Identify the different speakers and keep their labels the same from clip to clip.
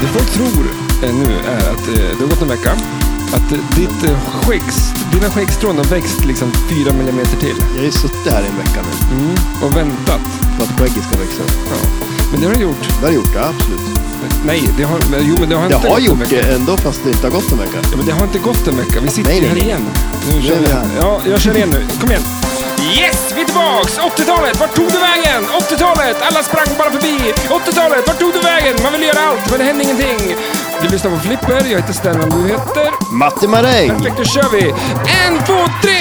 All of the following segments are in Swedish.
Speaker 1: Det folk tror eh, nu är att eh, det har gått en vecka. Att eh, ditt eh, skäggs, dina skäggstrån har växt liksom fyra millimeter till.
Speaker 2: Jag har ju suttit här i en vecka nu
Speaker 1: Och väntat.
Speaker 2: på att skägget ska växa.
Speaker 1: Ja. Men det har det gjort.
Speaker 2: Det har jag gjort, ja, absolut.
Speaker 1: Nej, det har, men- jo, men det har
Speaker 2: Jag
Speaker 1: inte
Speaker 2: har
Speaker 1: gått en
Speaker 2: gjort
Speaker 1: vecka.
Speaker 2: det ändå fast det inte har gått en vecka.
Speaker 1: Ja, men det har inte gått en vecka. Vi sitter
Speaker 2: Nej,
Speaker 1: ju
Speaker 2: nej,
Speaker 1: här
Speaker 2: nej.
Speaker 1: igen. Nu kör
Speaker 2: är
Speaker 1: vi.
Speaker 2: vi
Speaker 1: här.
Speaker 2: här.
Speaker 1: Ja, jag kör igen nu. Kom igen. Yes, vi är tillbaks! 80-talet, vart tog du vägen? 80-talet, alla sprang bara förbi. 80-talet, vart tog du vägen? Man vill göra allt, men det hände ingenting. Du lyssnar på Flipper, jag heter Stellan, du heter...
Speaker 2: Matti Maräng!
Speaker 1: Perfekt, då kör vi! En, två, tre!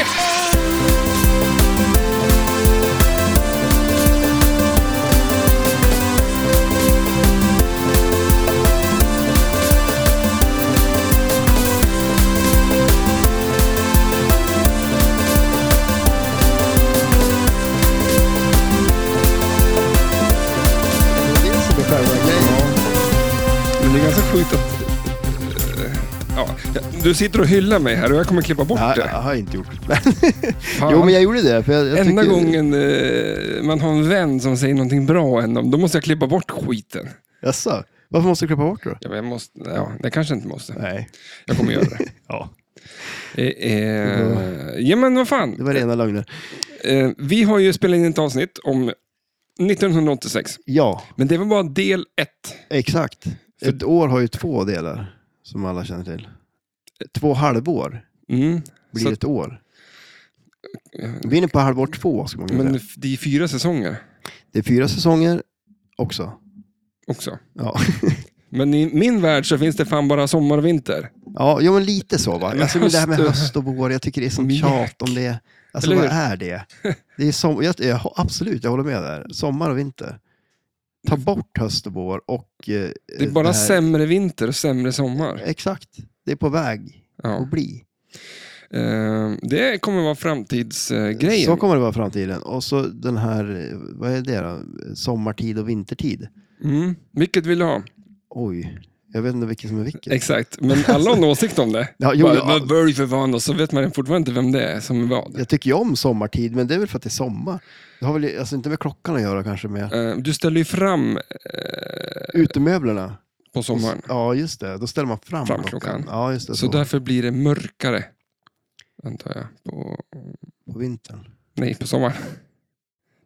Speaker 2: Det är det som är själva grejen.
Speaker 1: Men det är ganska sjukt att... eh, Ja, du sitter och hyllar mig här och jag kommer klippa bort
Speaker 2: Ja,
Speaker 1: det.
Speaker 2: jag har inte gjort det.
Speaker 1: Fan.
Speaker 2: jo, men jag gjorde det. För jag, jag
Speaker 1: Enda
Speaker 2: tycker-
Speaker 1: gången eh, man har en vän som säger någonting bra än dem, då måste jag klippa bort skiten.
Speaker 2: Jaså? Varför måste du klippa bort det då?
Speaker 1: Ja, men jag måste, ja, det kanske jag inte måste.
Speaker 2: Nej.
Speaker 1: Jag kommer göra det.
Speaker 2: Ja.
Speaker 1: Eh, eh, ja, men vad
Speaker 2: Det
Speaker 1: fan.
Speaker 2: var rena lögner.
Speaker 1: Eh, vi har ju spelat in ett avsnitt om 1986,
Speaker 2: Ja,
Speaker 1: men det var bara del ett.
Speaker 2: exakt.
Speaker 1: För-
Speaker 2: Ett år har ju två delar, som alla känner till. Två halvår
Speaker 1: Mm.
Speaker 2: blir
Speaker 1: Så-
Speaker 2: ett år. Vi är inne på halvår två, ska man kunna
Speaker 1: Men
Speaker 2: säga.
Speaker 1: f- det är fyra säsonger
Speaker 2: Det är fyra säsonger också.
Speaker 1: också.
Speaker 2: Ja.
Speaker 1: Men i min värld så finns det fan bara sommar och vinter.
Speaker 2: Ja, jo, men lite så. Va?
Speaker 1: Men
Speaker 2: Alltså, men det här med
Speaker 1: höst-
Speaker 2: höst och vår, jag tycker det är sånt
Speaker 1: Mjäk.
Speaker 2: tjat om det. Alltså,
Speaker 1: Eller
Speaker 2: vad
Speaker 1: hur?
Speaker 2: är det? det är som, jag, jag, absolut, jag håller med där. Sommar och vinter. Ta bort höst och vår och... Eh,
Speaker 1: Det är bara
Speaker 2: här- Eh,
Speaker 1: sämre vinter och sämre sommar.
Speaker 2: Exakt, det är på väg
Speaker 1: Ja.
Speaker 2: att bli.
Speaker 1: Eh, det kommer vara framtidsgrejen.
Speaker 2: Så kommer det vara i framtiden. Och så den här, eh, vad är det då? Sommartid och vintertid.
Speaker 1: Mm. Vilket vill du ha?
Speaker 2: Oj, jag vet inte vilken som är vilken.
Speaker 1: Exakt, men alla har en åsikt om det.
Speaker 2: Ja, jo,
Speaker 1: Bara,
Speaker 2: ja.
Speaker 1: Vad bör för fan? Och så vet man fortfarande inte vem det är som är vad.
Speaker 2: Jag tycker ju om sommartid, men det är väl för att det är sommar. Det har väl alltså, inte med klockan att göra kanske, med
Speaker 1: Eh, du ställer ju fram eh,
Speaker 2: utemöblerna.
Speaker 1: på sommaren,
Speaker 2: Ja, just det. Då ställer man fram,
Speaker 1: Fram
Speaker 2: klockan.
Speaker 1: klockan.
Speaker 2: Ja, just det.
Speaker 1: så
Speaker 2: Så
Speaker 1: därför blir det mörkare. Antar jag. På,
Speaker 2: På vintern.
Speaker 1: nej, på sommaren.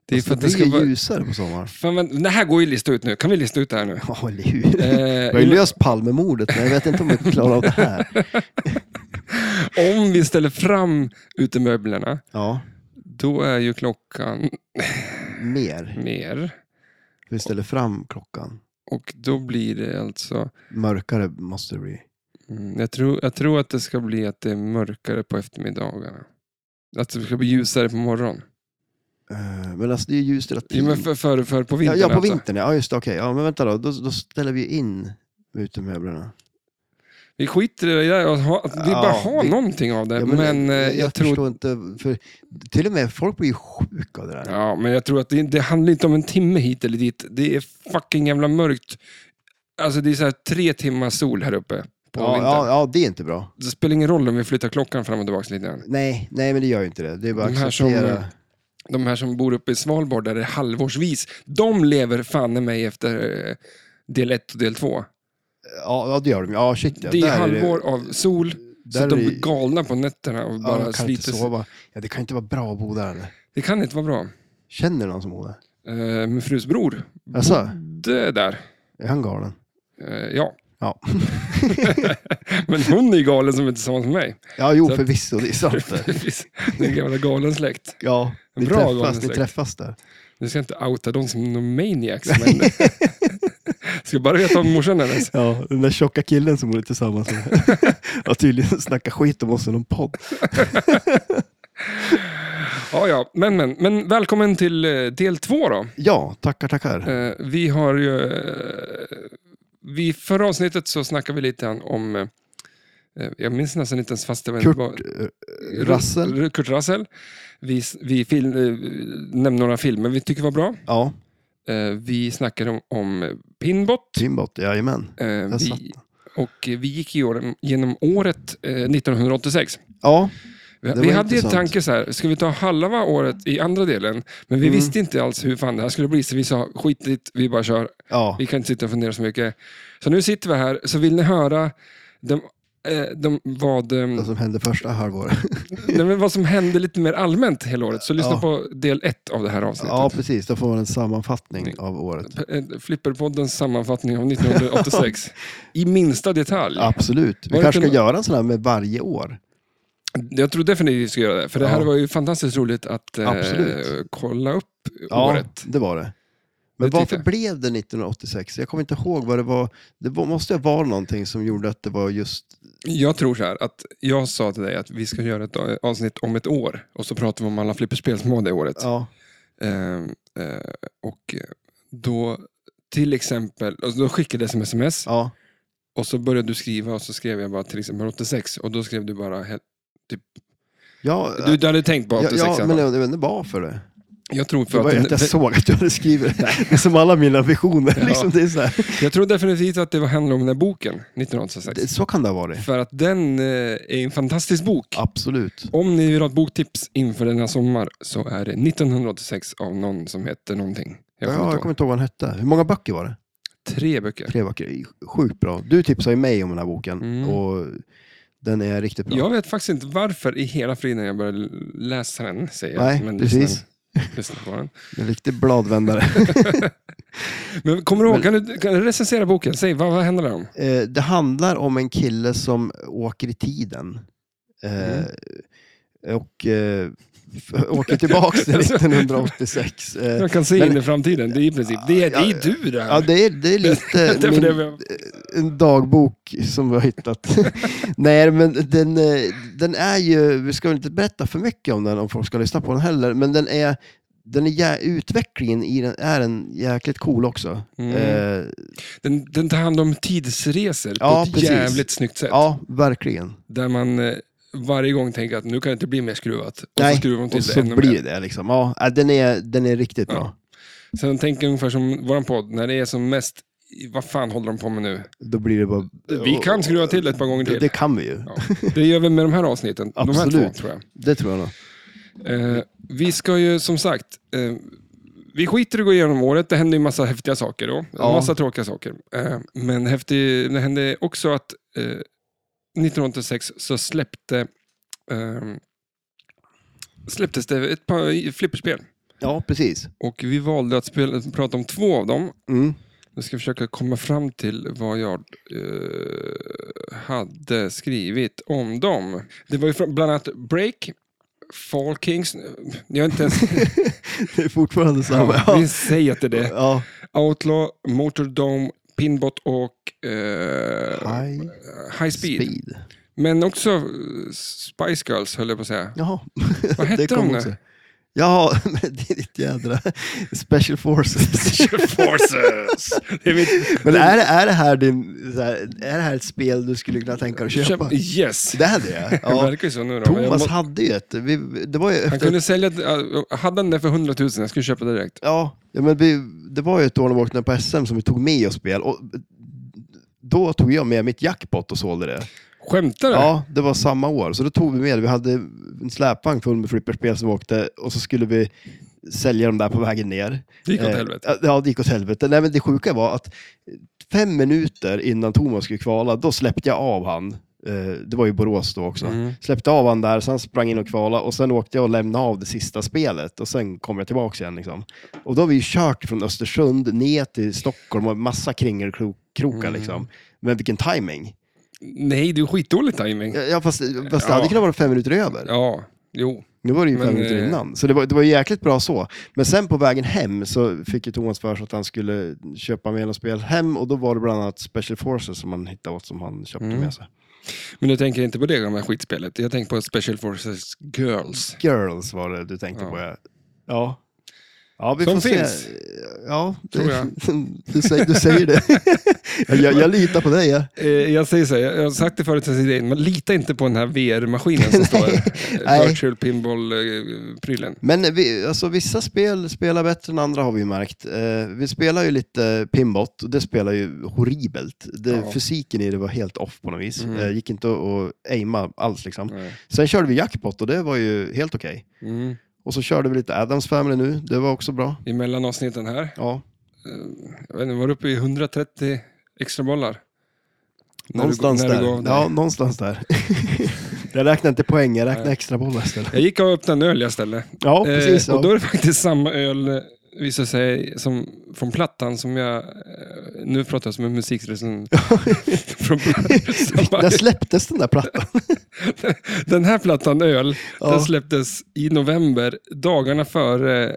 Speaker 1: Det är
Speaker 2: Alltså,
Speaker 1: för att det ska
Speaker 2: blir
Speaker 1: vara...
Speaker 2: ljusare på sommaren.
Speaker 1: Fan, men, det här går ju att lista ut nu. Kan vi lista ut det här nu?
Speaker 2: Ja, eller hur? Vi har
Speaker 1: Eh,
Speaker 2: ju
Speaker 1: in-
Speaker 2: löst Palmemordet, men jag vet inte om vi klarar av det här.
Speaker 1: om vi ställer fram utemöblerna,
Speaker 2: Ja,
Speaker 1: då är ju klockan
Speaker 2: mer.
Speaker 1: mer.
Speaker 2: Vi ställer fram klockan.
Speaker 1: Och då blir det alltså...
Speaker 2: Mörkare måste det bli.
Speaker 1: Mm, jag, tror, jag tror att det ska bli att det är mörkare på eftermiddagarna. Att det ska bli ljusare på morgonen.
Speaker 2: Eh, Men alltså, det är ju ljust hela
Speaker 1: Jo,
Speaker 2: tiden.
Speaker 1: men för, för, för på
Speaker 2: ja,
Speaker 1: vintern
Speaker 2: ja, på
Speaker 1: alltså.
Speaker 2: vintern. Ja, just det. Okej, ja, men vänta då. Då, då ställer vi in utemöblerna.
Speaker 1: Vi skiter i det där. och ha- att Vi
Speaker 2: Ja,
Speaker 1: bara har
Speaker 2: det-
Speaker 1: någonting av det.
Speaker 2: Ja,
Speaker 1: men eh,
Speaker 2: jag,
Speaker 1: jag, tror...
Speaker 2: förstår inte. För till och med folk blir ju sjuka av det där.
Speaker 1: Ja, men jag tror att det, det handlar inte om en timme hit eller dit. Det är fucking jävla mörkt. Alltså det är så här tre timmar sol här uppe på
Speaker 2: ja,
Speaker 1: vintern.
Speaker 2: ja, ja, det är inte bra.
Speaker 1: Det spelar ingen roll om vi flyttar klockan fram och tillbaka lite grann.
Speaker 2: Nej, nej, men det gör ju inte det. Det är bara
Speaker 1: De
Speaker 2: att
Speaker 1: här som,
Speaker 2: acceptera.
Speaker 1: eh, De här som bor uppe i Svalbard där det är halvårsvis, de lever fan i mig efter eh, del ett och del två.
Speaker 2: Ja, ja, det gör de. Ja, shit. Ja.
Speaker 1: Det är
Speaker 2: Där
Speaker 1: halvår av sol,
Speaker 2: där
Speaker 1: så att de
Speaker 2: är det-
Speaker 1: blir galna på nätterna och
Speaker 2: Ja,
Speaker 1: bara
Speaker 2: de kan
Speaker 1: sliter
Speaker 2: inte
Speaker 1: sig.
Speaker 2: sova. Ja, det kan inte vara bra att bo där. Eller?
Speaker 1: Det kan inte vara bra.
Speaker 2: Känner någon som bor där?
Speaker 1: Eh, Min frus bror
Speaker 2: Jaså?
Speaker 1: bodde där.
Speaker 2: Är han galen?
Speaker 1: Eh, Ja.
Speaker 2: Ja.
Speaker 1: Men hon är ju galen som är tillsammans med mig.
Speaker 2: Ja, jo,
Speaker 1: Så-
Speaker 2: förvisso. Det är sant. det.
Speaker 1: Precis. Det är en gamla galen släkt.
Speaker 2: Ja, ni
Speaker 1: Bra galen
Speaker 2: träffas, ni
Speaker 1: släkt.
Speaker 2: träffas där.
Speaker 1: Nu ska jag inte outa dem som någon maniacs. Men... ska bara veta om morsan hennes.
Speaker 2: Ja, den där tjocka killen som bor tillsammans med. Har tydligen snackat skit om oss i någon podd.
Speaker 1: Ja, ja. Men, men, men välkommen till eh, del två då.
Speaker 2: Ja, tackar, tackar.
Speaker 1: Eh, vi har ju... Eh, vi, förra avsnittet så snackade vi lite grann om... Eh, jag minns nästan inte ens fast det var...
Speaker 2: Kurt
Speaker 1: var-
Speaker 2: eh, Russell.
Speaker 1: R- Kurt Russell. Vi, vi fil, eh, nämnde några filmer vi tycker var bra.
Speaker 2: Ja,
Speaker 1: Eh, vi snackade om, om Pinbot.
Speaker 2: Timbot. Jajamän.
Speaker 1: Eh,
Speaker 2: Där satt
Speaker 1: vi, och eh, vi gick i år, genom året eh, 1986.
Speaker 2: Ja,
Speaker 1: Vi,
Speaker 2: var
Speaker 1: vi hade ju en
Speaker 2: intressant.
Speaker 1: tanke så här, ska vi ta halva året i andra delen? Men vi
Speaker 2: Mm.
Speaker 1: visste inte alls hur fan det här skulle bli, så vi sa skit i det, vi bara kör.
Speaker 2: Ja,
Speaker 1: Vi kan inte sitta och fundera så mycket. Så nu sitter vi här, så vill ni höra de, eh, de, vad, ehm,
Speaker 2: det som hände första halvåret.
Speaker 1: nej, men vad som hände lite mer allmänt hela året, så lyssna
Speaker 2: Ja.
Speaker 1: på del ett av det här avsnittet.
Speaker 2: Ja, precis. Då får man en
Speaker 1: Mm.
Speaker 2: sammanfattning av året.
Speaker 1: P- eh, Flipperpoddens sammanfattning av 1986. I minsta detalj.
Speaker 2: Absolut.
Speaker 1: Var
Speaker 2: Vi
Speaker 1: det
Speaker 2: kanske
Speaker 1: inte
Speaker 2: ska göra en sån här med varje år.
Speaker 1: Jag tror definitivt vi ska göra det, för det här
Speaker 2: Ja.
Speaker 1: var ju fantastiskt roligt att eh,
Speaker 2: Absolut.
Speaker 1: kolla upp
Speaker 2: Ja,
Speaker 1: året.
Speaker 2: det var det. Men
Speaker 1: Det tyckte
Speaker 2: varför
Speaker 1: jag.
Speaker 2: blev det 1986? Jag kommer inte ihåg vad det var. Det var, måste ha varit någonting som gjorde att det var just...
Speaker 1: Jag tror så här, att jag sa till dig att vi ska göra ett eh, avsnitt om ett år och så pratar vi om alla flipperspel som var det året.
Speaker 2: Ja,
Speaker 1: Ehm, eh, och då till exempel, alltså då skickade jag det som sms
Speaker 2: ja,
Speaker 1: och så började du skriva och så skrev jag bara till exempel 86 och då skrev du bara, he-
Speaker 2: ja,
Speaker 1: du, du hade tänkt på
Speaker 2: ja,
Speaker 1: 86 i alla
Speaker 2: ja
Speaker 1: fall.
Speaker 2: men jag vet inte varför det.
Speaker 1: Jag tror
Speaker 2: Det
Speaker 1: för
Speaker 2: var
Speaker 1: att,
Speaker 2: ju att jag såg att du hade skrivit
Speaker 1: Nej.
Speaker 2: det. Som alla mina visioner.
Speaker 1: Ja.
Speaker 2: Liksom, det är så, här.
Speaker 1: jag tror definitivt att det var- handlar om den här boken, 1986.
Speaker 2: Det, så kan det ha varit.
Speaker 1: För att den eh, är en fantastisk bok.
Speaker 2: Absolut.
Speaker 1: Om ni vill ha ett boktips inför denna sommar så är det 1986 av någon som heter någonting. Jag kommer
Speaker 2: ja,
Speaker 1: inte
Speaker 2: jag
Speaker 1: ihåg.
Speaker 2: kommer inte ihåg vad den hette. Hur många böcker var det?
Speaker 1: Tre böcker.
Speaker 2: Tre böcker. Sjukt bra. Du tipsade ju mig om den här boken
Speaker 1: Mm.
Speaker 2: och den är riktigt bra.
Speaker 1: Jag vet faktiskt inte varför i hela friden jag började läsa den. Säger jag.
Speaker 2: Nej, precis.
Speaker 1: lyssna- Lyssna på den.
Speaker 2: En riktig bladvändare.
Speaker 1: Men kommer du ihåg, kan du, kan du recensera boken? Säg, vad, vad handlar det om?
Speaker 2: Eh, det handlar om en kille som åker i tiden. Eh,
Speaker 1: Mm.
Speaker 2: Och eh, f- åker tillbaks till 1986. Eh,
Speaker 1: Jag kan se
Speaker 2: men-
Speaker 1: in i framtiden, det är i princip, det är, det är du det
Speaker 2: ja,
Speaker 1: här.
Speaker 2: det är, det är
Speaker 1: Det
Speaker 2: lite
Speaker 1: är för det
Speaker 2: min, eh,
Speaker 1: vi-
Speaker 2: en dagbok som vi har hittat. Nej, men den, eh, den är ju, vi ska väl inte berätta för mycket om den om folk ska lyssna på den heller, men den är, den är, jä- utvecklingen i den är en jäkligt cool också.
Speaker 1: Mm.
Speaker 2: Eh,
Speaker 1: den, den tar hand om tidsresor
Speaker 2: Ja,
Speaker 1: på ett
Speaker 2: precis.
Speaker 1: jävligt snyggt sätt.
Speaker 2: ja, verkligen.
Speaker 1: Där man eh, varje gång tänker att nu kan det inte bli mer skruvat. Och
Speaker 2: Nej,
Speaker 1: så skruvar de till
Speaker 2: Och
Speaker 1: det
Speaker 2: så
Speaker 1: ännu mer.
Speaker 2: blir det liksom. Ja, äh, den är, den är riktigt
Speaker 1: Ja.
Speaker 2: bra.
Speaker 1: Sen tänker jag ungefär som vår podd, när det är som mest, i- vad fan håller de på med nu?
Speaker 2: Då blir det bara...
Speaker 1: Vi kan skruva till ett par gånger
Speaker 2: Det,
Speaker 1: till.
Speaker 2: det kan vi ju.
Speaker 1: Ja. Det gör vi med de här avsnitten, de här två
Speaker 2: Absolut.
Speaker 1: tror jag.
Speaker 2: Det tror jag nog.
Speaker 1: Eh, vi ska ju som sagt, eh, vi skiter i att gå igenom året. Det hände ju massa häftiga saker då.
Speaker 2: Ja.
Speaker 1: Massa tråkiga saker. Eh, men häftig, det hände också att eh, 1986 så släppte eh, släpptes det ett par flipperspel.
Speaker 2: Ja, precis.
Speaker 1: Och vi valde att spela, prata om två av dem.
Speaker 2: Mm.
Speaker 1: Nu ska jag försöka komma fram till vad jag eh, hade skrivit om dem. Det var ju från- bland annat Break, Fall Kings, jag har inte ens...
Speaker 2: Det är fortfarande samma.
Speaker 1: ja, vi säger att det är det.
Speaker 2: Ja.
Speaker 1: Outlaw, Motordome, Pinbot och eh,
Speaker 2: High
Speaker 1: High Speed.
Speaker 2: speed.
Speaker 1: Men också eh, Spice Girls höll jag på att säga.
Speaker 2: Jaha.
Speaker 1: Vad hette
Speaker 2: kom
Speaker 1: de
Speaker 2: också.
Speaker 1: nu?
Speaker 2: Ja, men det är ditt jädra special forces.
Speaker 1: Forces! Det är mitt...
Speaker 2: Men är, det- är, det här din, så här, är det här ett spel du skulle kunna tänka dig att köpa?
Speaker 1: Yes!
Speaker 2: Det hade jag.
Speaker 1: Det
Speaker 2: Ja.
Speaker 1: verkar ju så nu då. men jag
Speaker 2: Thomas
Speaker 1: må-
Speaker 2: hade ju ett. Vi, det var ju
Speaker 1: Han
Speaker 2: efter
Speaker 1: kunde sälja, eh, hade han det för 100 000, jag skulle köpa det direkt.
Speaker 2: Ja, ja men vi, det var ju ett år när vi åkte ner på SM som vi tog med oss spel. Och då tog jag med mitt jackpot och sålde det.
Speaker 1: Skämtar du?
Speaker 2: Ja, det var samma år. Så då tog vi med det. Vi hade en släpvagn full med flipperspel som vi åkte och så skulle vi sälja dem där på vägen ner.
Speaker 1: Det gick åt
Speaker 2: Eh,
Speaker 1: helvete.
Speaker 2: Ja, det gick åt helvete. Nej, men det sjuka var att fem minuter innan Thomas skulle kvala, då släppte jag av han. Eh, Det var ju Borås då också.
Speaker 1: Mm.
Speaker 2: Släppte av han där, sen sprang in och kvala och sen åkte jag och lämnade av det sista spelet och sen kom jag tillbaka igen. Liksom. Och då har vi ju kört från Östersund ner till Stockholm och massa kringelkrokar.
Speaker 1: Mm.
Speaker 2: Liksom. Men vilken timing.
Speaker 1: Nej, det är skitdålig timing.
Speaker 2: Ja, fast, fast det
Speaker 1: Ja.
Speaker 2: hade kunnat vara fem minuter över.
Speaker 1: Ja, jo.
Speaker 2: Nu var det ju fem
Speaker 1: Men,
Speaker 2: minuter
Speaker 1: eh,
Speaker 2: innan, så det var, det var ju jäkligt bra så. Men sen på vägen hem så fick ju Thomas för sig att han skulle köpa med något spel hem och då var det bland annat Special Forces som han hittade åt som han köpte
Speaker 1: Mm.
Speaker 2: med sig.
Speaker 1: Men jag tänker inte på det gamla skitspelet. Jag tänker på Special Forces Girls.
Speaker 2: Girls var det du tänkte
Speaker 1: Ja.
Speaker 2: på ja. Ja. Ja, vi
Speaker 1: Som
Speaker 2: får
Speaker 1: finns.
Speaker 2: Se. Ja, det,
Speaker 1: Tror jag.
Speaker 2: Du, säger, du säger det. Ja, jag, jag litar på dig. Ja.
Speaker 1: Eh, Jag säger så här, jag jag har sagt det förut sen jag sitter in, men lita inte på den här VR-maskinen som står här. Eh,
Speaker 2: Nej.
Speaker 1: Virtual eh, Pinball-prylen.
Speaker 2: Men vi, alltså, vissa spel spelar bättre än andra har vi ju märkt. Eh, vi spelar ju lite pinbot och det spelar ju horribelt. Det,
Speaker 1: Ja.
Speaker 2: Fysiken i det var helt off på något vis.
Speaker 1: Mm.
Speaker 2: Eh, gick inte att- att aima alls liksom.
Speaker 1: Nej.
Speaker 2: Sen körde vi jackpot och det var ju helt okej.
Speaker 1: Mm.
Speaker 2: Och så körde vi lite Adams Family nu, det var också bra.
Speaker 1: Emellan avsnitten här, Eh,
Speaker 2: Ja,
Speaker 1: jag vet inte, var du uppe i 130 extra bollar? När du-
Speaker 2: någonstans
Speaker 1: när du
Speaker 2: där.
Speaker 1: gav dig.
Speaker 2: ja, någonstans där. jag räknar inte poäng, jag räknar
Speaker 1: Nej.
Speaker 2: extra bollar istället.
Speaker 1: Jag gick och öppnade en öl jag ställde.
Speaker 2: Ja, precis.
Speaker 1: Eh,
Speaker 2: Ja.
Speaker 1: och då är det faktiskt samma öl, eh, visar sig, som, från plattan som jag... Eh, nu pratar jag som en musikrecensent. Från plattan
Speaker 2: När
Speaker 1: som-
Speaker 2: släpptes den där plattan?
Speaker 1: den här plattan, Öl,
Speaker 2: Ja.
Speaker 1: den släpptes i november, dagarna före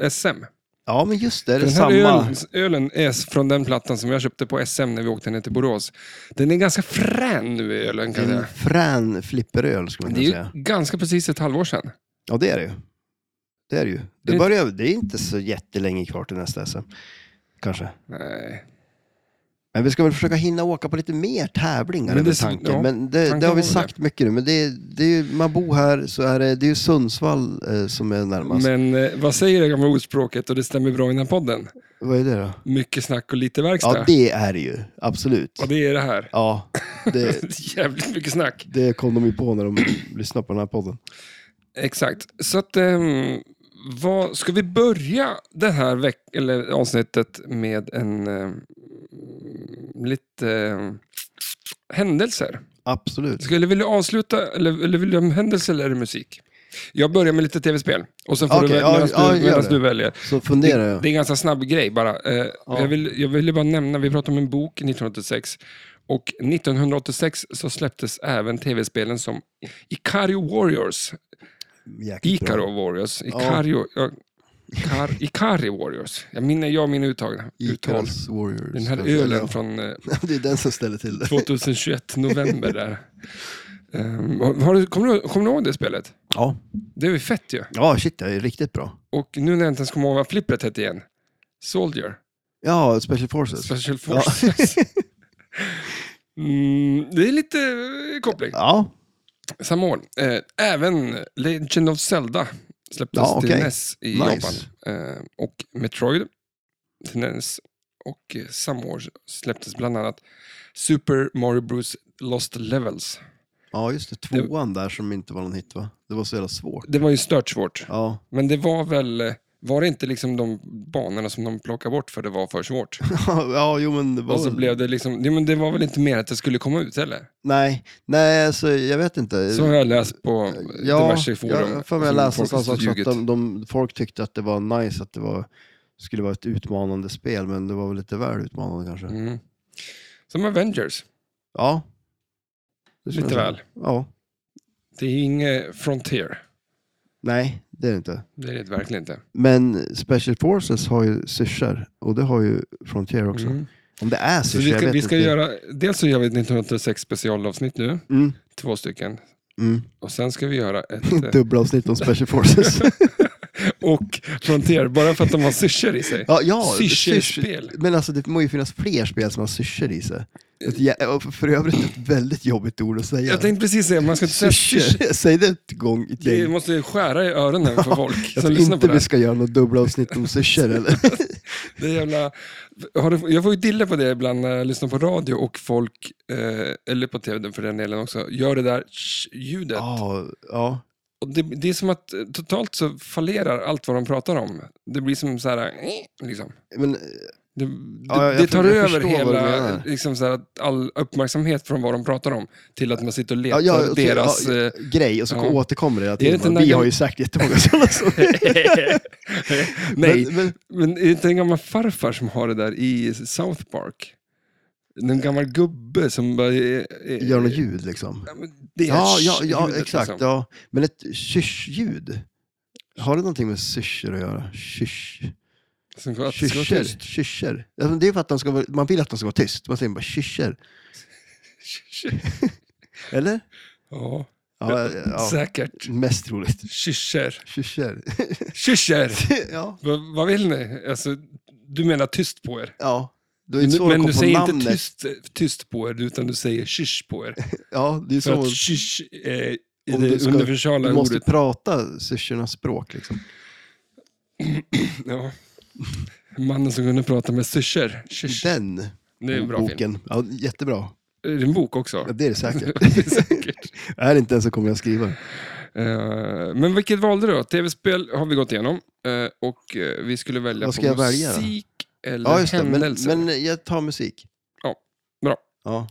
Speaker 1: eh, SM.
Speaker 2: Ja, men just det, är det
Speaker 1: Den
Speaker 2: samma.
Speaker 1: här ölen, ölen är från den plattan som jag köpte på SM när vi åkte ner till Borås. Den är ganska frän nu, ölen kan jag
Speaker 2: En
Speaker 1: säga.
Speaker 2: frän flipperöl skulle man
Speaker 1: Det är
Speaker 2: kunna
Speaker 1: ju
Speaker 2: Mm. säga.
Speaker 1: ganska precis ett halvår sedan.
Speaker 2: Ja, det är det ju. Det är det ju.
Speaker 1: Det-
Speaker 2: Det, börjar, det är inte så jättelänge kvar till nästa SM. Kanske.
Speaker 1: Nej.
Speaker 2: Men vi ska väl försöka hinna åka på lite mer tävlingar,
Speaker 1: Men
Speaker 2: men
Speaker 1: det-
Speaker 2: det, tanken.
Speaker 1: ja,
Speaker 2: men det,
Speaker 1: tanken
Speaker 2: det har
Speaker 1: var
Speaker 2: vi
Speaker 1: väl
Speaker 2: sagt mycket nu, men det, det är ju, man bor här så är det, det är ju Sundsvall eh, som är närmast.
Speaker 1: Men eh, vad säger det gamla ordspråket, och det stämmer bra i den här podden?
Speaker 2: Vad är det då?
Speaker 1: Mycket snack och lite verkstad.
Speaker 2: Ja, det är det ju. Absolut.
Speaker 1: Och det är det här.
Speaker 2: Ja, det,
Speaker 1: Jävligt mycket snack.
Speaker 2: det kom de ju på när de lyssnade på den här podden.
Speaker 1: Exakt. Så att, ehm, vad, ska vi börja det här veck eller avsnittet med en ehm, lite ehm, händelser?
Speaker 2: Absolut.
Speaker 1: Skulle vilja avsluta, eller, eller vill du ha händelser eller är det musik? Jag börjar med lite tv-spel och sen får
Speaker 2: Okej,
Speaker 1: du välja
Speaker 2: ja,
Speaker 1: medan
Speaker 2: ja,
Speaker 1: du,
Speaker 2: gör
Speaker 1: medans
Speaker 2: det.
Speaker 1: du väljer.
Speaker 2: Så funderar jag.
Speaker 1: Det är en ganska snabb grej bara. Eh,
Speaker 2: Ja.
Speaker 1: jag, vill, jag ville bara nämna, vi pratade om en bok 1986. Och 1986 så släpptes även tv-spelen som Ikario Warriors.
Speaker 2: Jäkligt bra.
Speaker 1: Ikaro Warriors. Ikario, ja. Ikar, Ikari Warriors. Jag minner jag mina uttag. Uttal.
Speaker 2: Icarus Warriors.
Speaker 1: Den här
Speaker 2: kanske.
Speaker 1: ölen
Speaker 2: Ja,
Speaker 1: från eh,
Speaker 2: Det är den som ställer till det.
Speaker 1: 2021, november där. Ehm, har du, kommer, du, kommer du ihåg det spelet?
Speaker 2: Ja,
Speaker 1: Det är ju fett ju.
Speaker 2: ja shit, det är riktigt bra.
Speaker 1: Och nu när jag inte ens kommer ihåg vad flippret hette igen. Soldier.
Speaker 2: Ja, Special Forces.
Speaker 1: Special Forces. Mm, det är lite eh, koppling.
Speaker 2: Ja,
Speaker 1: Samma år. Eh, även Legend of Zelda släpptes
Speaker 2: Ja,
Speaker 1: till
Speaker 2: okej.
Speaker 1: NES i
Speaker 2: Nice.
Speaker 1: Japan. Eh, och Metroid till NES. Och eh, samma år släpptes bland annat Super Mario Bros Lost Levels.
Speaker 2: ja, just det. Tvåan där som inte var någon hit va? Det var så jävla svårt.
Speaker 1: Det var ju stört svårt.
Speaker 2: Ja,
Speaker 1: Men det var väl, eh, var det inte liksom de banorna som de plockade bort för det var för svårt?
Speaker 2: ja jo men det var
Speaker 1: Och så
Speaker 2: väl-
Speaker 1: blev det liksom, nej, men det var väl inte mer att det skulle komma ut heller?
Speaker 2: Nej, nej alltså, jag vet inte.
Speaker 1: Så har jag läst på
Speaker 2: ja,
Speaker 1: diverse forum.
Speaker 2: jag- Jag för mig jag
Speaker 1: som
Speaker 2: läste
Speaker 1: folk har
Speaker 2: någonstans också att
Speaker 1: ljugit.
Speaker 2: de, de, folk tyckte att det var nice att det var, skulle vara ett utmanande spel, men det var väl lite väl utmanande kanske.
Speaker 1: Mm. Som Avengers,
Speaker 2: Ja. Det skulle
Speaker 1: lite
Speaker 2: jag säga.
Speaker 1: väl.
Speaker 2: Ja.
Speaker 1: Det är inget Frontier.
Speaker 2: Nej, det är det inte.
Speaker 1: Det är det verkligen inte.
Speaker 2: Men Special Forces har ju syrsor och det har ju Frontier också.
Speaker 1: Mm.
Speaker 2: Om det är
Speaker 1: Så
Speaker 2: syrsor,
Speaker 1: vi
Speaker 2: jag
Speaker 1: ska,
Speaker 2: vet
Speaker 1: vi ska
Speaker 2: inte.
Speaker 1: göra, dels så gör vi ett 1986 specialavsnitt nu,
Speaker 2: Mm,
Speaker 1: två stycken.
Speaker 2: mm.
Speaker 1: Och sen ska vi göra ett eh,
Speaker 2: Dubbelavsnitt om Special Forces.
Speaker 1: och Frontier, bara för att de har syrsor i sig.
Speaker 2: ja, ja,
Speaker 1: Syrsorspel.
Speaker 2: syrs- Men alltså det må ju finnas fler spel som har syrsor i sig. Ett, jä- och för övrigt ett väldigt jobbigt ord att säga.
Speaker 1: Eh. Jag tänkte precis säga, man ska inte säga syrsor.
Speaker 2: Syrsor. Säg det ett gång i
Speaker 1: Vi
Speaker 2: gäng.
Speaker 1: måste skära i öronen för folk
Speaker 2: Jag
Speaker 1: som
Speaker 2: tror
Speaker 1: lyssnar på
Speaker 2: inte
Speaker 1: det
Speaker 2: vi
Speaker 1: här.
Speaker 2: ska göra något dubbelavsnitt om syrsor eller?
Speaker 1: Det är jävla... har du... Jag får ju dille på det ibland när jag lyssnar på radio och folk, eh, eller på tv för den delen också, gör det där tsch- ljudet.
Speaker 2: Ja, ja.
Speaker 1: Och det, det är som att eh, totalt så fallerar allt vad de pratar om. Det blir som så här, eh, liksom.
Speaker 2: Men, eh,
Speaker 1: Det, det,
Speaker 2: Ja, jag
Speaker 1: det
Speaker 2: för-
Speaker 1: tar
Speaker 2: jag
Speaker 1: över
Speaker 2: förstår vad du
Speaker 1: hela,
Speaker 2: menar.
Speaker 1: liksom så här, att all uppmärksamhet från vad de pratar om till att man sitter och letar
Speaker 2: ja, ja, och så-
Speaker 1: deras...
Speaker 2: ja,
Speaker 1: eh,
Speaker 2: grej och så
Speaker 1: ja.
Speaker 2: återkommer det hela
Speaker 1: Är det inte
Speaker 2: tiden.
Speaker 1: den
Speaker 2: Vi
Speaker 1: där
Speaker 2: har
Speaker 1: gam-
Speaker 2: ju sagt jättemånga sådana saker.
Speaker 1: Nej,
Speaker 2: Men, men,
Speaker 1: Men är det inte en gammal farfar som har det där i South Park? En gammal gubbe som bara... eh, eh,
Speaker 2: gör något ljud liksom.
Speaker 1: Ja, men det är
Speaker 2: Ja, ja, ja
Speaker 1: ljudet,
Speaker 2: exakt.
Speaker 1: liksom.
Speaker 2: Ja. Men ett syrsljud. Har det någonting med syrsor att göra? Syrs...
Speaker 1: Som att det ska vara
Speaker 2: Syrsor?
Speaker 1: tyst.
Speaker 2: Syrsor? Ja, men Det är för att de ska vara, man vill att de ska vara tyst. Man säger bara syrsor. Eller?
Speaker 1: Ja,
Speaker 2: Ja, ja,
Speaker 1: Säkert.
Speaker 2: mest troligt.
Speaker 1: Kyscher.
Speaker 2: Kyssar.
Speaker 1: Kyscher!
Speaker 2: ja.
Speaker 1: Va, vad vill ni? Alltså, du menar tyst på er?
Speaker 2: ja. Det är
Speaker 1: Men,
Speaker 2: inte så
Speaker 1: men
Speaker 2: de
Speaker 1: du
Speaker 2: kom på
Speaker 1: säger
Speaker 2: namnet.
Speaker 1: inte tyst, tyst på er, utan du säger kysch på er.
Speaker 2: Ja, det är
Speaker 1: För
Speaker 2: så.
Speaker 1: att kysch är
Speaker 2: Om du
Speaker 1: det
Speaker 2: ska-
Speaker 1: universala
Speaker 2: Du måste
Speaker 1: ordet.
Speaker 2: prata syrsornas språk liksom.
Speaker 1: Ja. Mannen som kunde prata med syrsor. Kysch.
Speaker 2: Den
Speaker 1: Det är en bra film.
Speaker 2: boken. Ja, jättebra.
Speaker 1: Är det en bok också?
Speaker 2: Ja, det är det säkert.
Speaker 1: Det är säkert.
Speaker 2: är det inte den så kommer jag skriva det.
Speaker 1: Eh, Men vilket valde du då? Tv-spel har vi gått igenom. eh, Och eh, vi skulle välja
Speaker 2: Vad ska
Speaker 1: på
Speaker 2: jag välja då?
Speaker 1: musik eller
Speaker 2: Ja, just det. Men,
Speaker 1: händelser.
Speaker 2: men jag tar musik.
Speaker 1: Ja, bra.
Speaker 2: Ja,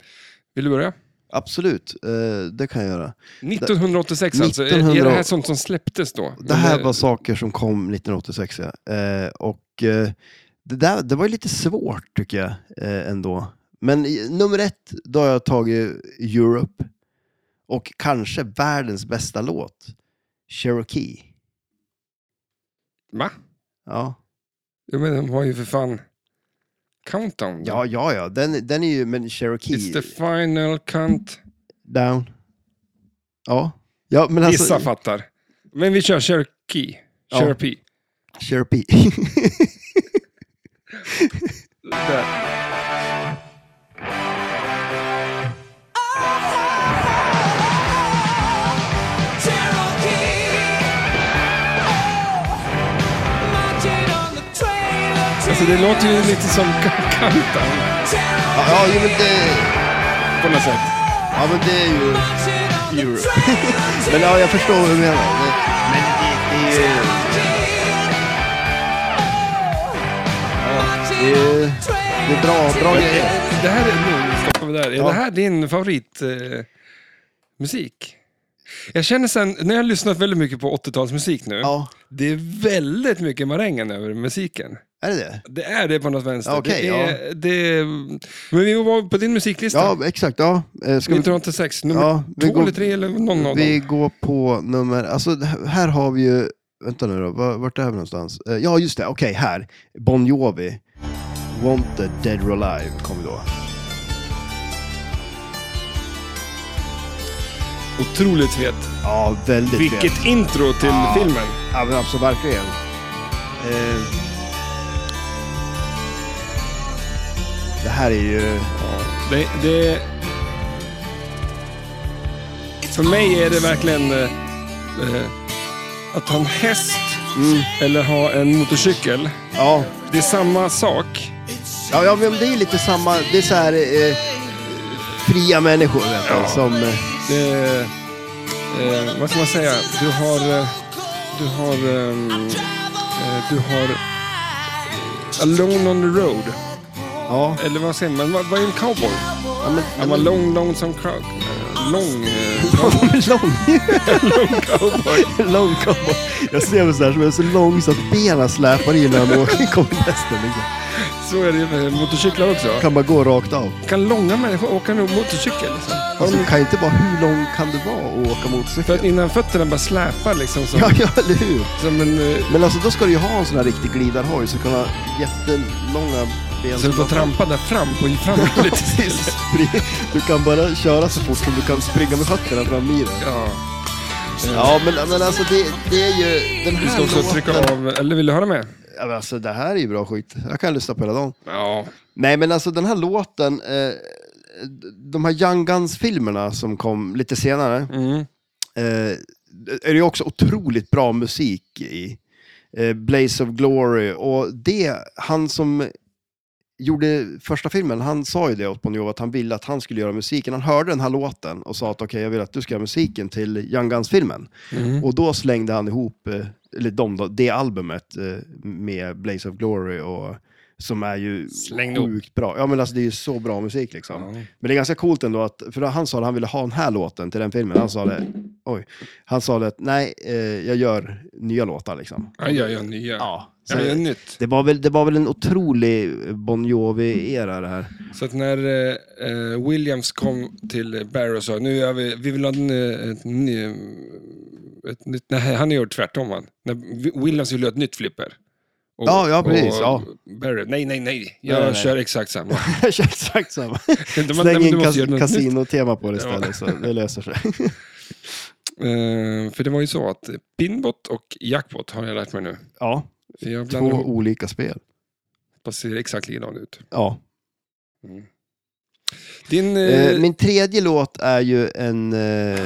Speaker 1: Vill du börja?
Speaker 2: absolut. Eh, det kan jag göra.
Speaker 1: 1986 alltså. Är- Är det
Speaker 2: 1900
Speaker 1: här sånt som släpptes då?
Speaker 2: Det här
Speaker 1: Eller-
Speaker 2: var saker som kom 1986. Ja. Eh, och eh, det, där, det var ju lite svårt tycker jag eh, ändå. Men i- nummer ett, då har jag tagit Europe. Och kanske världens bästa låt, Cherokee.
Speaker 1: Va?
Speaker 2: Ja,
Speaker 1: Ja, men de har ju för fan Countdown.
Speaker 2: ja, ja. ja. Den, den är ju, men Cherokee...
Speaker 1: It's the final count.
Speaker 2: Down. Ja. ja men alltså,
Speaker 1: Vissa fattar. Men vi kör Cherokee.
Speaker 2: Ja.
Speaker 1: Cherokee.
Speaker 2: Cherokee.
Speaker 1: Där. Alltså det låter ju lite som Ca- Countdown
Speaker 3: Ah,
Speaker 2: ja,
Speaker 3: oh,
Speaker 2: ja, jo, men det,
Speaker 1: på något sätt.
Speaker 2: ja, men det är ju...
Speaker 4: Europe.
Speaker 2: Men ja, jag förstår vad du menar. Det, men det, det är ju...
Speaker 4: Det är, det är bra, bra grejer.
Speaker 1: Det här är, nu stoppar vi där. Är
Speaker 2: Ja.
Speaker 1: det här din favoritmusik? Eh, musik? jag känner sen, när jag har lyssnat väldigt mycket på 80-talsmusik nu,
Speaker 2: Ja,
Speaker 1: det är väldigt mycket marängen över musiken.
Speaker 2: är det det?
Speaker 1: Det är det på något vänster.
Speaker 2: Ja, okej,
Speaker 1: det är, det, men vi var på din musiklista.
Speaker 2: Ja, exakt. Ja. Eh, Ska vi,
Speaker 1: 1986, nummer
Speaker 2: Ja, vi
Speaker 1: två
Speaker 2: går-
Speaker 1: eller tre eller någon av
Speaker 2: vi
Speaker 1: dem.
Speaker 2: går på nummer... Alltså, det här- här har vi ju... Vänta nu då, var- vart är vi någonstans? Eh, Ja, just det. Okej, här. Bon Jovi. Wanted, Dead or Alive kom vi då.
Speaker 1: Otroligt fet.
Speaker 2: Ja, väldigt
Speaker 1: Vilket
Speaker 2: fet.
Speaker 1: intro till
Speaker 2: Ja.
Speaker 1: filmen.
Speaker 2: Ja, men absolut, verkligen. Eh, det här är ju...
Speaker 1: Det, det, för mig är det verkligen eh, eh, att ha en häst Mm. eller ha en motorcykel.
Speaker 2: Ja,
Speaker 1: Det är samma sak.
Speaker 2: Ja, ja men det är lite samma. Det är så här eh, fria människor vet du, som... Eh,
Speaker 1: Det, eh, vad ska man säga? Du har... Eh, du har... ehm, eh, du har... eh, Alone on the road.
Speaker 2: ja.
Speaker 1: Eller vad säger man? Vad, vad är en cowboy?
Speaker 2: ja men,
Speaker 1: Han var lång, lång som crow... eh, Lång... eh,
Speaker 2: lång.
Speaker 1: Lång cowboy.
Speaker 2: lång cowboy. Jag ser mig så här som är så lång så att benen släpar in när han åker kompressen. Liksom.
Speaker 1: Så är det med motorcyklar också.
Speaker 2: Kan bara gå rakt av.
Speaker 1: Kan långa människor åka nog motorcykel? Liksom? Har
Speaker 2: Alltså,
Speaker 1: de,
Speaker 2: det kan ju inte vara hur lång kan det vara att åka
Speaker 1: för att
Speaker 2: motorcykel?
Speaker 1: innan fötterna bara släpar liksom som,
Speaker 2: Ja, ja, eller hur?
Speaker 1: som en... eh,
Speaker 2: Men alltså då ska du ju ha en sån här riktig glidarhoj så du kan ha jättelånga ben.
Speaker 1: Så du får trampa där fram på framåt lite.
Speaker 2: Precis. Spring- Du kan bara köra så fort som du kan springa med fötterna fram i den.
Speaker 1: Ja.
Speaker 2: Ja, men, men alltså det, det är ju... Den här
Speaker 1: Du ska också
Speaker 2: låten-
Speaker 1: trycka av... Eller vill du höra med?
Speaker 2: Ja, men alltså det här är ju bra skit. Jag kan lyssna på hela dagen.
Speaker 1: Ja.
Speaker 2: Nej, men alltså den här låten, eh, de här Young Guns-filmerna som kom lite senare,
Speaker 1: Mm.
Speaker 2: eh, är det ju också otroligt bra musik i. Eh, Blaze of Glory och det, han som gjorde första filmen, han sa ju det åt Bon Jovi att han ville att han skulle göra musiken. Han hörde den här låten och sa att okej, jag vill att du ska göra musiken till Young Guns-filmen.
Speaker 1: Mm.
Speaker 2: Och då slängde han ihop, eh, eller de då, det albumet eh, med Blaze of Glory och som är ju
Speaker 1: Slängde ihop.
Speaker 2: sjukt bra. Ja men alltså det är ju så bra musik liksom.
Speaker 1: Ja.
Speaker 2: Men det är ganska coolt ändå att, för han sa att han ville ha den här låten till den filmen. Han sa det, oj, han sa det att nej, eh, jag gör nya låtar liksom.
Speaker 1: Han gör ju nya.
Speaker 2: Ja. Så,
Speaker 1: Han gör nytt.
Speaker 2: det, var väl, det var väl en otrolig Bon Jovi-era det här.
Speaker 1: Så att när eh, eh, Williams kom till Barry och sa nu gör vi, vi vill ha en, eh, ett, ny, ett nytt, nej han gör tvärtom han. När Vi- Williams ville ha ett nytt flipper. Och,
Speaker 2: Ja, ja, precis, ja.
Speaker 1: Barry, nej, nej, nej, jag
Speaker 2: Nej, nej, nej.
Speaker 1: kör exakt samma.
Speaker 2: Jag kör exakt samma.
Speaker 1: De- de-
Speaker 2: Släng
Speaker 1: de
Speaker 2: in
Speaker 1: måste göra något
Speaker 2: kas-
Speaker 1: nytt.
Speaker 2: kasinotema på det
Speaker 1: Ja.
Speaker 2: istället så det löser sig.
Speaker 1: Eh, för det var ju så att Pinbot och Jackpot har jag lärt mig nu.
Speaker 2: Ja,
Speaker 1: För jag
Speaker 2: två
Speaker 1: blandar ihop,
Speaker 2: olika spel.
Speaker 1: fast ser exakt likadant ut.
Speaker 2: Ja.
Speaker 1: Mm. Din... eh,
Speaker 2: Eh, min tredje låt är ju en eh,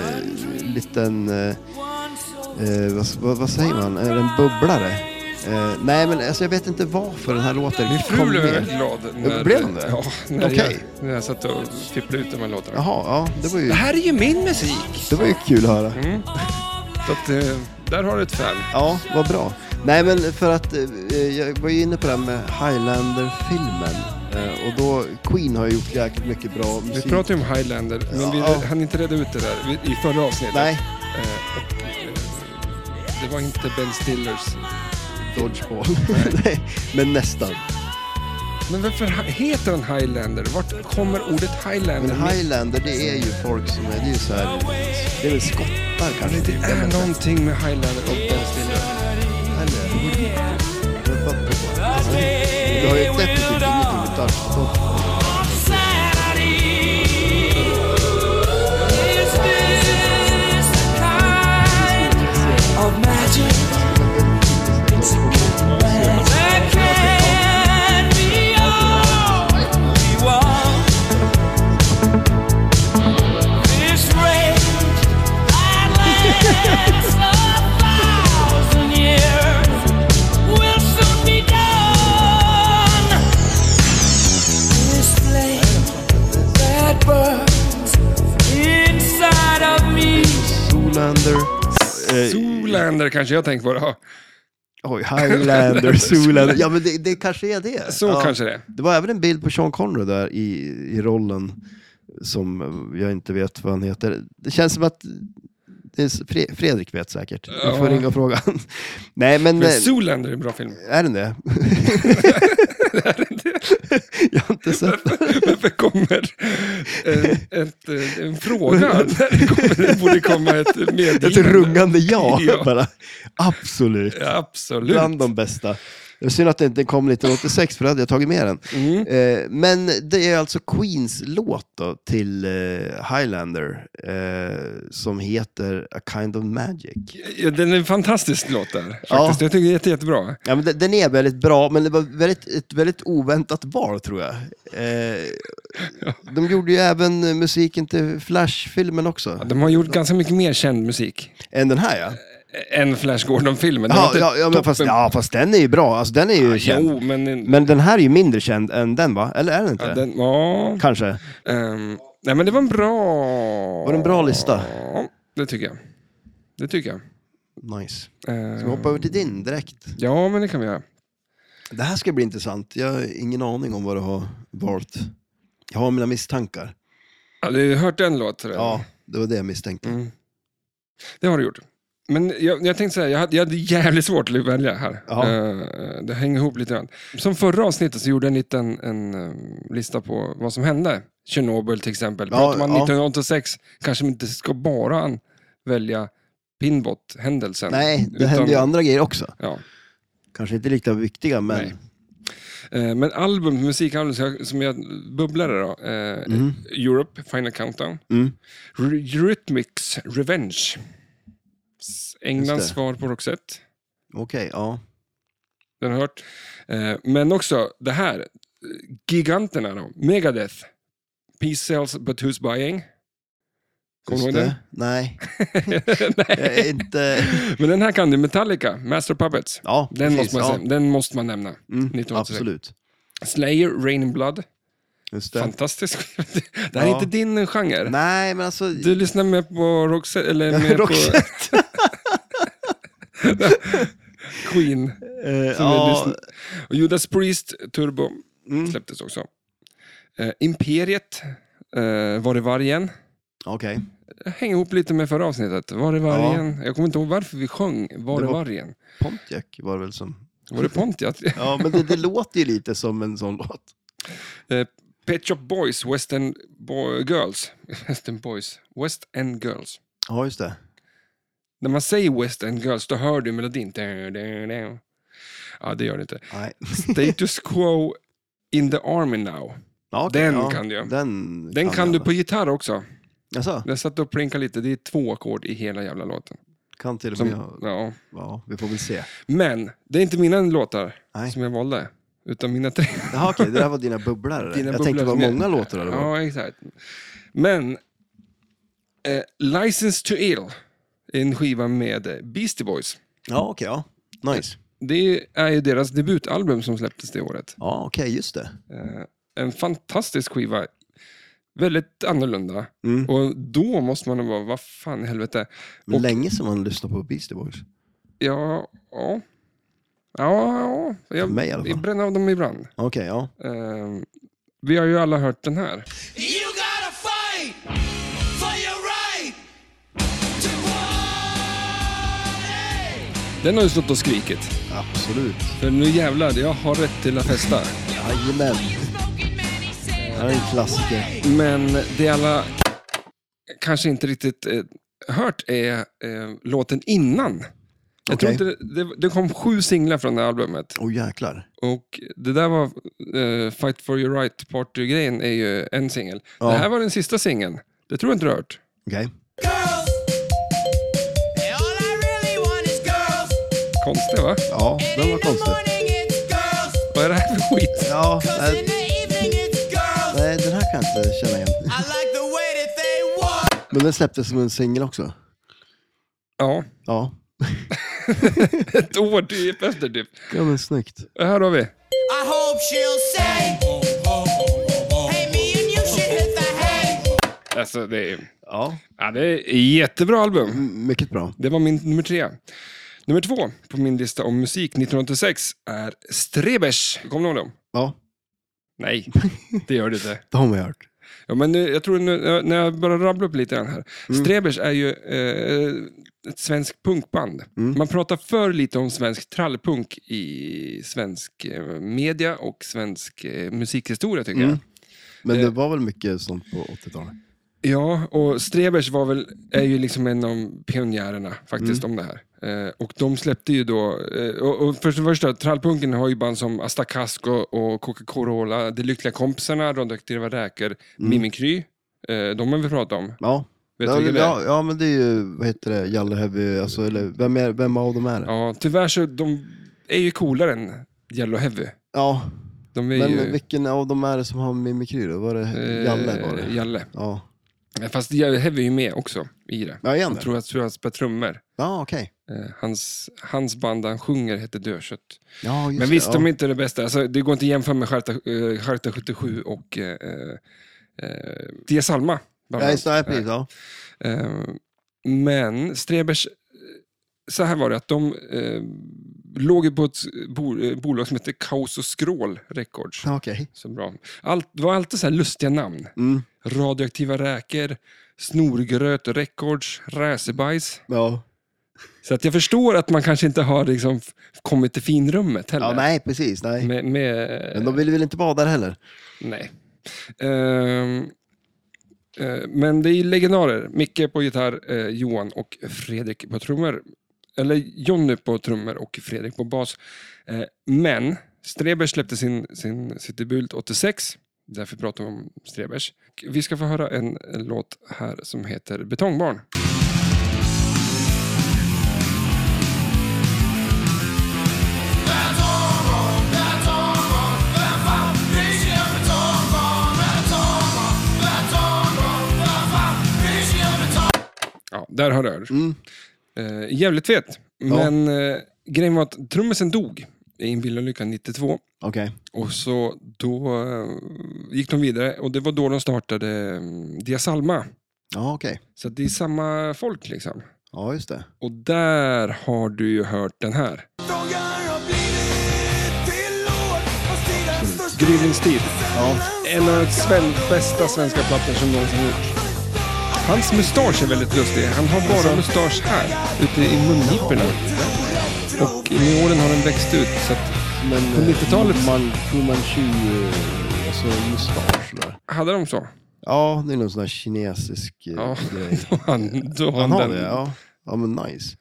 Speaker 2: liten, eh, eh, vad, vad, vad säger man, Är det en bubblare. Eh, nej men alltså jag vet inte varför den här låten
Speaker 1: Min fru
Speaker 2: kom
Speaker 1: blev
Speaker 2: med.
Speaker 1: väldigt glad. När,
Speaker 2: blev hon det?
Speaker 1: Ja, när,
Speaker 2: Okej.
Speaker 1: jag, när jag satt och fipplade ut de här låtarna.
Speaker 2: Jaha, ja det var ju,
Speaker 1: Det här är ju min musik!
Speaker 2: det var ju kul att höra.
Speaker 1: Mm. Så att, eh, där har du ett fan.
Speaker 2: Ja, vad bra. Nej men för att eh, jag var ju inne på det här med Highlander-filmen. Eh, och då, Queen har ju gjort jäkligt mycket bra
Speaker 1: Vi
Speaker 2: musik.
Speaker 1: pratade ju om Highlander, men
Speaker 2: Ja.
Speaker 1: vi hann inte reda ut det där i- i förra avsnittet.
Speaker 2: Nej,
Speaker 1: Eh, och, eh, det var inte Ben Stillers.
Speaker 2: Dodgeball. Nej, men nästan.
Speaker 1: Men varför ha- heter han Highlander? Vart kommer ordet Highlander?
Speaker 2: Men Highlander, det är ju folk som är, det är ju så här, det är väl skottar kanske. typ.
Speaker 1: det
Speaker 2: Jag vet
Speaker 1: är
Speaker 2: inte.
Speaker 1: någonting med Highlander och Ben Stiller.
Speaker 2: Eller- Jag bara på. Du har ju definitivt ingenting med Dodgeball.
Speaker 5: Will soon be done. This flame that burns inside of me.
Speaker 2: Zoolander. Eh,
Speaker 1: Zoolander kanske jag tänker på. Ja,
Speaker 2: Oj, Highlander, Zoolander. Ja, men det, det kanske är det.
Speaker 1: så
Speaker 2: ja.
Speaker 1: kanske det
Speaker 2: Det var även en bild på Sean Connery där i, i rollen som eh, jag inte vet vad han heter. Det känns som att det är Fre- Fredrik vet säkert. Vi får
Speaker 1: Ja.
Speaker 2: ringa och fråga. Nej, men... eh,
Speaker 1: Men Zoolander är en bra film.
Speaker 2: Är den det? jag har inte sett den.
Speaker 1: Varför kommer eh, ett, eh, en fråga? När det, kommer, det borde komma ett medgivande.
Speaker 2: Ett rungande ja,
Speaker 1: Ja.
Speaker 2: bara. Absolut.
Speaker 1: Ja, Absolut.
Speaker 2: Bland de bästa. Det var synd att det inte kom 1986, för då hade jag tagit med den.
Speaker 1: Mm.
Speaker 2: Eh, men det är alltså Queens låt då, till eh, Highlander eh, som heter A Kind of Magic.
Speaker 1: Ja, Den är en fantastisk låt där. Faktiskt.
Speaker 2: Ja.
Speaker 1: Jag tycker det är jätte, jättebra.
Speaker 2: Ja, men de- den är väldigt bra, men det var väldigt, ett väldigt oväntat val tror jag. Eh, de gjorde ju även eh, musiken till Flash-filmen också.
Speaker 1: De har gjort ganska mycket mer känd musik
Speaker 2: Än den här ja.
Speaker 1: än Flash Gordon-filmen. Den var
Speaker 2: Ja,
Speaker 1: inte
Speaker 2: ja, ja, men
Speaker 1: toppen-
Speaker 2: fast, ja, fast den är ju bra. Alltså, den är ju känd.
Speaker 1: Jo, men...
Speaker 2: Men den här är ju mindre känd än den va? Eller är den inte
Speaker 1: ja,
Speaker 2: det?
Speaker 1: den, ja,
Speaker 2: Kanske.
Speaker 1: ehm, nej, men det var en bra...
Speaker 2: Var det en bra lista?
Speaker 1: Ja, det tycker jag. Det tycker jag.
Speaker 2: Nice.
Speaker 1: Ehm,
Speaker 2: Ska vi hoppa över till din direkt?
Speaker 1: Ja, men det kan vi göra.
Speaker 2: Det här ska bli intressant. Jag har ingen aning om vad du har valt. Jag har mina misstankar.
Speaker 1: Ja, du har hört den låten? redan.
Speaker 2: Ja, det var det jag misstänkte.
Speaker 1: Mm. Det har du gjort. Men jag, jag tänkte säga, jag hade, jag hade jävligt svårt att välja här.
Speaker 2: Ja.
Speaker 1: Eh, det hänger ihop lite grann. Som förra avsnittet så gjorde jag en liten en, eh, lista på vad som hände. Tjernobyl till exempel.
Speaker 2: Ja,
Speaker 1: Pratar man
Speaker 2: ja.
Speaker 1: 1986 kanske man inte ska bara välja Pinbot-händelsen.
Speaker 2: Nej, det
Speaker 1: Utan-
Speaker 2: hände ju andra grejer också.
Speaker 1: Ja.
Speaker 2: Kanske inte lika viktiga, men...
Speaker 1: Nej. Eh, Men album, musikalbum som jag- som jag bubblade då. eh,
Speaker 2: Mm.
Speaker 1: Europe, Final Countdown.
Speaker 2: Mm.
Speaker 1: R- Eurythmics, Revenge. S- Englands
Speaker 2: det.
Speaker 1: svar på Roxette.
Speaker 2: Okej, ja.
Speaker 1: Den har jag hört. Eh, Men också det här. eh, Giganterna då. Megadeth. Peace sells but who's buying? Kommer du
Speaker 2: Just
Speaker 1: ihåg den?
Speaker 2: det. Nej, jag är
Speaker 1: Nej.
Speaker 2: inte...
Speaker 1: Men den här kan du. Metallica, Master of Puppets.
Speaker 2: Ja,
Speaker 1: Den,
Speaker 2: precis,
Speaker 1: måste man,
Speaker 2: ja.
Speaker 1: säga- den måste man nämna.
Speaker 2: Mm,
Speaker 1: 1986.
Speaker 2: absolut.
Speaker 1: Slayer, Rain in Blood.
Speaker 2: Just det.
Speaker 1: Fantastisk. Det här är
Speaker 2: Ja.
Speaker 1: inte din genre.
Speaker 2: Nej, men alltså...
Speaker 1: Du lyssnar med på Roxette, eller med på
Speaker 2: Roxette.
Speaker 1: Queen.
Speaker 2: eh,
Speaker 1: Som vi
Speaker 2: ja,
Speaker 1: lyssnar- Och Judas Priest, Turbo,
Speaker 2: mm.
Speaker 1: släpptes också. Eh, Imperiet, eh, Var är vargen?
Speaker 2: Okej.
Speaker 1: hänger ihop lite med förra avsnittet. Var är vargen? Jag kommer inte ihåg varför vi sjöng Var är
Speaker 2: Det var-
Speaker 1: vargen?
Speaker 2: Pontiac var det väl som...
Speaker 1: Var det Pontiac?
Speaker 2: Ja, men det, det låter ju lite som en sån låt.
Speaker 1: Pet Shop Boys, West End Bo- Girls. West End Boys. West End Girls.
Speaker 2: Ja, just det.
Speaker 1: När man säger West End Girls, då hör du melodin. Da, da, da. Ja, det gör det inte.
Speaker 2: Nej.
Speaker 1: Status Quo In The Army Now.
Speaker 2: Ja, okej,
Speaker 1: Den
Speaker 2: ja.
Speaker 1: kan du.
Speaker 2: Den,
Speaker 1: Den kan
Speaker 2: jag.
Speaker 1: du på gitarr också.
Speaker 2: Alltså,
Speaker 1: Jag satt och plinkade lite. Det är två ackord i hela jävla låten.
Speaker 2: kan till och
Speaker 1: Som,
Speaker 2: med... ha-
Speaker 1: ja.
Speaker 2: Ja, vi får väl se.
Speaker 1: Men det är inte mina låtar
Speaker 2: Nej.
Speaker 1: som jag valde. Utan mina tre.
Speaker 2: Jaha, okej, det där var dina bubblare.
Speaker 1: Dina
Speaker 2: jag tänkte
Speaker 1: bubblor
Speaker 2: det var
Speaker 1: som jag-
Speaker 2: många låtar. Eller vad?
Speaker 1: Ja, exakt. Men eh, License to Ill är en skiva med eh, Beastie Boys.
Speaker 2: Ja, okej. ja. Nice.
Speaker 1: Det är ju deras debutalbum som släpptes det året.
Speaker 2: Ja, okej, just det.
Speaker 1: Eh, en fantastisk skiva. Väldigt annorlunda.
Speaker 2: Mm.
Speaker 1: Och då måste man vara, vad fan i helvete.
Speaker 2: Men
Speaker 1: Och-
Speaker 2: länge som man lyssnar på Beastie Boys.
Speaker 1: Ja, ja. Ja, ja.
Speaker 2: För mig i alla
Speaker 1: Jag,
Speaker 2: fall.
Speaker 1: jag bränner av dem ibland.
Speaker 2: Okej, ja.
Speaker 1: Eh, vi har ju alla hört den här.
Speaker 4: You gotta fight for your right to party.
Speaker 1: Den har ju stått och skrikit.
Speaker 2: Absolut.
Speaker 1: För nu jävlar, jag har rätt till att festa.
Speaker 2: Jajamän. Det här är en klassiker.
Speaker 1: Men det alla kanske inte riktigt eh, hört är eh, låten innan. Jag
Speaker 2: Okej.
Speaker 1: tror inte det, det, det kom sju singlar från det här albumet.
Speaker 2: Åh jäklar.
Speaker 1: Och det där var eh, Fight for your right party-grejen är ju en singel.
Speaker 2: Ja.
Speaker 1: Det här var den sista singeln. Det tror jag inte du har hört.
Speaker 2: Okej.
Speaker 4: Girls. And all I really want is girls.
Speaker 1: Konstigt va?
Speaker 2: Ja,
Speaker 4: And
Speaker 2: den
Speaker 4: in
Speaker 2: var
Speaker 4: the
Speaker 2: konstig.
Speaker 4: morning it's girls.
Speaker 1: Vad är det här för skit?
Speaker 2: Ja,
Speaker 4: 'Cause in
Speaker 2: nej,
Speaker 4: the evening it's girls.
Speaker 2: nej, den här kan jag inte känna igen.
Speaker 4: I like the way that they walk.
Speaker 2: Men den släpptes som en singel också.
Speaker 1: Ja,
Speaker 2: Ja.
Speaker 1: ett år typ efter typ.
Speaker 2: Ja, men snyggt.
Speaker 1: Här har vi.
Speaker 4: I hope she'll say, Hey, me and you should hit the hay.
Speaker 1: Alltså det är,
Speaker 2: Ja.
Speaker 1: ja, det är jättebra album.
Speaker 2: Mycket bra.
Speaker 1: Det var min nummer tre. Nummer två på min lista om musik 1986 är Strebers. Kommer du ihåg dem?
Speaker 2: Ja,
Speaker 1: Nej, det gör det inte.
Speaker 2: det har man ju hört.
Speaker 1: Ja, men nu, jag tror nu, när jag börjar rabbla upp lite grann här.
Speaker 2: Mm.
Speaker 1: Strebers är ju eh, ett svenskt punkband.
Speaker 2: Mm.
Speaker 1: Man pratar för lite om svensk trallpunk i svensk eh, media och svensk eh, musikhistoria tycker
Speaker 2: Mm.
Speaker 1: jag.
Speaker 2: Men det var väl mycket sånt på 80-talet?
Speaker 1: Ja, och Strebers var väl, är ju liksom en av pionjärerna faktiskt
Speaker 2: Mm.
Speaker 1: om det här. Eh, och de släppte ju då, eh, och, och först och första, trallpunken har ju band som Astakasko och Coca-Cola, De Lyckliga Kompisarna, Radioaktiva Räkor, Mimikry. Eh, de har vi pratat om.
Speaker 2: Ja.
Speaker 1: Vet
Speaker 2: Mm. ja,
Speaker 1: du vilka det
Speaker 2: ja,
Speaker 1: är?
Speaker 2: ja, men det är ju, vad heter det, Jalle Heavy, alltså, eller vem, är, vem av dem är det?
Speaker 1: Ja, tyvärr så de är ju coolare än Yellow Heavy.
Speaker 2: Ja,
Speaker 1: De är
Speaker 2: men
Speaker 1: ju...
Speaker 2: vilken av dem är det som har mimikry då? Var det
Speaker 1: eh,
Speaker 2: Jalle? Var det?
Speaker 1: Jalle.
Speaker 2: Ja,
Speaker 1: Fast Yellow Heavy är ju med också i det.
Speaker 2: ja igen
Speaker 1: Jag tror, jag tror han spelar trummor.
Speaker 2: Ja, okej.
Speaker 1: Eh, hans, hans band han sjunger heter Dödkött.
Speaker 2: Ja, just
Speaker 1: Men visst,
Speaker 2: det.
Speaker 1: de är
Speaker 2: ja.
Speaker 1: inte det bästa. Alltså, det går inte att jämföra med Charta, eh, Charta 77 och eh, eh, Dia Salma. bland
Speaker 2: Nej,
Speaker 1: annat.
Speaker 2: så här, precis, ja.
Speaker 1: Eh, men Strebers, eh, så här var det att de eh, låg ju på ett bo, eh, bolag som hette Kaos och Skrål Records.
Speaker 2: Ja, Okej.
Speaker 1: Så bra. Allt, det var alltid så här lustiga namn.
Speaker 2: Mm.
Speaker 1: Radioaktiva räkor, Snorgröt Records, Räsebajs.
Speaker 2: Ja.
Speaker 1: Så att jag förstår att man kanske inte har liksom, f- kommit till finrummet heller.
Speaker 2: ja, nej, precis. Nej.
Speaker 1: Med, med,
Speaker 2: Men de ville väl inte vara där heller?
Speaker 1: Nej. Ehm, eh, men det är legendarer. Micke på gitarr, eh, Johan och Fredrik på trummor. Eller Jonny på trummor och Fredrik på bas. Eh, men Strebers släppte sin, sin, sitt debut 86. Därför pratar vi om Strebers. Vi ska få höra en en låt här som heter Betongbarn. Ja, där har du mm. eh, Jävligt fet. Men eh, grejen var att trummisen dog i en bilolycka 92.
Speaker 2: Okej.
Speaker 1: Och så då eh, gick de vidare och det var då de startade eh, Dia Salma.
Speaker 2: Ja, okej.
Speaker 1: Så att det är samma folk liksom.
Speaker 2: Ja, just det.
Speaker 1: Och där har du ju hört den här. Gryningstid. En av de sven- bästa svenska plattor som någonsin gjorts. Hans mustasch är väldigt lustig. Han har bara mustasch här, ute i mungiporna. Och med åren har den växt ut. Så att,
Speaker 2: Men,
Speaker 1: På 90-talet-
Speaker 2: Man, Fu Manchu, eh, alltså mustasch där.
Speaker 1: hade de så?
Speaker 2: Ja, det är någon sån här kinesisk eh,
Speaker 1: Ja,
Speaker 2: grej.
Speaker 1: då har han, då har
Speaker 2: Han har
Speaker 1: han
Speaker 2: det,
Speaker 1: den
Speaker 2: ja. Ja, men nice.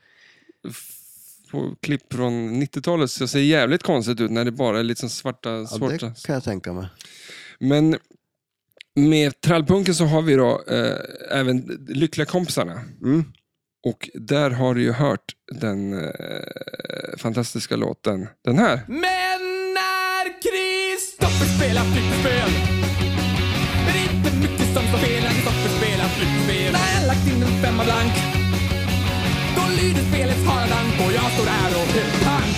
Speaker 1: på klipp från 90-talet. Så det ser jävligt konstigt ut när det bara är liksom svarta,
Speaker 2: Ja,
Speaker 1: svarta
Speaker 2: det kan jag tänka mig.
Speaker 1: Men Med trallpunken så har vi då eh, även Lyckliga kompisarna.
Speaker 2: Mm.
Speaker 1: Och där har du ju hört den eh, fantastiska låten, den här.
Speaker 5: Men när Kristoffer spelar flipperspel är det inte mycket som står fel när Kristoffer spelar flipperspel. När jag lagt in en femma blank då lyder spelets haradank och jag står där
Speaker 4: Oh,
Speaker 5: och är pank.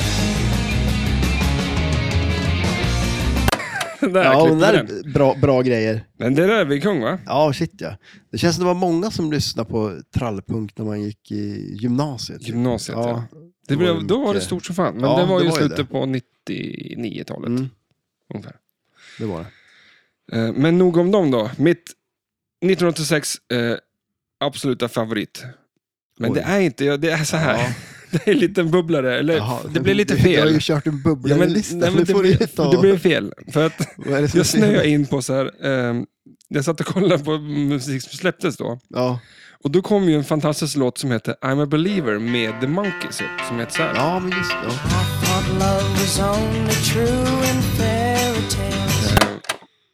Speaker 1: Den där
Speaker 2: Ja,
Speaker 1: klipper
Speaker 2: men det där
Speaker 1: den.
Speaker 2: är bra, bra grejer.
Speaker 1: Men det där är vi kung va?
Speaker 2: Ja, shit ja. Det känns som det var många som lyssnade på Trallpunkt när man gick i gymnasiet.
Speaker 1: Gymnasiet ja. Det
Speaker 2: det var
Speaker 1: blev,
Speaker 2: ju
Speaker 1: då var det
Speaker 2: mycket-
Speaker 1: stort som fan. Men
Speaker 2: Ja,
Speaker 1: det var
Speaker 2: det
Speaker 1: ju
Speaker 2: var ju
Speaker 1: slutet
Speaker 2: det.
Speaker 1: på 99-talet.
Speaker 2: Mm.
Speaker 1: Ungefär.
Speaker 2: det var det.
Speaker 1: Eh, Men nog om dem då. Mitt 1986 eh, absoluta favorit. Men
Speaker 2: Oj.
Speaker 1: det är inte, ja, det är så här.
Speaker 2: Ja.
Speaker 1: Det är en liten bubblare. Eller,
Speaker 2: Jaha,
Speaker 1: det blir lite
Speaker 2: Du har
Speaker 1: fel.
Speaker 2: ju kört
Speaker 1: Ja,
Speaker 2: en
Speaker 1: men,
Speaker 2: bubblarlista.
Speaker 1: nej, men
Speaker 2: nu
Speaker 1: det,
Speaker 2: får du ju
Speaker 1: blir,
Speaker 2: ta...
Speaker 1: det blir fel. För att
Speaker 2: Vad är det som är
Speaker 1: jag
Speaker 2: fel?
Speaker 1: snöade in på så här. Eh, jag satt och kollade på musik som släpptes då.
Speaker 2: Ja.
Speaker 1: Och då kom ju en fantastisk låt som heter I'm a believer med The Monkees. Som heter så här.
Speaker 2: ja, men just det.
Speaker 4: Thought love was only true in fairy tales.
Speaker 1: Eh,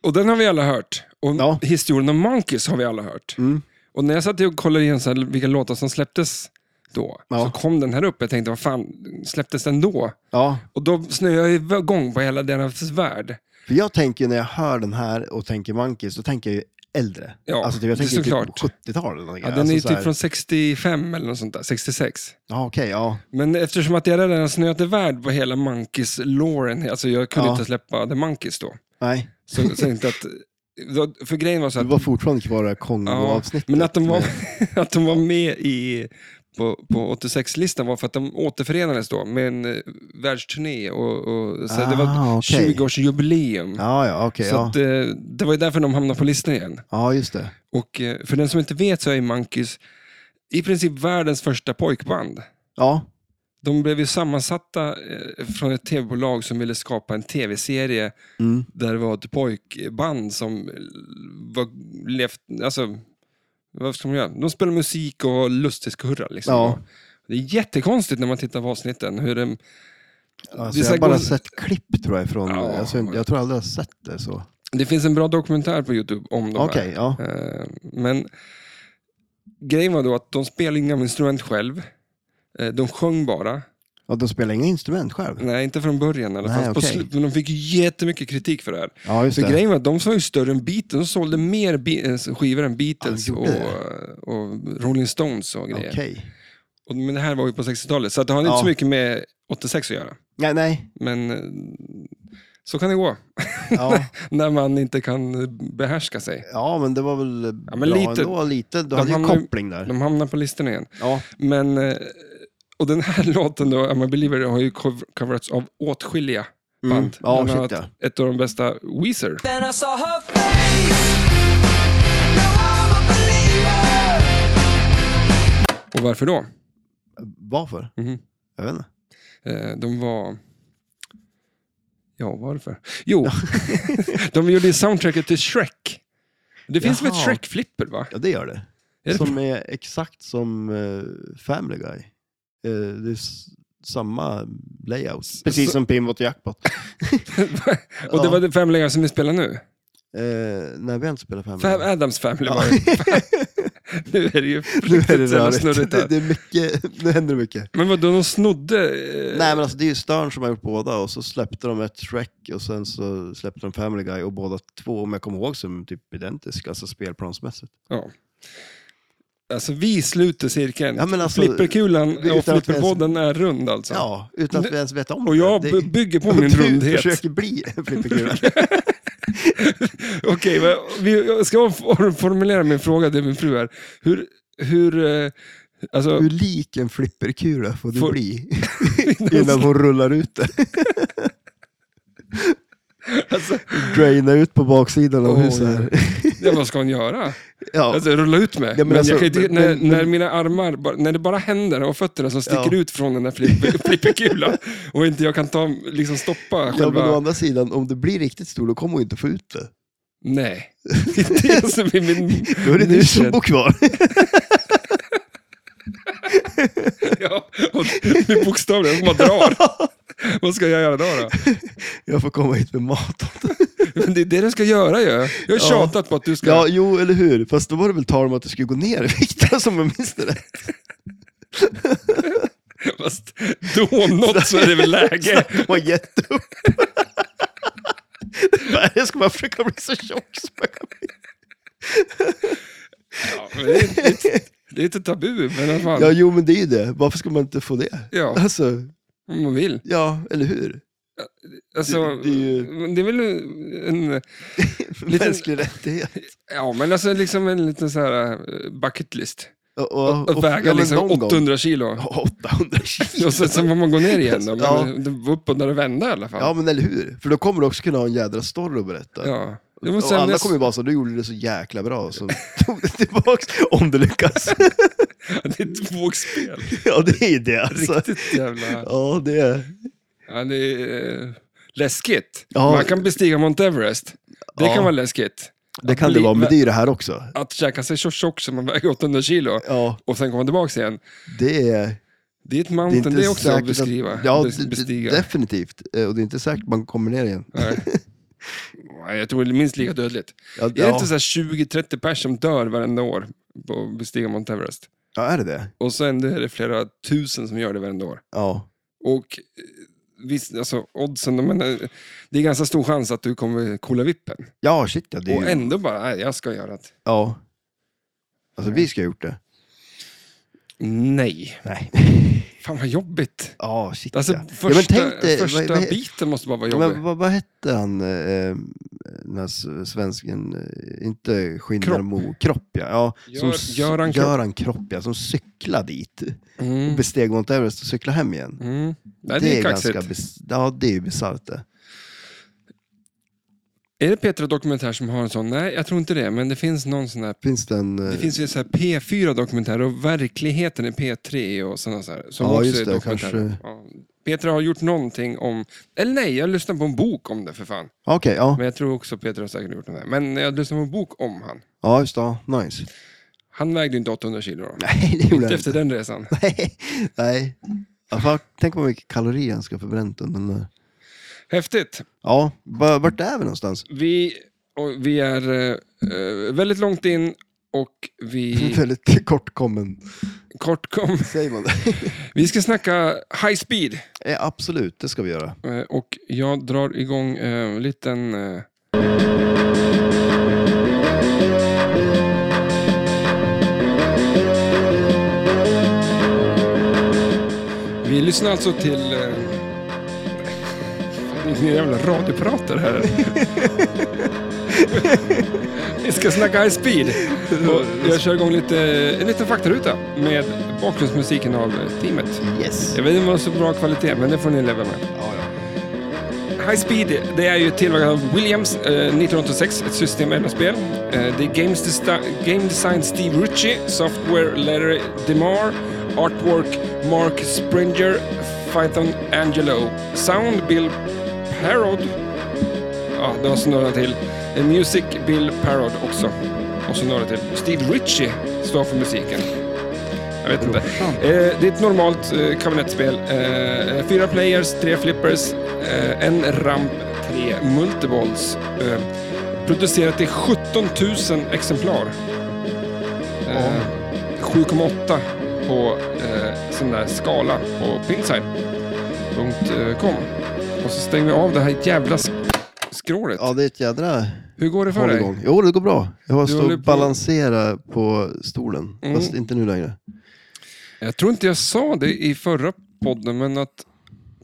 Speaker 1: Och den har vi alla hört. Och
Speaker 2: Ja.
Speaker 1: historien om Monkeys har vi alla hört.
Speaker 2: Mm.
Speaker 1: Och när jag satt och kollade igen så här, vilka låtar som släpptes då,
Speaker 2: Ja.
Speaker 1: så kom den här upp. Jag tänkte, vad fan, släpptes den då?
Speaker 2: Ja.
Speaker 1: Och då snöade jag igång på hela deras värld.
Speaker 2: För jag tänker ju när jag hör den här och tänker Monkeys, då tänker jag ju äldre.
Speaker 1: Ja,
Speaker 2: alltså, typ, jag
Speaker 1: det är
Speaker 2: tänker
Speaker 1: såklart.
Speaker 2: typ 70-tal eller något.
Speaker 1: Ja, den
Speaker 2: alltså,
Speaker 1: är ju
Speaker 2: så
Speaker 1: typ
Speaker 2: här-
Speaker 1: från 65 eller något sånt där, 66.
Speaker 2: Ja, okej, ja.
Speaker 1: Men eftersom att jag redan har snöat värld på hela Monkeys-loren, alltså jag kunde
Speaker 2: Ja.
Speaker 1: inte släppa The Monkeys då.
Speaker 2: Nej,
Speaker 1: Så jag tänkte att, då- för grejen var så
Speaker 2: det
Speaker 1: att
Speaker 2: var fortfarande kvar det här
Speaker 1: Ja,
Speaker 2: Kongo-avsnittet.
Speaker 1: men att de var, att de var med i, på, på 86-listan var för att de återförenades då med en eh, världsturné. Och, och, så det var
Speaker 2: Ah, okej.
Speaker 1: 20-årsjubileum.
Speaker 2: Ja, ja, okej.
Speaker 1: så
Speaker 2: ja.
Speaker 1: att, eh, det var ju därför de hamnade på listan igen.
Speaker 2: ja, just det.
Speaker 1: Och eh, för den som inte vet så är ju Monkeys i princip världens första pojkband.
Speaker 2: Ja,
Speaker 1: De blev ju sammansatta eh, från ett tv-bolag som ville skapa en tv-serie
Speaker 2: mm.
Speaker 1: där det var ett pojkband som var levt, alltså, vad ska man göra? De spelar musik och lustigkurra. Liksom.
Speaker 2: Ja.
Speaker 1: Det är jättekonstigt när man tittar på avsnitten. Hur de,
Speaker 2: alltså,
Speaker 1: Det är
Speaker 2: jag
Speaker 1: så
Speaker 2: har
Speaker 1: här
Speaker 2: bara
Speaker 1: gå-
Speaker 2: sett klipp tror jag från,
Speaker 1: Ja.
Speaker 2: alltså, jag tror aldrig jag har sett det så.
Speaker 1: det finns en bra dokumentär på Youtube om de
Speaker 2: Okej,
Speaker 1: här.
Speaker 2: ja.
Speaker 1: Eh, Men grejen var då att de spelade inga instrument själv. Eh, De sjöng bara.
Speaker 2: ja. De spelar inga instrument själv?
Speaker 1: Nej, inte från början i alla
Speaker 2: Nej,
Speaker 1: fall. På
Speaker 2: okej.
Speaker 1: slut- Men de fick ju jättemycket kritik för det här.
Speaker 2: Ja, just
Speaker 1: Så
Speaker 2: det.
Speaker 1: grejen var att de sålde ju större än Beatles. De sålde mer Be- eh, skivor än Beatles
Speaker 2: Ja, de
Speaker 1: och,
Speaker 2: gjorde
Speaker 1: och Rolling Stones och grejer.
Speaker 2: Okej.
Speaker 1: Och, men det här var ju på 60-talet, så att det har inte
Speaker 2: Ja.
Speaker 1: så mycket med 86 att göra.
Speaker 2: Nej, nej.
Speaker 1: Men eh, så kan det gå
Speaker 2: Ja,
Speaker 1: när man inte kan behärska sig.
Speaker 2: ja men det var väl
Speaker 1: Ja, men
Speaker 2: bra
Speaker 1: lite-
Speaker 2: ändå, lite. Du
Speaker 1: de
Speaker 2: hade ju
Speaker 1: hamnar ju-
Speaker 2: koppling där.
Speaker 1: De hamnar på listorna igen.
Speaker 2: Ja,
Speaker 1: Men, eh, och den här låten då, I'm a believer, har ju cov- coverats av åtskilliga
Speaker 2: Mm.
Speaker 1: band.
Speaker 2: Ja,
Speaker 1: Bland
Speaker 2: shit,
Speaker 1: annat ett av de bästa, Weezer.
Speaker 5: Then I saw her
Speaker 1: Och varför då?
Speaker 2: varför?
Speaker 1: Mhm.
Speaker 2: Jag vet inte.
Speaker 1: Eh, De var... Ja, varför? Jo, de gjorde ju soundtracket till Shrek. Det finns väl ett
Speaker 2: Jaha.
Speaker 1: Shrek-flipper, va?
Speaker 2: Ja, det gör det.
Speaker 1: Är det-
Speaker 2: Som är exakt som eh, Family Guy. Eh, det är s- samma layout. Precis
Speaker 1: så-
Speaker 2: som Pinbot och Jackpot.
Speaker 1: Och det var det Family Guy som vi spelar nu.
Speaker 2: Eh, när vi inte spelar Family
Speaker 1: Fab
Speaker 2: Guy.
Speaker 1: Adams Family
Speaker 2: Ja.
Speaker 1: var det. Nu är det ju
Speaker 2: Nu är det
Speaker 1: riktigt jävla
Speaker 2: rörigt.
Speaker 1: snurrigt
Speaker 2: Det,
Speaker 1: här.
Speaker 2: det är mycket, nu händer det mycket.
Speaker 1: Men vadå, de snodde... eh,
Speaker 2: Nej men alltså det är ju Stern som har gjort båda och så släppte de ett Shrek och sen så släppte de Family Guy och båda två, om jag kommer ihåg, som typ identiska, alltså spelplansmässigt.
Speaker 1: Ja. Alltså vi sluter cirkeln.
Speaker 2: Ja, men alltså-
Speaker 1: Flipperkulan
Speaker 2: Utan
Speaker 1: och
Speaker 2: att ens-
Speaker 1: flipperpodden är rund alltså.
Speaker 2: Ja, utan att vi ens vet om
Speaker 1: Och jag
Speaker 2: det.
Speaker 1: b-
Speaker 2: Det-
Speaker 1: bygger på min
Speaker 2: du
Speaker 1: rundhet.
Speaker 2: försöker bli en flipperkula.
Speaker 1: Okej, men vi, jag ska for- formulera min fråga till min fru här. Hur, hur, eh, alltså,
Speaker 2: Hur lik en flipperkula får du
Speaker 1: Får-
Speaker 2: bli innan hon rullar ut det?
Speaker 1: alltså,
Speaker 2: Draina ut på baksidan av
Speaker 1: Oj.
Speaker 2: huset här.
Speaker 1: ja, vad ska hon göra?
Speaker 2: Ja,
Speaker 1: Alltså rulla ut med?
Speaker 2: Ja, men
Speaker 1: men
Speaker 2: alltså,
Speaker 1: jag kan inte,
Speaker 2: men-
Speaker 1: när,
Speaker 2: men-
Speaker 1: när mina armar, bara- när det bara händer och fötterna som sticker
Speaker 2: Ja.
Speaker 1: ut från den där flipper, flipperkulan och inte jag kan ta, liksom stoppa
Speaker 2: ja, men
Speaker 1: själva...
Speaker 2: å andra sidan, om du blir riktigt stor, då kommer hon inte få ut det.
Speaker 1: Nej. Det är det som är min...
Speaker 2: Då är det du som
Speaker 1: nisch.
Speaker 2: bor kvar.
Speaker 1: Ja, och det bokstavligen, man drar. Vad ska jag göra då? då?
Speaker 2: Jag får komma hit med mat åt dig.
Speaker 1: Men det är det du ska göra ju. Jag har
Speaker 2: Ja.
Speaker 1: tjatat på att du ska...
Speaker 2: Ja, jo, eller hur? Fast då var det väl tal om att det skulle gå ner i vikt, som jag minns det. rätt.
Speaker 1: Fast då om något så är det väl läge.
Speaker 2: De har gett upp. Nej, jag ska bara försöka bli så tjock som jag kan bli.
Speaker 1: Ja, men det, är, det, är, det är inte tabu, men vad fan,
Speaker 2: Ja, jo, men det är ju det. Varför ska man inte få det?
Speaker 1: ja,
Speaker 2: Alltså,
Speaker 1: om man vill.
Speaker 2: ja, eller hur?
Speaker 1: Alltså,
Speaker 2: Det- det är ju-
Speaker 1: det är väl en... Lite-
Speaker 2: Mänsklig rättighet.
Speaker 1: Ja, men alltså liksom en liten så här eh, bucket list.
Speaker 2: Och, och,
Speaker 1: Att väga
Speaker 2: ja, men
Speaker 1: liksom
Speaker 2: någon gång.
Speaker 1: 800 kilo.
Speaker 2: Ja, 800 kilo.
Speaker 1: Och sen, sen får man gå ner igen då. Men
Speaker 2: Ja.
Speaker 1: det var uppåt när det vände i alla fall.
Speaker 2: Ja, men eller hur? För då kommer du också kunna ha en jädra story att berätta.
Speaker 1: Ja. Det var
Speaker 2: Och
Speaker 1: sen
Speaker 2: alla
Speaker 1: jag-
Speaker 2: kommer ju bara så, du gjorde det så jäkla bra, så tog det tillbaks om du lyckas.
Speaker 1: Det är ett vågspel.
Speaker 2: ja, det är ju det alltså.
Speaker 1: Riktigt jävla...
Speaker 2: Ja, det är...
Speaker 1: Ja, det är eh, läskigt.
Speaker 2: Ja.
Speaker 1: Man kan bestiga Mount Everest. Det
Speaker 2: Ja.
Speaker 1: kan vara läskigt.
Speaker 2: Det
Speaker 1: Att
Speaker 2: kan det
Speaker 1: bli-
Speaker 2: vara, men det är ju det här också.
Speaker 1: Att käka sig så tjock som man väger 800 kilo
Speaker 2: Ja,
Speaker 1: och sen komma tillbaka igen.
Speaker 2: det är...
Speaker 1: Det är ett
Speaker 2: Det är
Speaker 1: mountain, det
Speaker 2: inte
Speaker 1: är, också
Speaker 2: säkert
Speaker 1: att beskriva.
Speaker 2: Att, ja,
Speaker 1: bes-
Speaker 2: det- det-
Speaker 1: bestiga.
Speaker 2: definitivt. Eh, Och det är inte säkert man kommer ner igen.
Speaker 1: Nej. Nej, Jag tror det är minst lika dödligt.
Speaker 2: Ja,
Speaker 1: Är det
Speaker 2: ja.
Speaker 1: inte så här 20-30 pers som dör varenda år på att bestiga Mount Everest?
Speaker 2: ja, är det det?
Speaker 1: Och sen är det flera tusen som gör det varenda år.
Speaker 2: Ja.
Speaker 1: Och eh, visst, alltså oddsen, de menar, det är ganska stor chans att du kommer kolla vippen.
Speaker 2: Ja, shit ja. Det är
Speaker 1: Och
Speaker 2: ju...
Speaker 1: ändå bara, nej, jag ska göra det.
Speaker 2: Ja. Alltså, vi ska ha gjort det.
Speaker 1: Nej.
Speaker 2: Nej.
Speaker 1: Fan vad jobbigt.
Speaker 2: Ja, shit
Speaker 1: Alltså
Speaker 2: ja.
Speaker 1: första,
Speaker 2: ja, men tänk dig,
Speaker 1: första
Speaker 2: vad, vad,
Speaker 1: biten måste bara vara
Speaker 2: Ja,
Speaker 1: jobbig.
Speaker 2: Men vad, vad hette han, eh, eh, den här s- svensken, eh, inte Skinnarmo, Kropp. Kropp ja. ja
Speaker 1: Gör-
Speaker 2: s-
Speaker 1: Göran Kropp.
Speaker 2: Göran Kropp ja, som cyklade dit,
Speaker 1: Mm,
Speaker 2: besteg Mount Everest och cyklade hem igen.
Speaker 1: mm. Nej, det, är kaxigt.
Speaker 2: bes- ja, det är ju bisarrt det.
Speaker 1: Är det Petra Dokumentär som har en sån? Nej, jag tror inte det, men det finns någon sån här
Speaker 2: Finns det en... eh,
Speaker 1: Det finns ju så här P4 dokumentärer och verkligheten är P3 och sådana så här. Som
Speaker 2: Ja,
Speaker 1: också
Speaker 2: just
Speaker 1: är
Speaker 2: det,
Speaker 1: dokumentärer. Ja. Petra har gjort någonting om, eller nej, jag lyssnade på en bok om det för fan.
Speaker 2: Okej, ja.
Speaker 1: Men jag tror också Petra har säkert gjort något där. Men jag lyssnade på en bok om han.
Speaker 2: ja, just det. Ja, nice.
Speaker 1: Han vägde ju inte 800 kilo då.
Speaker 2: Nej, det gjorde
Speaker 1: Inte
Speaker 2: jag
Speaker 1: efter
Speaker 2: inte.
Speaker 1: den resan.
Speaker 2: Nej. Nej. Ja, fan, tänk vad mycket kalorier han ska ha förbränt under den där.
Speaker 1: Häftigt.
Speaker 2: Ja, va- vart är vi någonstans?
Speaker 1: Vi, och vi är eh, väldigt långt in och vi
Speaker 2: Väldigt kortkommen,
Speaker 1: kort kom.
Speaker 2: säger man det?
Speaker 1: Vi ska snacka high speed.
Speaker 2: Ja, absolut, det ska vi göra.
Speaker 1: Eh, Och jag drar igång eh, en liten... eh, Vi lyssnar alltså till... eh, Fan, Det är en jävla radiopratare här. Vi ska snacka high speed. Och jag kör igång lite, en liten faktaruta med bakgrundsmusiken av teamet.
Speaker 2: Yes.
Speaker 1: Jag vet inte om det var så bra kvalitet, men det får ni leva med.
Speaker 2: Ja, ja.
Speaker 1: High Speed, det är ju tillverkat av Williams eh, 1986, ett system även spel. Eh, det är games desi- game design Steve Ritchie, software Larry DeMar, artwork Mark Springer, Python Angelo, sound Bill Parrod. Ja, det har snurrat till. Eh, music Bill Parrod också. Och så några till. Steve Ritchie står för musiken. Jag vet inte. Eh, det är ett normalt eh, kabinettspel. Eh, fyra players, tre flippers, eh, en ramp, tre multiballs. Eh, producerat i 17 000 exemplar. Eh, 7,8 på eh, sån där skala på pinside.com. Och så stänger vi av det här jävla sk- skrålet.
Speaker 2: ja, det är ett jädra
Speaker 1: Hur går det för dig?
Speaker 2: hålligång. Jo, det går bra. Jag har
Speaker 1: Du håller
Speaker 2: stått
Speaker 1: på-
Speaker 2: och balanserat på stolen,
Speaker 1: Mm.
Speaker 2: fast inte nu längre.
Speaker 1: Jag tror inte jag sa det i förra podden, men att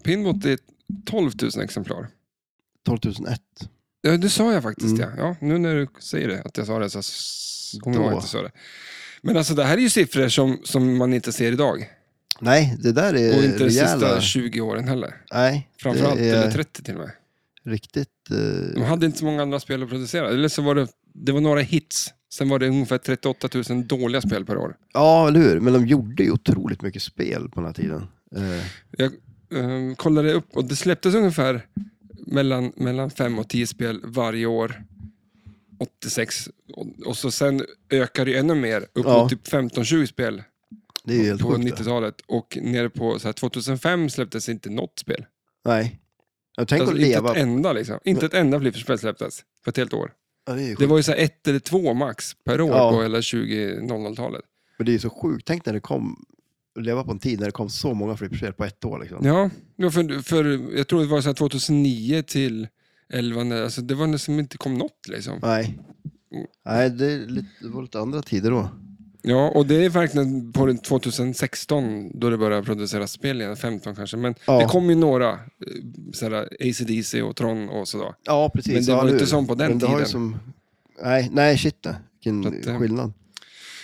Speaker 1: Pinbot är 12 000 exemplar.
Speaker 2: 12001.
Speaker 1: Ja, det sa jag faktiskt.
Speaker 2: Mm.
Speaker 1: Ja. ja. Nu när du säger det, att jag sa det, så s- kommer jag
Speaker 2: Då.
Speaker 1: ihåg att jag sa det. Men alltså det här är ju siffror som, som man inte ser idag.
Speaker 2: Nej, det där är
Speaker 1: Och inte de sista
Speaker 2: Eh, rejäla...
Speaker 1: 20 åren heller.
Speaker 2: Nej,
Speaker 1: Framförallt,
Speaker 2: det
Speaker 1: eller
Speaker 2: är
Speaker 1: 30 till och med.
Speaker 2: riktigt... eh,
Speaker 1: De hade inte så många andra spel att producera. Eller så var det, det var några hits. Sen var det ungefär 38 000 dåliga spel per år.
Speaker 2: Ja, eller hur? Men de gjorde ju otroligt mycket spel på den här tiden. Eh,
Speaker 1: Jag eh, kollade upp och det släpptes ungefär mellan, mellan fem och tio spel varje år. 86 och, och så sen ökade det ännu mer upp
Speaker 2: Ja.
Speaker 1: mot typ 15-20 spel
Speaker 2: Det är ju helt
Speaker 1: på
Speaker 2: sjukt. det.
Speaker 1: 90-talet och nere på så här, 2005 släpptes inte något spel.
Speaker 2: Nej. Ja, Tänk
Speaker 1: Alltså,
Speaker 2: att
Speaker 1: inte
Speaker 2: leva...
Speaker 1: ett enda liksom. Inte ett enda flipperspel släpptes på ett helt år.
Speaker 2: Ja, det är ju
Speaker 1: Det
Speaker 2: sjukt.
Speaker 1: var ju så här ett eller två max per år
Speaker 2: Ja.
Speaker 1: på hela 2000-talet.
Speaker 2: Men det är ju så sjukt. Tänk när det kom... Att leva på en tid när det kom så många flipperspel på ett år. Liksom.
Speaker 1: Ja, ja, för, för jag tror det var så här 2009 till 11, när- alltså det var nästan inte kom något liksom.
Speaker 2: Nej. Nej, det, är lite, det var lite andra tider då.
Speaker 1: Ja, och det är verkligen på den 2016 då det började produceras spel igen, 15 kanske. Men
Speaker 2: Ja.
Speaker 1: det kom ju några, eh, så här AC/DC och Tron och sådär.
Speaker 2: Ja, precis.
Speaker 1: Men det
Speaker 2: ja,
Speaker 1: var
Speaker 2: eller
Speaker 1: inte
Speaker 2: hur?
Speaker 1: som på den
Speaker 2: Men det har ju
Speaker 1: tiden.
Speaker 2: som- Nej, nej, shit nej. Vilken
Speaker 1: Så att, eh,
Speaker 2: skillnad.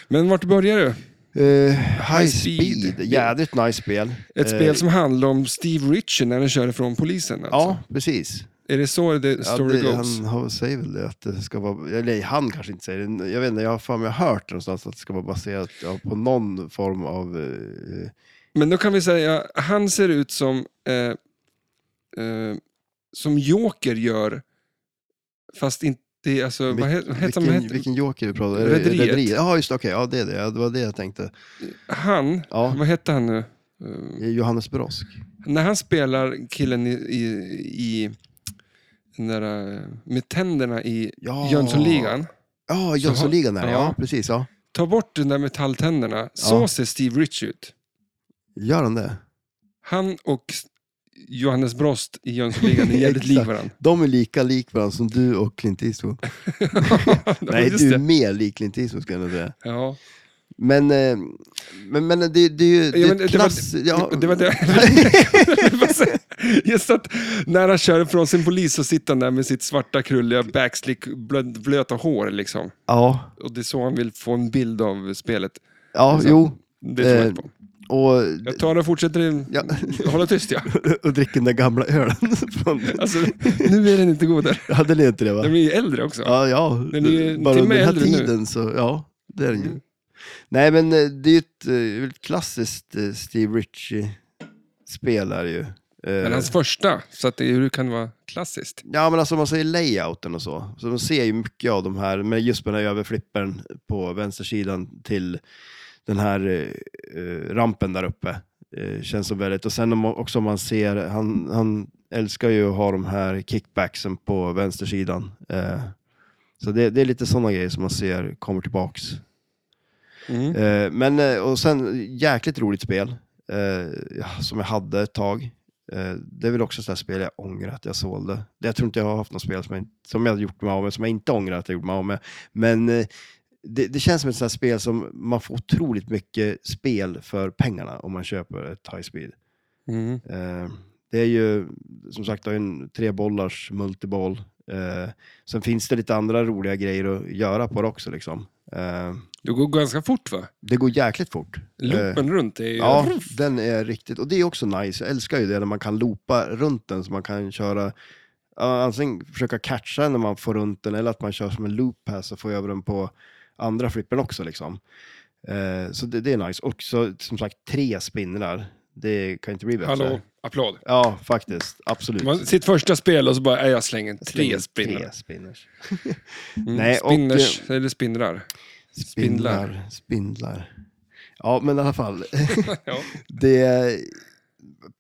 Speaker 1: Men vart börjar du?
Speaker 2: Eh, high,
Speaker 1: Speed.
Speaker 2: speed. jädrigt nice spel.
Speaker 1: Ett
Speaker 2: Eh,
Speaker 1: spel som handlar om Steve Ritchie när han kör ifrån polisen. Alltså.
Speaker 2: Ja, precis.
Speaker 1: Är det så the
Speaker 2: Ja,
Speaker 1: story
Speaker 2: det,
Speaker 1: goes?
Speaker 2: han har, säger väl det, att det ska vara, eller han kanske inte säger det, jag vet inte, jag har för mig hört någonstans att det ska vara baserat ja, på någon form av... Eh,
Speaker 1: Men då kan vi säga, han ser ut som eh, eh, som Joker gör, fast inte, alltså, vad heter, vad heter,
Speaker 2: vilken,
Speaker 1: vad heter
Speaker 2: vilken joker du pratar om? Eh,
Speaker 1: Rederiet.
Speaker 2: Ja, just det, okej, ja, det är det, ja, det var det jag tänkte.
Speaker 1: han,
Speaker 2: Ja.
Speaker 1: vad hette han nu? Eh,
Speaker 2: Johannes Brosk.
Speaker 1: när han spelar killen i, i, i den där, eh, med tänderna i
Speaker 2: Ja.
Speaker 1: Jönssonligan,
Speaker 2: Ja, Jönssonligan är det,
Speaker 1: Ja.
Speaker 2: ja, precis. Ja.
Speaker 1: ta bort den där metalltänderna, så
Speaker 2: Ja.
Speaker 1: ser Steve Rich ut.
Speaker 2: Gör han det?
Speaker 1: Han och S- Johannes Brost i Jönssonligan är jävligt
Speaker 2: Exakt.
Speaker 1: lika varandra.
Speaker 2: De är lika lik varandra som du och Clint Eastwood. Nej,
Speaker 1: Just
Speaker 2: du är
Speaker 1: det.
Speaker 2: mer lik Clint Eastwood skulle jag nog säga.
Speaker 1: Ja.
Speaker 2: Men, eh, men, men det, det är ju det
Speaker 1: Ja,
Speaker 2: är
Speaker 1: men
Speaker 2: ett
Speaker 1: det var-
Speaker 2: klass... ja.
Speaker 1: Det var det. Det var så- Just att när han kör från sin polis så sitter han där med sitt svarta krulliga backslick, blöd- blöta hår liksom.
Speaker 2: ja,
Speaker 1: Och det är så han vill få en bild av spelet.
Speaker 2: ja
Speaker 1: Så.
Speaker 2: jo.
Speaker 1: Det tror jag
Speaker 2: Eh,
Speaker 1: inte på.
Speaker 2: Och,
Speaker 1: Jag tar och fortsätter
Speaker 2: ja,
Speaker 1: hålla tyst ja.
Speaker 2: och dricker den där gamla ölen. Från,
Speaker 1: Alltså, nu är den inte godare.
Speaker 2: ja, den är inte det va?
Speaker 1: Den är ju äldre också.
Speaker 2: Ja, ja.
Speaker 1: Den är ju en
Speaker 2: Bara
Speaker 1: timme
Speaker 2: under den här
Speaker 1: äldre nu. Mm.
Speaker 2: tiden så, ja, det är den ju. Nej, men eh, det är ju ett, eh, ett klassiskt eh, Steve Ritchie-spel är det ju. Eh,
Speaker 1: Men hans första, så att det, hur kan det vara klassiskt?
Speaker 2: Ja, men alltså om man säger layouten och så. Så man ser ju mycket av de här, men just med den här överflippern på vänstersidan till den här eh, eh, rampen där uppe. Eh, känns som väldigt, och sen om, också om man ser, han, han älskar ju att ha de här kickbacksen på vänstersidan. Eh, så det, det är lite sådana grejer som man ser kommer tillbaks.
Speaker 1: Mm.
Speaker 2: Eh, men, eh, och sen jäkligt roligt spel eh, ja, som jag hade ett tag. Eh, det är väl också ett sånt här spel jag ångrar att jag sålde. Det- Jag tror inte jag har haft något spel som jag, inte- som jag har gjort mig av med, som jag inte ångrar att jag gjort mig av med. Men eh, det, det känns som ett sånt här spel som man får otroligt mycket spel för pengarna om man köper ett high speed.
Speaker 1: Mm.
Speaker 2: Eh, det är ju som sagt det är en trebollars multiboll. Eh, sen finns det lite andra roliga grejer att göra på det också. Liksom. Eh,
Speaker 1: Det går ganska fort va?
Speaker 2: det går jäkligt fort. Eh,
Speaker 1: Loopen runt är ju...
Speaker 2: Ja, den är riktigt. Och det är också nice. Jag älskar ju det när man kan loopa runt den så man kan köra ja, antingen försöka catcha den när man får runt den eller att man kör som en loop pass och får över den på andra flippen också. Liksom. Eh, så det, det är nice. Och så, som sagt, tre spinnar. Det kan inte bli bättre.
Speaker 1: Hallå, applåd.
Speaker 2: Ja, faktiskt. Absolut.
Speaker 1: Typ. Man, sitt första spel och så bara, "Nej, jag slänger tre
Speaker 2: Släng
Speaker 1: spinnar.
Speaker 2: Tre spinners.
Speaker 1: Mm.
Speaker 2: Nej, och- eh,
Speaker 1: Spinners, eller spinnrar. Spindlar.
Speaker 2: Spindlar. Spindlar. Ja, men i alla fall.
Speaker 1: Ja.
Speaker 2: det,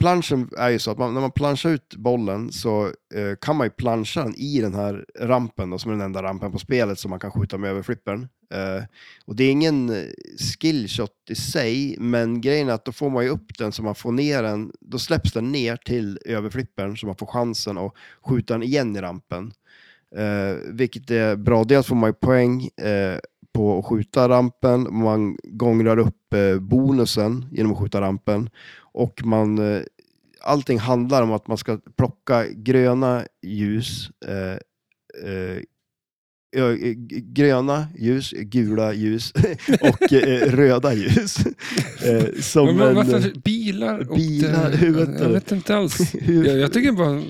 Speaker 2: planschen är ju så att man, när man planschar ut bollen så eh, kan man ju plancha den i den här rampen, då, som är den enda rampen på spelet som man kan skjuta med överflippern. Eh, och det är ingen eh, skillshot i sig, men grejen är att då får man ju upp den så man får ner den, då släpps den ner till överflippern så man får chansen att skjuta den igen i rampen. Eh, vilket är bra, dels får man ju poäng eh, på att skjuta rampen, man gångrar upp eh, bonusen genom att skjuta rampen och man, eh, allting handlar om att man ska plocka gröna ljus, eh, eh, ö- eh, g- gröna ljus, gula ljus och eh, röda ljus. Eh, som
Speaker 1: Men, men,
Speaker 2: en-
Speaker 1: varför bilar? Och,
Speaker 2: bilar,
Speaker 1: eh,
Speaker 2: vet du.
Speaker 1: jag vet inte alls.
Speaker 2: Hur-
Speaker 1: Jag, jag tycker bara...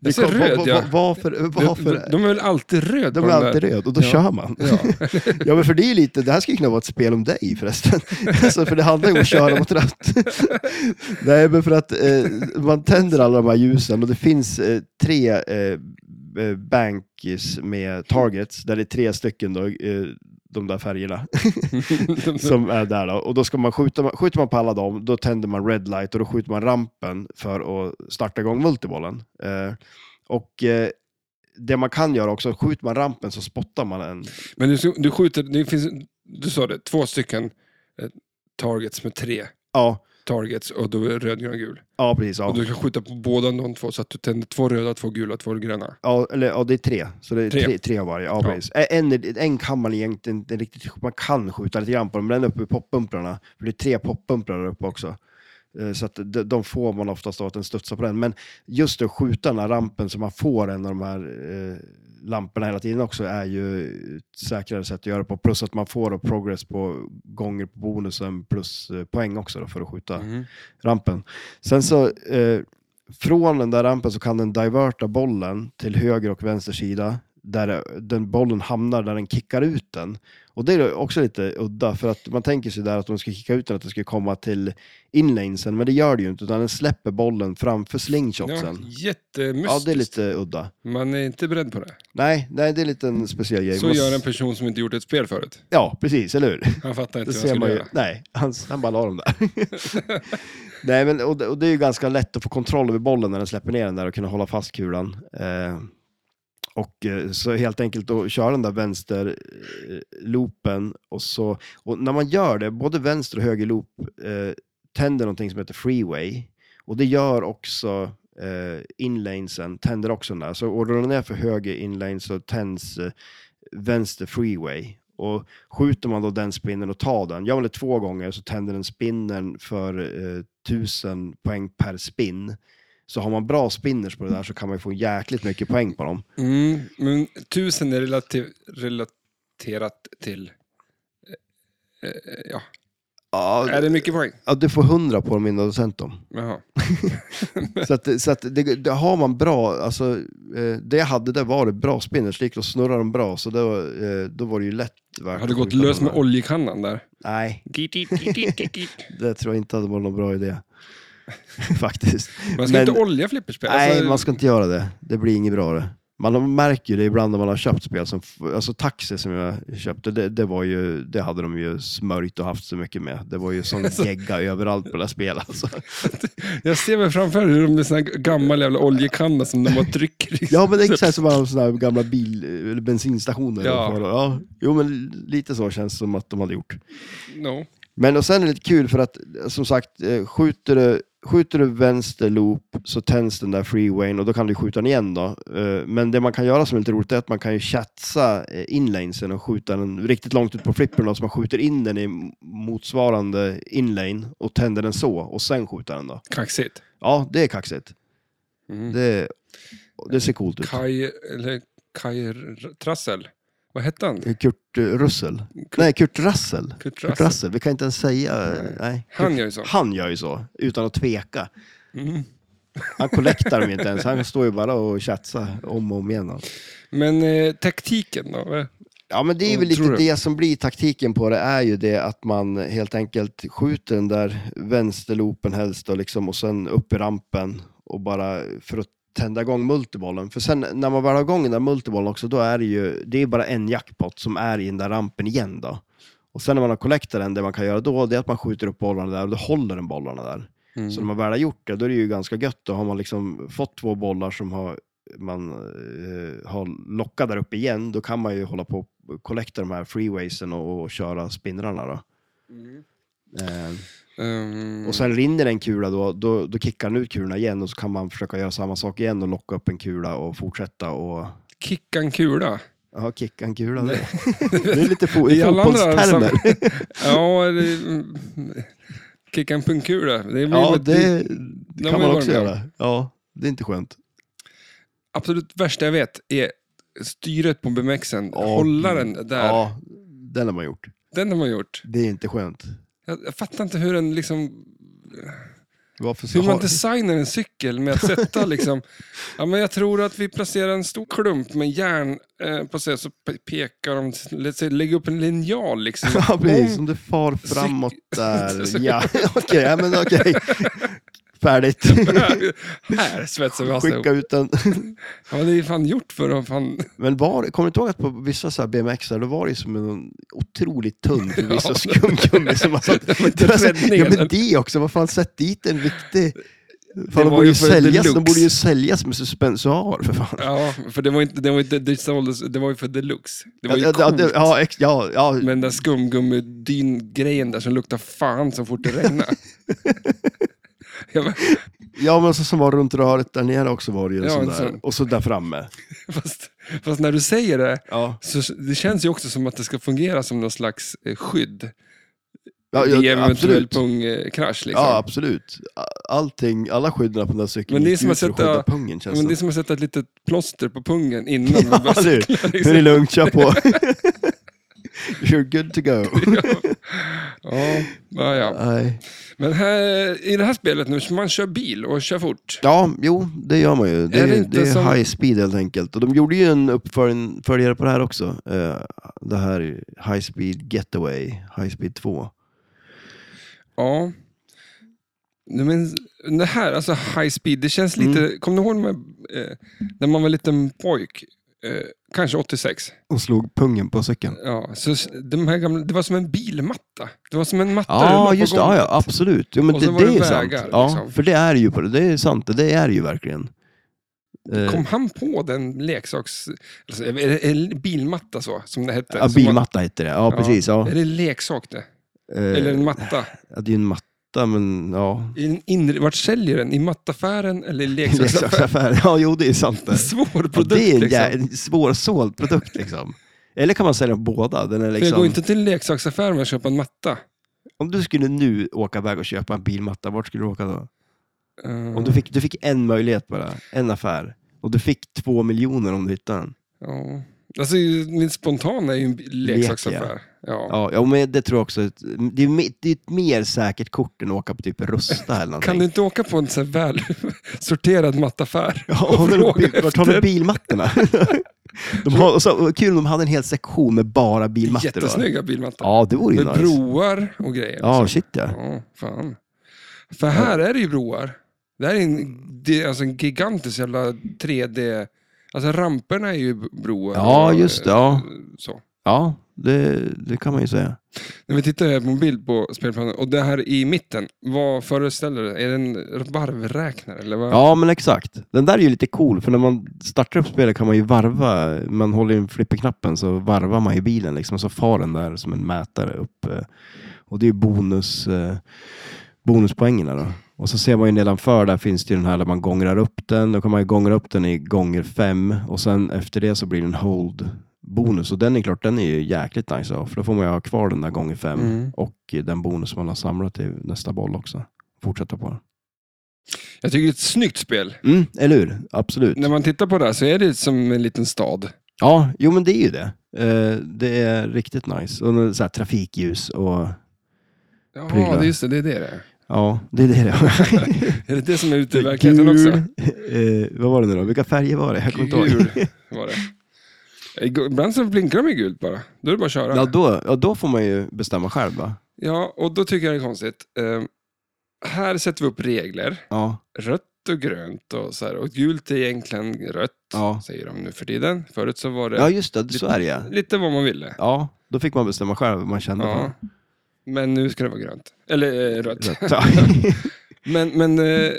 Speaker 1: Jag ser
Speaker 2: Kom, va-
Speaker 1: röd,
Speaker 2: va-
Speaker 1: ja.
Speaker 2: va- Varför?
Speaker 1: De,
Speaker 2: varför
Speaker 1: de är väl alltid röd
Speaker 2: de
Speaker 1: på
Speaker 2: är
Speaker 1: den där.
Speaker 2: alltid röd och då
Speaker 1: Ja.
Speaker 2: kör man.
Speaker 1: Ja.
Speaker 2: Ja, men för det är ju lite, det här skulle ju kunna vara ett spel om dig förresten. Alltså, för det handlar ju om att köra mot rött. Nej, men för att eh, man tänder alla de här ljusen och det finns eh, tre eh, eh, bankis med targets, där det är tre stycken då, eh, de där färgerna som är där. Då. Och då ska man skjuta, skjuter man på alla dem, då tänder man red light och då skjuter man rampen för att starta igång multibollen. Eh, och eh, det man kan göra också, skjuter man rampen så spottar man en.
Speaker 1: Men du, du skjuter, det finns, du sa det, två stycken eh, targets med tre
Speaker 2: Ja,
Speaker 1: targets och då är det röd, grön, gul.
Speaker 2: ja precis. Ja.
Speaker 1: Och du ska skjuta på båda de två så att du tänder två röda, två gula, två gröna.
Speaker 2: Ja, eller, ja, det är tre. Så det är
Speaker 1: Tre.
Speaker 2: tre, tre, av varje. Ja,
Speaker 1: Ja.
Speaker 2: Precis. Ä- En, en kan man egentligen inte riktigt... Man kan skjuta lite grann på dem, men den är uppe i poppumprarna. För det är tre poppumprar där uppe också. Eh, Så att de, de får man oftast av att den studsar på den. Men just att skjuta den här rampen så man får en av de här eh, lamporna hela tiden också är ju ett säkrare sätt att göra det på. Plus att man får då progress på gånger på bonusen plus eh, poäng också då för att skjuta
Speaker 1: Mm.
Speaker 2: rampen. Sen så, eh, från den där rampen så kan den diverta bollen till höger och vänster sida, där den bollen hamnar där den kickar ut den. Och det är också lite udda, för att man tänker sig där att de ska kicka ut den, att den ska komma till inlanesen, men det gör det ju inte, utan den släpper bollen framför
Speaker 1: Ja,
Speaker 2: slingshotsen.
Speaker 1: jättemystiskt.
Speaker 2: Ja, det är lite udda.
Speaker 1: Man är inte beredd på det.
Speaker 2: Nej, nej det är lite en speciell grej.
Speaker 1: Så
Speaker 2: Man-
Speaker 1: gör en person som inte gjort ett spel förut.
Speaker 2: Ja, precis, eller hur?
Speaker 1: Han fattar
Speaker 2: Det
Speaker 1: inte vad han
Speaker 2: ser man
Speaker 1: skulle
Speaker 2: ju.
Speaker 1: göra.
Speaker 2: Nej, han, han bara la dem där. Nej, men, och, det- och det är ju ganska lätt att få kontroll över bollen när den släpper ner den där och kunna hålla fast kulan. Eh, och eh, så helt enkelt att köra den där vänsterloopen och så, och när man gör det, både vänster och höger loop eh, tänder någonting som heter freeway och det gör också eh, inlanesen, tänder också den där. Så och rullar ner för höger inlane så tänds eh, vänster freeway. Och skjuter man då den spinnen och tar den, gör man det två gånger så tänder den spinnen för eh, 1000 poäng per spinn. Så har man bra spinners på det där så kan man ju få jäkligt mycket poäng på dem.
Speaker 1: Mm, men tusen är relativ, relaterat till... Eh, eh, ja. Är
Speaker 2: Ja,
Speaker 1: det mycket poäng?
Speaker 2: ja, du får 100 på dem innan du sänt dem.
Speaker 1: Jaha.
Speaker 2: Så, att, så att det, det har man bra, alltså, eh, det jag hade där var det bra spinners, det gick att snurra dem bra, så då, eh, då var det ju lätt värt
Speaker 1: Har
Speaker 2: att
Speaker 1: du gått
Speaker 2: skjuta
Speaker 1: lös
Speaker 2: dem
Speaker 1: med
Speaker 2: där.
Speaker 1: oljekannan där?
Speaker 2: Nej, det tror jag inte hade varit någon bra idé. Faktiskt.
Speaker 1: Man ska inte olja flipperspel.
Speaker 2: Nej,
Speaker 1: Alltså,
Speaker 2: man ska inte göra det. Det blir inget bra det. Man märker ju det ibland när man har köpt spel, som, alltså Taxi som jag köpte, det, det, var ju, det hade de ju smörjt och haft så mycket med. Det var ju sån
Speaker 1: Alltså-
Speaker 2: gegga överallt på det där spelet. Alltså.
Speaker 1: Jag ser mig framför mig hur de med sån här gammal jävla oljekanna som de bara trycker i.
Speaker 2: Ja, men det är exakt som alla såna här gamla bil, eller bensinstationer.
Speaker 1: Ja.
Speaker 2: Ja. Ja. Jo, men lite så känns det som att de hade gjort.
Speaker 1: No.
Speaker 2: Men och sen är det lite kul för att som sagt, eh, skjuter du, skjuter du vänster loop så tänds den där freewayn och då kan du skjuta den igen då. Eh, Men det man kan göra som är lite roligt är att man kan ju chatsa eh, inlanesen och skjuta den riktigt långt ut på flippern då, så man skjuter in den i motsvarande inlane och tänder den så och sen skjuter den då.
Speaker 1: Kaxigt.
Speaker 2: Ja, det är kaxigt.
Speaker 1: Mm.
Speaker 2: Det, det ser coolt ut.
Speaker 1: Kaj, eller Kaj R- Trassel. Vad hette han?
Speaker 2: Kurt eh, Russell. Nej, Kurt Russell.
Speaker 1: Kurt
Speaker 2: Kurt
Speaker 1: Russell.
Speaker 2: Russell, vi kan inte ens säga... eh, Nej.
Speaker 1: Han gör ju så.
Speaker 2: Han gör ju så, utan att tveka.
Speaker 1: Mm.
Speaker 2: Han kollektar dem inte ens, han står ju bara och chatsar om och om igen. alltså.
Speaker 1: Men eh, taktiken då? Eh,
Speaker 2: Ja, men det är
Speaker 1: Mm,
Speaker 2: väl lite
Speaker 1: tror du?
Speaker 2: det som blir taktiken på det, är ju det att man helt enkelt skjuter den där vänsterloopen helst då, liksom, och sen upp i rampen och bara för att tända igång multibollen. För sen när man väl har igång den där multibollen också, då är det ju det är bara en jackpot som är i den där rampen igen. då. Och sen när man har collectat den, det man kan göra då, det är att man skjuter upp bollarna där och då håller den bollarna där.
Speaker 1: Mm.
Speaker 2: Så när man väl har gjort det, då är det ju ganska gött. Då har man liksom fått två bollar som har, man eh, har lockat där uppe igen, då kan man ju hålla på och collecta de här freewaysen och, och köra spinnrarna. Då.
Speaker 1: Mm.
Speaker 2: Eh,
Speaker 1: Ehm,
Speaker 2: och sen rinner en kula, då, då, då kickar den ut kulorna igen och så kan man försöka göra samma sak igen och locka upp en kula och fortsätta och
Speaker 1: Kicka en kula.
Speaker 2: ja, kicka en kula. Det, det är lite fo-
Speaker 1: I alla andra
Speaker 2: fotbollstermer.
Speaker 1: Ja, det, mm, kicka en pungkula. Det blir
Speaker 2: Ja,
Speaker 1: väl-
Speaker 2: det
Speaker 1: har
Speaker 2: kan
Speaker 1: vi
Speaker 2: man
Speaker 1: varit
Speaker 2: också
Speaker 1: med om.
Speaker 2: göra. Ja, det är inte skönt.
Speaker 1: absolut värsta jag vet är styret på BMXen.
Speaker 2: Ja,
Speaker 1: Hålla den där.
Speaker 2: Ja, den har man gjort.
Speaker 1: Den har man gjort.
Speaker 2: Det är inte skönt.
Speaker 1: Jag, jag fattar inte hur den liksom...
Speaker 2: Varför så
Speaker 1: Hur man
Speaker 2: har-
Speaker 1: designar en cykel med att sätta liksom... Ja, men jag tror att vi placerar en stor klump med järn eh, på sig, så pe- pekar de... låt säga, Lägg upp en linjal liksom.
Speaker 2: Ja, precis.
Speaker 1: Om-
Speaker 2: Som du far framåt där.
Speaker 1: Så-
Speaker 2: Ja, okej. ja, men okej. Färdigt.
Speaker 1: Här svetsar vi fast
Speaker 2: Skicka
Speaker 1: ihop.
Speaker 2: ut den.
Speaker 1: Ja, det är ju fan gjort för att fan...
Speaker 2: Men var, kommer du inte ihåg att på vissa så här BMX då var det som en otroligt tunn för vissa
Speaker 1: Ja.
Speaker 2: skumgummi som man satt...
Speaker 1: inte tvätt ner
Speaker 2: ja, men
Speaker 1: den.
Speaker 2: det också, vad fan, sätt dit en viktig... Fan, de,
Speaker 1: var
Speaker 2: borde
Speaker 1: ju
Speaker 2: ju
Speaker 1: för
Speaker 2: säljas, de
Speaker 1: deluxe.
Speaker 2: borde ju säljas med suspensoar för fan.
Speaker 1: Ja, för det var, inte, det var, inte, det såldes, det var ju för deluxe. Det var ju
Speaker 2: Ja, ja,
Speaker 1: coolt.
Speaker 2: det- ja, ex- ja, ja.
Speaker 1: Med den där skumgummidyn-grejen där som luktar fan så fort det regnar. Jag bara,
Speaker 2: ja, men så som var runt röret där nere också var det ju en
Speaker 1: Ja,
Speaker 2: sån
Speaker 1: en
Speaker 2: där.
Speaker 1: sån.
Speaker 2: Och så där framme.
Speaker 1: fast, fast när du säger det,
Speaker 2: Ja.
Speaker 1: så det känns ju också som att det ska fungera som någon slags eh, skydd.
Speaker 2: Ja,
Speaker 1: I
Speaker 2: ja,
Speaker 1: eventuell
Speaker 2: absolut.
Speaker 1: pungkrasch. Liksom.
Speaker 2: Ja, absolut. A- Allting, alla skydden på den där cykeln
Speaker 1: Men det är
Speaker 2: gick
Speaker 1: som
Speaker 2: ut
Speaker 1: att
Speaker 2: för att
Speaker 1: sätta-
Speaker 2: skydda pungen känns
Speaker 1: Men det är
Speaker 2: det
Speaker 1: som att sätta ett litet plåster på pungen innan man
Speaker 2: Ja,
Speaker 1: börjar
Speaker 2: du.
Speaker 1: cykla.
Speaker 2: Nu är
Speaker 1: Liksom.
Speaker 2: det lugnt, kör på. You're good to go.
Speaker 1: Ja, ja, ja.
Speaker 2: Nej.
Speaker 1: Men här, i det här spelet nu, man kör bil och kör fort.
Speaker 2: Ja, jo, det gör man ju. Det
Speaker 1: Är
Speaker 2: är,
Speaker 1: det
Speaker 2: det
Speaker 1: inte
Speaker 2: är
Speaker 1: som-
Speaker 2: high speed helt enkelt. Och de gjorde ju en uppföljare på det här också. Eh, Det här High Speed Getaway, High Speed 2.
Speaker 1: Ja. Nej, Men det här, alltså high speed, det känns lite...
Speaker 2: Mm.
Speaker 1: Kommer du ihåg med, eh, när man var liten pojk? Eh, kanske 86.
Speaker 2: Och slog pungen på cykeln.
Speaker 1: Ja, så s- de här gamla, det var som en bilmatta. Det var som en matta du la
Speaker 2: Ja,
Speaker 1: på
Speaker 2: just det. Ja,
Speaker 1: golvet.
Speaker 2: ja, absolut. Jo, men
Speaker 1: Och
Speaker 2: det,
Speaker 1: så var det
Speaker 2: det är sant.
Speaker 1: vägar,
Speaker 2: ja,
Speaker 1: liksom.
Speaker 2: För det är ju på det. Det är sant. Det är det ju verkligen. Eh,
Speaker 1: Kom han på den leksaks... Alltså, är det, är det bilmatta så, som det hette?
Speaker 2: ja,
Speaker 1: Som man-
Speaker 2: bilmatta heter det. Ja, precis. Ja.
Speaker 1: Är det leksak det? Eller
Speaker 2: Eh,
Speaker 1: en matta?
Speaker 2: ja, det är ju en matta, men ja.
Speaker 1: I en inre, vart säller den? I mattaffären eller i leksaksaffären?
Speaker 2: Leksaksaffär. Ja, jo, det är sant. Det,
Speaker 1: Svår
Speaker 2: ja,
Speaker 1: produkt
Speaker 2: det är en,
Speaker 1: liksom.
Speaker 2: jä- en svårsåld produkt liksom. Eller kan man sälja båda? Den är
Speaker 1: För jag går
Speaker 2: liksom,
Speaker 1: inte till leksaksaffären och köper en matta.
Speaker 2: Om du skulle nu åka iväg och köpa en bilmatta, vart skulle du åka då?
Speaker 1: Eh,
Speaker 2: Om du, fick, du fick en möjlighet bara, en affär. Och du fick två miljoner om du hittade den.
Speaker 1: ja. Alltså, min spontana är ju en bi- leksaksaffär. Ja.
Speaker 2: Ja, ja men det tror jag också. att- Det är, me- det är ett mer säkert kort än att åka på typ Rusta eller någonting.
Speaker 1: Kan du inte åka på en så här väl sorterad mattaffär?
Speaker 2: Ja, och har
Speaker 1: fråga
Speaker 2: du bil, vart har du
Speaker 1: efter?
Speaker 2: bilmattorna? de har, och så, och kul om de hade en hel sektion med bara bilmattor. då.
Speaker 1: Jättesnygga bilmattor.
Speaker 2: Ja, det vore ju
Speaker 1: Med
Speaker 2: nice.
Speaker 1: broar och grejer.
Speaker 2: Ja,
Speaker 1: liksom.
Speaker 2: shit ja.
Speaker 1: ja fan. För här är det ju broar. Det här är en, det är alltså en gigantisk jävla 3D... Alltså ramperna är ju broar.
Speaker 2: Ja,
Speaker 1: och,
Speaker 2: just det.
Speaker 1: eh,
Speaker 2: Ja,
Speaker 1: Så.
Speaker 2: ja det, det kan man ju säga.
Speaker 1: När vi tittar här på en bild på spelplanen och det här i mitten, vad föreställer det? Är det en varvräknare? Eller vad?
Speaker 2: Ja, men exakt. Den där är ju lite cool, för när man startar upp spelet kan man ju varva. Man håller in flipperknappen så varvar man i bilen liksom, och så far den där som en mätare upp. eh, Och det är ju bonus, eh, bonuspoängen där då. Och så ser man ju nedanför, där finns det ju den här där man gångrar upp den. Då kan man ju gångra upp den i gånger fem och sen efter det så blir det en hold bonus och den är klart, den är ju jäkligt nice att ha, för då får man ju ha kvar den där gånger fem
Speaker 1: Mm.
Speaker 2: och eh, den bonus man har samlat till nästa boll också. Fortsätta på den.
Speaker 1: Jag tycker det är ett snyggt spel.
Speaker 2: Mm, eller hur? Absolut.
Speaker 1: När man tittar på det här så är det som en liten stad.
Speaker 2: Ja, jo men det är ju det. Eh, det är riktigt nice. Och nu så här, trafikljus och
Speaker 1: Ja,
Speaker 2: Prylar.
Speaker 1: det är just det. Det är det det är.
Speaker 2: ja, det är det det är.
Speaker 1: Är det det som är ute i verkligheten också?
Speaker 2: Eh, vad var det nu då? Vilka färger var det? Jag kommer inte ihåg.
Speaker 1: Gul var det. Ibland så blinkar de i gult bara. Då är det bara att köra.
Speaker 2: Ja då, ja, då får man ju bestämma själv va?
Speaker 1: Ja, och då tycker jag det är konstigt. Eh, här sätter vi upp regler.
Speaker 2: Ja,
Speaker 1: Rött och grönt och så här. Och gult är egentligen rött,
Speaker 2: Ja.
Speaker 1: säger de nu för tiden. Förut så var det
Speaker 2: ja just det. Så är det ja.
Speaker 1: lite vad man ville.
Speaker 2: Ja, då fick man bestämma själv vad man kände
Speaker 1: Ja.
Speaker 2: för.
Speaker 1: Men nu ska det vara grönt. Eller eh, rött.
Speaker 2: Rätt. Ja.
Speaker 1: Men, men eh,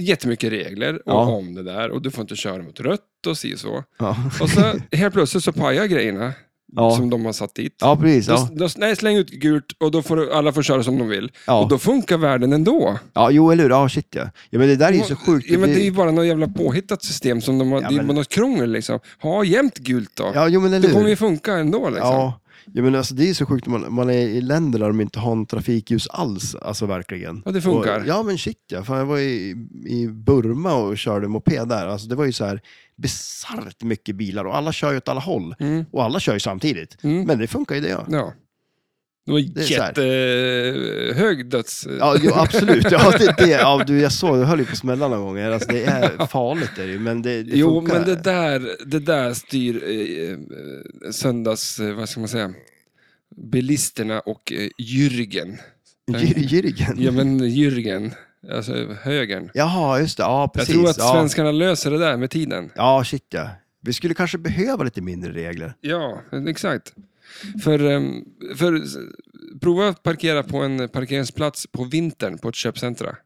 Speaker 1: jättemycket regler och
Speaker 2: Ja.
Speaker 1: om det där. Och du får inte köra mot rött och si och så.
Speaker 2: Ja.
Speaker 1: Och så helt plötsligt så pajar grejerna
Speaker 2: Ja.
Speaker 1: som de har satt dit.
Speaker 2: ja, precis.
Speaker 1: Då,
Speaker 2: Ja.
Speaker 1: då, nej, släng ut gult och då får du- alla får köra som de vill.
Speaker 2: Ja.
Speaker 1: Och då funkar världen ändå.
Speaker 2: ja, jo eller hur. Ja, shit ja. Ja men det där är ju så sjukt.
Speaker 1: Ja, men det är ju bara något jävla påhittat system som de har,
Speaker 2: Ja,
Speaker 1: det är
Speaker 2: men-
Speaker 1: bara något krångel liksom. Ha jämt gult då.
Speaker 2: ja, jo, men eller
Speaker 1: det
Speaker 2: hur?
Speaker 1: kommer ju funka ändå liksom.
Speaker 2: Ja, ja men alltså, det är ju så sjukt när man, man är i länder där de inte har en trafikljus alls, alltså verkligen.
Speaker 1: Ja, det funkar.
Speaker 2: Och, ja, men shit ja. Fan, jag var i, i Burma och körde moped där. Alltså, det var ju så här bisarrt mycket bilar och alla kör ju åt alla håll.
Speaker 1: Mm.
Speaker 2: Och alla kör ju samtidigt.
Speaker 1: Mm.
Speaker 2: Men det funkar ju det ja.
Speaker 1: Ja. Det var
Speaker 2: är så här.
Speaker 1: jättehög döds...
Speaker 2: Ja, jo, absolut. Ja, det, det, ja, du, jag såg, du höll ju på att smälla några gånger. Alltså, det är farligt är det ju, men det, det
Speaker 1: jo,
Speaker 2: funkar.
Speaker 1: men det där, det där styr eh, eh, söndags, eh, vad ska man säga, bilisterna och eh, Jürgen.
Speaker 2: Jür- Jürgen.
Speaker 1: Ja, men Jürgen. Alltså högern.
Speaker 2: Jaha, just det. Ja,
Speaker 1: Jag
Speaker 2: precis.
Speaker 1: tror att
Speaker 2: ja.
Speaker 1: svenskarna löser det där med tiden.
Speaker 2: ja, shit ja. Vi skulle kanske behöva lite mindre regler.
Speaker 1: Ja, exakt. För, ehm, för s- prova att parkera på en parkeringsplats på vintern på ett köpcentra.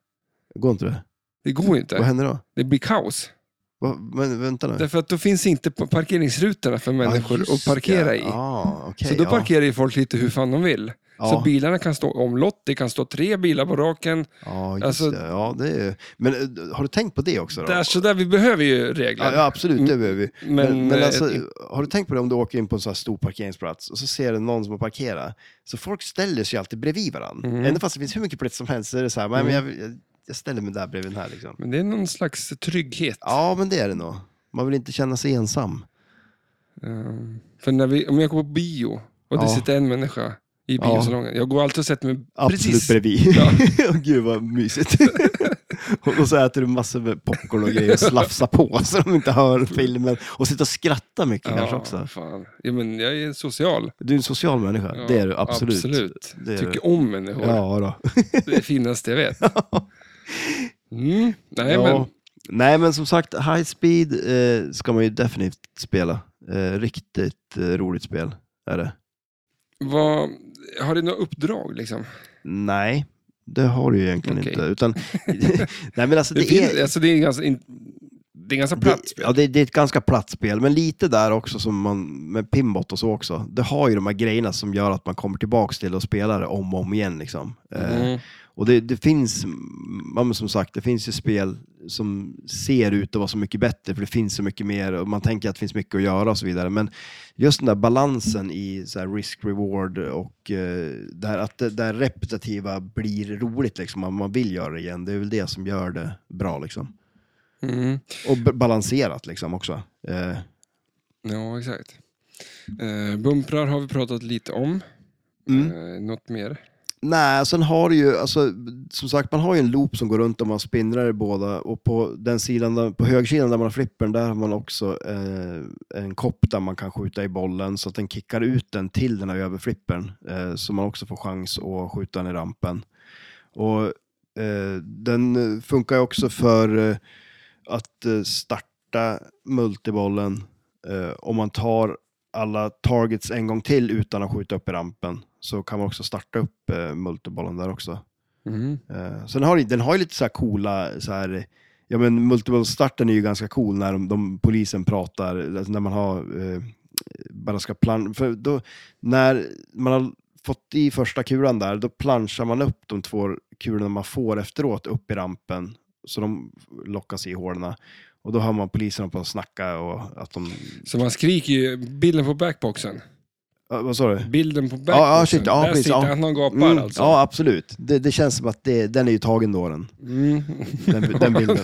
Speaker 2: Går inte det?
Speaker 1: Det går ju
Speaker 2: Vad
Speaker 1: inte.
Speaker 2: händer då?
Speaker 1: Det blir kaos.
Speaker 2: Vad- Men vänta nu.
Speaker 1: Därför att då finns inte pa- parkeringsrutorna för människor
Speaker 2: Ja,
Speaker 1: att
Speaker 2: just
Speaker 1: parkera
Speaker 2: det.
Speaker 1: i.
Speaker 2: Ja, okej,
Speaker 1: Så då
Speaker 2: ja.
Speaker 1: parkerar ju folk lite hur fan de vill.
Speaker 2: ja.
Speaker 1: Så bilarna kan stå omlott, det kan stå tre bilar på raken.
Speaker 2: Ja, just
Speaker 1: Alltså-
Speaker 2: det. Ja, det är... ju- Men eh, har du tänkt på det också? Då?
Speaker 1: Där, så där, vi behöver ju regler.
Speaker 2: Ja, ja, absolut, det behöver vi.
Speaker 1: Men,
Speaker 2: Men, men
Speaker 1: eh,
Speaker 2: alltså, har du tänkt på det om du åker in på en sån här stor parkeringsplats och så ser du någon som har parkerat, så folk ställer sig alltid bredvid varandra.
Speaker 1: Mm.
Speaker 2: Även fast det finns hur mycket plats som helst så är det så här, "Nej, men jag, jag- jag ställer mig där bredvid den här liksom.
Speaker 1: Men det är någon slags trygghet.
Speaker 2: Ja, men det är det nog. Man vill inte känna sig ensam.
Speaker 1: Ehm, För när vi, om jag går på bio och det
Speaker 2: Ja.
Speaker 1: sitter en människa i
Speaker 2: Ja.
Speaker 1: biosalongen. Jag går alltid och sätter mig
Speaker 2: Absolut
Speaker 1: precis
Speaker 2: bredvid.
Speaker 1: Ja.
Speaker 2: Åh, Gud vad mysigt. och och så äter du massor med popcorn och grejer och slafsar på så de inte hör filmen. Och sitter och skrattar mycket kanske också.
Speaker 1: Fan. Ja, men jag är en social.
Speaker 2: Du är en social människa,
Speaker 1: Ja,
Speaker 2: det är du absolut.
Speaker 1: absolut.
Speaker 2: Det är
Speaker 1: Tycker om människor.
Speaker 2: Ja, då.
Speaker 1: Det är det finaste jag vet. Mm. Nej,
Speaker 2: ja.
Speaker 1: men,
Speaker 2: Nej, men som sagt, High Speed eh, ska man ju definitivt spela. Eh, riktigt eh, roligt spel är det.
Speaker 1: vad, har du några uppdrag? Liksom?
Speaker 2: Nej, det har du ju egentligen
Speaker 1: Okej.
Speaker 2: inte. Utan, nej, men alltså,
Speaker 1: Det,
Speaker 2: det,
Speaker 1: finns,
Speaker 2: är,
Speaker 1: alltså, det är ganska, in, det är ganska platt.
Speaker 2: det, ja, det, det är ett ganska platt spel, men lite där också som man, med pinbot och så också. Det har ju de här grejerna som gör att man kommer tillbaka till och spelar det om och om igen. Liksom. Eh,
Speaker 1: Mm.
Speaker 2: Och det, det finns, ja, men som sagt, det finns ju spel som ser ut att vara så mycket bättre, för det finns så mycket mer och man tänker att det finns mycket att göra och så vidare. Men just den där balansen i så här risk-reward och eh, det här, att det, det här repetitiva blir roligt, liksom, man, man vill göra det igen, det är väl det som gör det bra. Liksom.
Speaker 1: Mm.
Speaker 2: Och b- balanserat liksom också. Eh,
Speaker 1: Ja, exakt. Eh, bumprar har vi pratat lite om.
Speaker 2: Mm.
Speaker 1: Eh, något mer?
Speaker 2: Nej, sen har du ju, alltså, som sagt, man har ju en loop som går runt och man spindlar i båda. Och på, den sidan, där- på högersidan där man har flippern, där har man också eh, en kopp där man kan skjuta i bollen så att den kickar ut den till den här överflippern. Eh, så man också får chans att skjuta den i rampen. Och eh, den eh, funkar ju också för eh, att eh, starta multibollen eh, om man tar alla targets en gång till utan att skjuta upp i rampen så kan man också starta upp eh, multibollen där också.
Speaker 1: Mm.
Speaker 2: Eh, sen har, den- den har ju lite så här coola, så här, ja men multiboll-starten är ju ganska cool när de, de polisen pratar, alltså när man har, eh, bara ska plan, för då, när man har fått i första kulan där, då planchar man upp de två kulorna man får efteråt upp i rampen, så de lockas i hålen. Och då hör man poliserna på att snacka och att de,
Speaker 1: Så man skriker ju bilden på backboxen.
Speaker 2: Ja, vad sa du?
Speaker 1: Bilden på backboxen.
Speaker 2: Ja, ja, shit, ja,
Speaker 1: Där
Speaker 2: precis,
Speaker 1: sitter
Speaker 2: ja.
Speaker 1: han och gapar
Speaker 2: Mm,
Speaker 1: alltså.
Speaker 2: Ja, absolut. Det, det känns som att det, den är ju tagen då den,
Speaker 1: Mm.
Speaker 2: den, den bilden.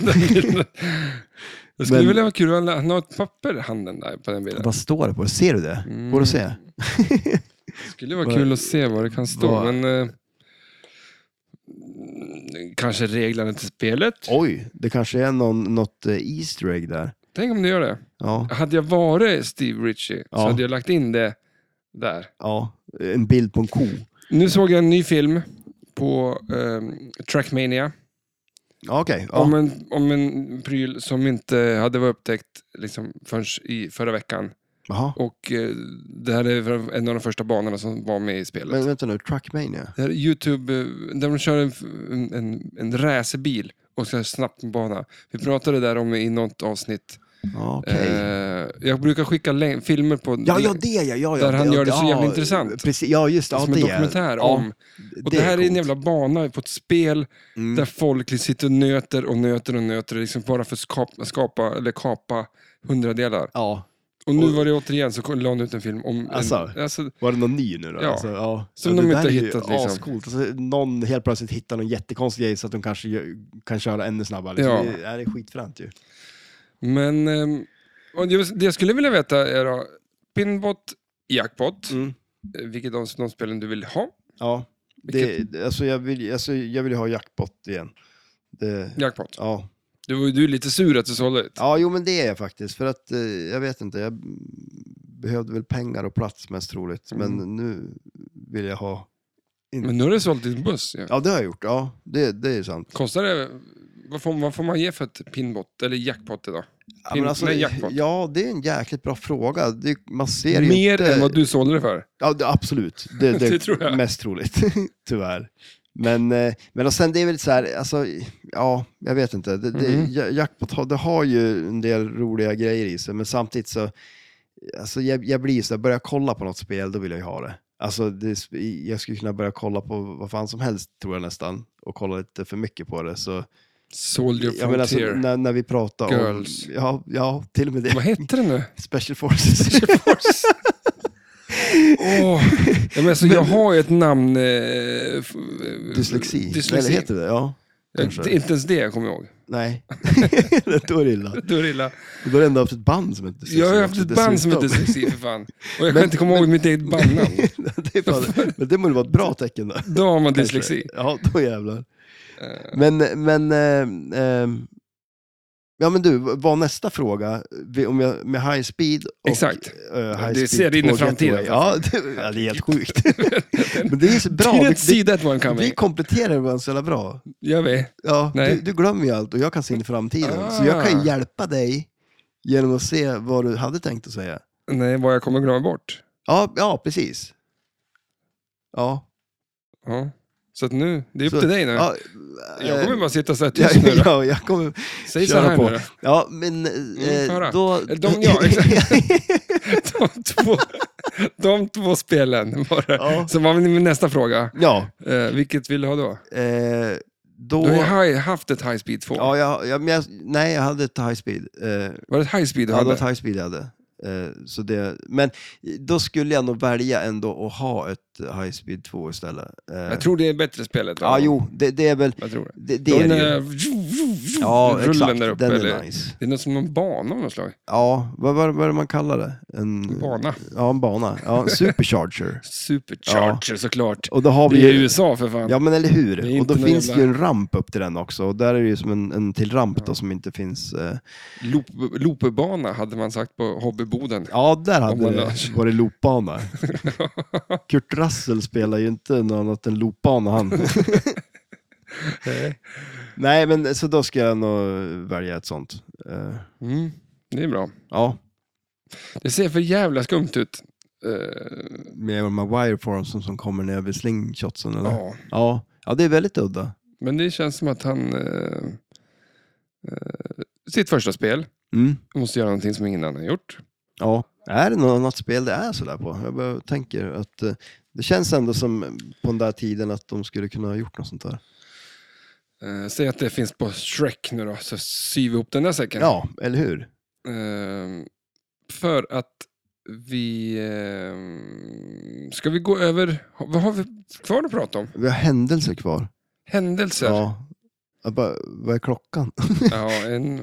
Speaker 1: Det skulle
Speaker 2: Men-
Speaker 1: vilja vara kul att han har ett papper i handen där på den bilden.
Speaker 2: Vad står det på? Ser du det?
Speaker 1: Mm.
Speaker 2: Går det att se?
Speaker 1: Det skulle vara kul att se vad det kan stå.
Speaker 2: Vad-
Speaker 1: Men, eh, mm, kanske reglerna till spelet.
Speaker 2: Oj, det kanske är någon, något eh, Easter egg där.
Speaker 1: Tänk om du gör det.
Speaker 2: Ja,
Speaker 1: Hade jag varit Steve Ritchie så
Speaker 2: Ja.
Speaker 1: hade jag lagt in det där.
Speaker 2: ja. En bild på en ko.
Speaker 1: Nu såg jag en ny film på eh, Trackmania.
Speaker 2: Ja, Okej,
Speaker 1: Om,
Speaker 2: ja.
Speaker 1: en, om en pryl som inte hade varit upptäckt liksom, förrän i förra veckan.
Speaker 2: Jaha.
Speaker 1: Och eh, det här är en av de första banorna som var med i spelet.
Speaker 2: Men vänta nu, Truckmania?
Speaker 1: Det här är Youtube, eh, där de kör en, en, en, en racerbil och så här snabbt på bana. Vi pratade där om i något avsnitt.
Speaker 2: Ja, okej.
Speaker 1: Eh, jag brukar skicka län- filmer på
Speaker 2: Ja, ja, det ja, ja, ja.
Speaker 1: där han gör det så
Speaker 2: ja,
Speaker 1: jävla intressant.
Speaker 2: Precis, ja, just det. Ja,
Speaker 1: som
Speaker 2: det
Speaker 1: en
Speaker 2: är-
Speaker 1: dokumentär
Speaker 2: ja,
Speaker 1: om. Och det, här är en
Speaker 2: coolt.
Speaker 1: jävla bana på ett spel
Speaker 2: Mm.
Speaker 1: där folk liksom sitter och nöter och nöter och nöter liksom bara för att skapa, skapa eller kapa hundradelar.
Speaker 2: Ja,
Speaker 1: Och nu var det återigen så kom- la han ut en film om...
Speaker 2: Alltså.
Speaker 1: En, alltså,
Speaker 2: var det någon ny nu då?
Speaker 1: Ja.
Speaker 2: Alltså, ja.
Speaker 1: Som
Speaker 2: ja,
Speaker 1: de
Speaker 2: det
Speaker 1: inte
Speaker 2: där är ju
Speaker 1: hittat, liksom.
Speaker 2: Ascoolt. Alltså, någon helt plötsligt hittar någon jättekonstig grej så att de kanske gör, kan köra ännu snabbare.
Speaker 1: Ja.
Speaker 2: Liksom. Det, är, det är skitfränt ju.
Speaker 1: men ehm, och jag- det jag skulle vilja veta är då, Pinbot, Jackpot,
Speaker 2: Mm.
Speaker 1: eh, vilket av de spelen du vill ha.
Speaker 2: Ja, det,
Speaker 1: Vilket-
Speaker 2: det- alltså, jag vill, alltså, jag vill ju ha jackpot igen. Det,
Speaker 1: Jackpot.
Speaker 2: ja.
Speaker 1: Du, var ju- du är lite sur att du sålde ut.
Speaker 2: ja, jo men det är jag faktiskt. För att eh, jag vet inte, jag mm,
Speaker 1: Mm.
Speaker 2: behövde väl pengar och plats mest troligt. Men nu vill jag ha
Speaker 1: Men nu har du sålt din buss. Ja.
Speaker 2: Ja, det har jag gjort. Ja, det, det är sant.
Speaker 1: Kostar det... Vad får, vad får man ge för ett pinbot, eller jackpot idag?
Speaker 2: Ja,
Speaker 1: Pin,
Speaker 2: men alltså,
Speaker 1: nej, jackpot.
Speaker 2: ja, det är en jäkligt bra fråga. Det, man ser ju
Speaker 1: Mer
Speaker 2: inte...
Speaker 1: än vad du sålde det för.
Speaker 2: Ja, det, absolut. Det, det,
Speaker 1: Det tror jag.
Speaker 2: är mest troligt, tyvärr. Men, eh, men och sen det är väl så här, alltså, ja, jag vet inte. Det, det,
Speaker 1: Mhm.
Speaker 2: ja- Jackpot har- det har ju en del roliga grejer i sig, men samtidigt så, alltså, jag, jag blir så här, börjar jag kolla på något spel, då vill jag ju ha det. Alltså, det, jag skulle kunna börja kolla på vad fan som helst, tror jag nästan, och kolla lite för mycket på det. Så,
Speaker 1: Soldier
Speaker 2: jag menar, alltså,
Speaker 1: Frontier.
Speaker 2: när, när vi pratar
Speaker 1: Girls.
Speaker 2: om... Ja, ja, till och med det.
Speaker 1: Vad heter den nu?
Speaker 2: Special Forces.
Speaker 1: Åh, ja, men alltså, jag har ju ett namn... Eh, f-
Speaker 2: Dyslexi.
Speaker 1: dyslexi.
Speaker 2: Eller heter det? Ja.
Speaker 1: Eh,
Speaker 2: kanske.
Speaker 1: det är inte ens det jag kommer ihåg.
Speaker 2: Nej, då är det illa.
Speaker 1: Då är det illa.
Speaker 2: Då har du ändå haft ett band som heter Dyslexi.
Speaker 1: Jag har ju haft ett band som heter
Speaker 2: dessutom.
Speaker 1: Dyslexi för fan. Och jag kan inte komma ihåg mitt eget bandnamn.
Speaker 2: det är fan, men det måste vara ett bra tecken då.
Speaker 1: Då har man
Speaker 2: kanske.
Speaker 1: dyslexi. Eh.
Speaker 2: Ja, då jävlar. Men, men, eh, eh, ja men du, var nästa fråga, vi- om jag, med high speed och
Speaker 1: Exakt.
Speaker 2: eh, high
Speaker 1: Det
Speaker 2: speed
Speaker 1: ser in i
Speaker 2: 2
Speaker 1: framtiden.
Speaker 2: Getaway. Ja det, ja, det är helt sjukt. men det är ju så bra.
Speaker 1: Didn't
Speaker 2: Vi,
Speaker 1: see that one
Speaker 2: vi
Speaker 1: coming.
Speaker 2: kompletterar varandra så jävla bra.
Speaker 1: Jag vet.
Speaker 2: Ja,
Speaker 1: Nej.
Speaker 2: du, du glömmer ju allt och jag kan se in i framtiden. Så
Speaker 1: Ah.
Speaker 2: jag kan ju hjälpa dig genom att se vad du hade tänkt att säga.
Speaker 1: Nej, vad jag kommer glömma bort.
Speaker 2: Ja, ja precis. Ja.
Speaker 1: Ja. Så att nu, det är upp
Speaker 2: så-
Speaker 1: till dig nu.
Speaker 2: Ja,
Speaker 1: jag
Speaker 2: eh,
Speaker 1: kommer bara sitta så här
Speaker 2: ja,
Speaker 1: tyst nu då.
Speaker 2: ja, jag kommer
Speaker 1: Säg så
Speaker 2: köra
Speaker 1: här
Speaker 2: på.
Speaker 1: nu då.
Speaker 2: Ja, men
Speaker 1: Mm,
Speaker 2: eh,
Speaker 1: föra.
Speaker 2: då...
Speaker 1: Eh, de- ja, De två, de två spelen var det.
Speaker 2: Ja.
Speaker 1: Så var min nästa fråga.
Speaker 2: ja,
Speaker 1: Eh, vilket vill du ha då?
Speaker 2: eh,
Speaker 1: Du har ju
Speaker 2: då...
Speaker 1: high, haft ett High Speed 2.
Speaker 2: Ja, jag, jag, men jag, nej, jag hade ett high speed. Eh,
Speaker 1: Var det ett High Speed du
Speaker 2: Ja, det var
Speaker 1: hade?
Speaker 2: ett high speed jag hade. Eh, så det, men då skulle jag nog välja ändå att ha ett high speed 2 istället. Eh,
Speaker 1: Jag tror det är bättre spelet.
Speaker 2: Ja, jo, det, det är väl...
Speaker 1: Jag tror det.
Speaker 2: Det,
Speaker 1: Det
Speaker 2: det är
Speaker 1: är
Speaker 2: det ju. Ja, exakt.
Speaker 1: där uppe.
Speaker 2: Den
Speaker 1: eller?
Speaker 2: är nice.
Speaker 1: Det är något som en bana av något slag.
Speaker 2: Ja, vad, vad, vad är det man kallar det? En
Speaker 1: Bana.
Speaker 2: Ja, en bana. Ja, en supercharger.
Speaker 1: Supercharger såklart.
Speaker 2: Och då har
Speaker 1: Vi är
Speaker 2: vi
Speaker 1: i
Speaker 2: ju...
Speaker 1: USA för fan.
Speaker 2: Ja, men eller
Speaker 1: Det är
Speaker 2: hur?
Speaker 1: inte
Speaker 2: Och då
Speaker 1: någon
Speaker 2: finns
Speaker 1: jävla-
Speaker 2: det ju en ramp upp till den också. Och där är det ju som en, en till ramp då som inte finns... Eh...
Speaker 1: Loop, loopbana hade man sagt på Hobbyboden.
Speaker 2: Ja, där hade
Speaker 1: man
Speaker 2: det
Speaker 1: lär-
Speaker 2: varit loopbana. Kurt Russell spelar ju inte något annat än loopbana han.
Speaker 1: Nej.
Speaker 2: Nej, men så då ska jag nog välja ett sånt. Eh,
Speaker 1: Mm, det är bra.
Speaker 2: ja,
Speaker 1: Det ser för jävla skumt ut. Eh,
Speaker 2: med de här wireformsen som kommer ner vid slingshotsen eller?
Speaker 1: ja.
Speaker 2: Ja, ja det är väldigt udda.
Speaker 1: Men det känns som att han... Eh, eh, sitt första spel.
Speaker 2: Mm.
Speaker 1: Måste göra någonting som ingen annan har gjort.
Speaker 2: Ja, är det något annat spel det är sådär på? Jag bara tänker att eh, det känns ändå som på den där tiden att de skulle kunna ha gjort något sånt där.
Speaker 1: Eh, säg att det finns på Shrek nu då, så syr vi ihop den där säcken.
Speaker 2: Ja, eller hur?
Speaker 1: Ehm, för att vi... ehm, ska vi gå över... Vad har vi kvar att prata om?
Speaker 2: Vi har händelser kvar.
Speaker 1: Händelser? Ja,
Speaker 2: Ja. Jag bara, vad är klockan?
Speaker 1: en,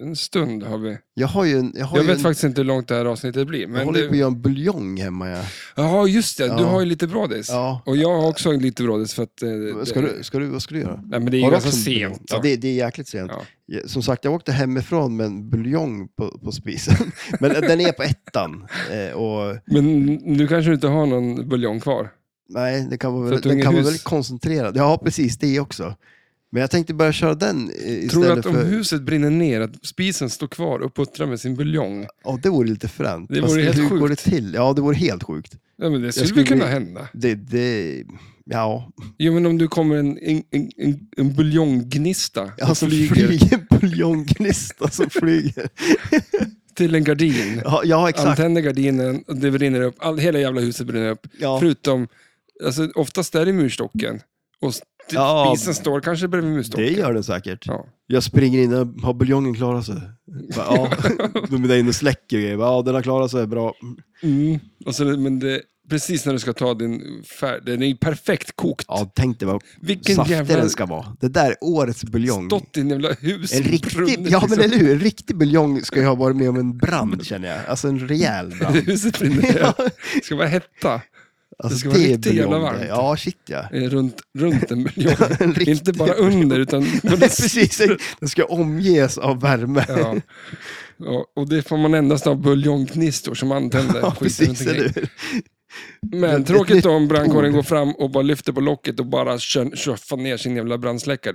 Speaker 1: en stund har vi.
Speaker 2: Jag har ju en... Jag, har
Speaker 1: Jag
Speaker 2: ju
Speaker 1: vet
Speaker 2: en,
Speaker 1: faktiskt inte hur långt det här avsnittet blir.
Speaker 2: jag
Speaker 1: Men
Speaker 2: håller ju på att
Speaker 1: det,
Speaker 2: göra en buljong hemma. Jag.
Speaker 1: ja, just det. Du
Speaker 2: Ja.
Speaker 1: har ju lite brådis.
Speaker 2: Ja.
Speaker 1: Och jag har också lite brådis för att... eh,
Speaker 2: Ska
Speaker 1: det-
Speaker 2: du, ska du, vad ska du göra?
Speaker 1: Nej, men det är ju
Speaker 2: Har du
Speaker 1: ganska
Speaker 2: också en buljong?
Speaker 1: sent.
Speaker 2: Ja,
Speaker 1: då.
Speaker 2: det, det är jäkligt sent.
Speaker 1: Ja.
Speaker 2: Ja, Som sagt, jag åkte hemifrån med en buljong på, på spisen. Men den är på ettan. Eh, och,
Speaker 1: Men nu kanske du inte har någon buljong kvar.
Speaker 2: nej, den kan vara
Speaker 1: För att
Speaker 2: väldigt,
Speaker 1: du har
Speaker 2: den
Speaker 1: inget
Speaker 2: kan vara
Speaker 1: hus.
Speaker 2: väldigt koncentrerad. Ja, precis, det också. Men jag tänkte börja köra den eh, istället
Speaker 1: Tror du att om
Speaker 2: för...
Speaker 1: huset brinner ner, att spisen står kvar och puttrar med sin buljong?
Speaker 2: Ja, det vore lite fränt.
Speaker 1: Det vore helt
Speaker 2: hur
Speaker 1: sjukt.
Speaker 2: går det till? Ja, det vore helt sjukt.
Speaker 1: Ja, men det skulle,
Speaker 2: skulle
Speaker 1: väl kunna
Speaker 2: bli-
Speaker 1: hända.
Speaker 2: Det, det, ja,
Speaker 1: Jo, men om du kommer en, en, en, en, en buljonggnista som
Speaker 2: alltså
Speaker 1: flyger
Speaker 2: flyger en buljonggnista som flyger.
Speaker 1: till en gardin.
Speaker 2: Ja, ja exakt.
Speaker 1: Antänder gardinen och det brinner upp. All, hela jävla huset brinner upp.
Speaker 2: Ja.
Speaker 1: Förutom, alltså, oftast är det murstocken. Och st-
Speaker 2: Ja.
Speaker 1: spisen står kanske bredvid murstocken.
Speaker 2: Det gör den säkert.
Speaker 1: Ja.
Speaker 2: Jag springer in, där, har buljongen klarat sig? Bara, Ja, de är där inne och släcker grejer. Bara, Ja, den har klarat sig, bra.
Speaker 1: Mm. Och så, men det, precis när du ska ta din färd, den är ju perfekt kokt.
Speaker 2: Ja, tänk dig vad
Speaker 1: Vilken
Speaker 2: saftig
Speaker 1: jävla-
Speaker 2: den ska vara. Det där är årets buljong.
Speaker 1: Stått i en jävla hus.
Speaker 2: En
Speaker 1: och
Speaker 2: riktig,
Speaker 1: brunnit,
Speaker 2: ja men
Speaker 1: liksom.
Speaker 2: eller hur, en riktig buljong ska ju ha varit med om en brand känner jag. Alltså en rejäl brand.
Speaker 1: Huset brinner ner. Det ska vara hetta.
Speaker 2: Alltså,
Speaker 1: ska vara
Speaker 2: är
Speaker 1: riktigt jävla
Speaker 2: buljong det.
Speaker 1: varmt.
Speaker 2: Ja, shit ja.
Speaker 1: eh, Runt, runt en buljong.
Speaker 2: En riktig
Speaker 1: Inte bara under, utan... på den
Speaker 2: Precis, den ska omges av värme.
Speaker 1: Ja. Ja, och det får man endast av buljongknistor som antänder skiten
Speaker 2: Ja,
Speaker 1: runt
Speaker 2: precis,
Speaker 1: omkring.
Speaker 2: eller hur? ett-
Speaker 1: Men
Speaker 2: ett
Speaker 1: tråkigt
Speaker 2: nytt
Speaker 1: då om brandkåren
Speaker 2: ord.
Speaker 1: går fram och bara lyfter på locket och bara kör- tjoffar ner sin jävla brandsläckare.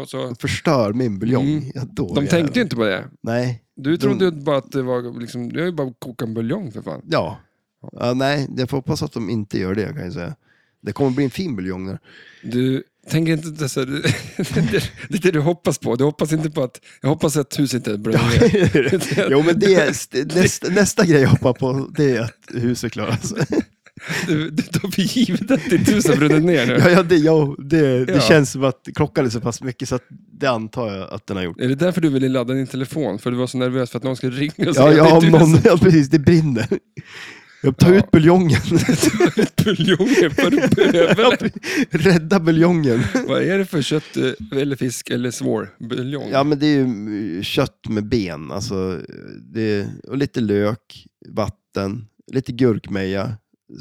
Speaker 1: Och så,
Speaker 2: Förstör min buljong.
Speaker 1: Mm.
Speaker 2: Ja,
Speaker 1: de
Speaker 2: då jävlar.
Speaker 1: tänkte ju inte på det.
Speaker 2: Nej.
Speaker 1: Du trodde ju bara att det var liksom, det är ju bara att koka en buljong för fan.
Speaker 2: Ja. ja. Nej, jag får hoppas att de inte gör det kan jag säga. Det kommer bli en fin buljong där.
Speaker 1: Du tänker inte, det, så, det, det, det är det du hoppas på. Du hoppas inte på att, jag hoppas att huset inte brinner ner.
Speaker 2: jo, men det, är- nästa, nästa grej jag hoppar på det är att huset klarar sig.
Speaker 1: Du, du tar för givet att ditt hus har brunnit ner nu.
Speaker 2: Ja, ja, det, ja, det, det
Speaker 1: Ja.
Speaker 2: känns som att klockan är så pass mycket så att det antar jag att den har gjort.
Speaker 1: Är det därför du ville ladda din telefon? För du var så nervös för att någon skulle ringa och säga
Speaker 2: Ja, ja,
Speaker 1: att
Speaker 2: om
Speaker 1: ditt
Speaker 2: någon,
Speaker 1: hus
Speaker 2: ja precis, det brinner. Jag tar
Speaker 1: typ- Ja.
Speaker 2: ut buljongen.
Speaker 1: har ett buljonger för
Speaker 2: Ja,
Speaker 1: bövel.
Speaker 2: Rädda buljongen.
Speaker 1: Vad är det för kött, eh, eller fisk eller svår buljong?
Speaker 2: Ja, men det är ju mm, kött med ben, alltså, det, och lite lök, vatten, lite gurkmeja,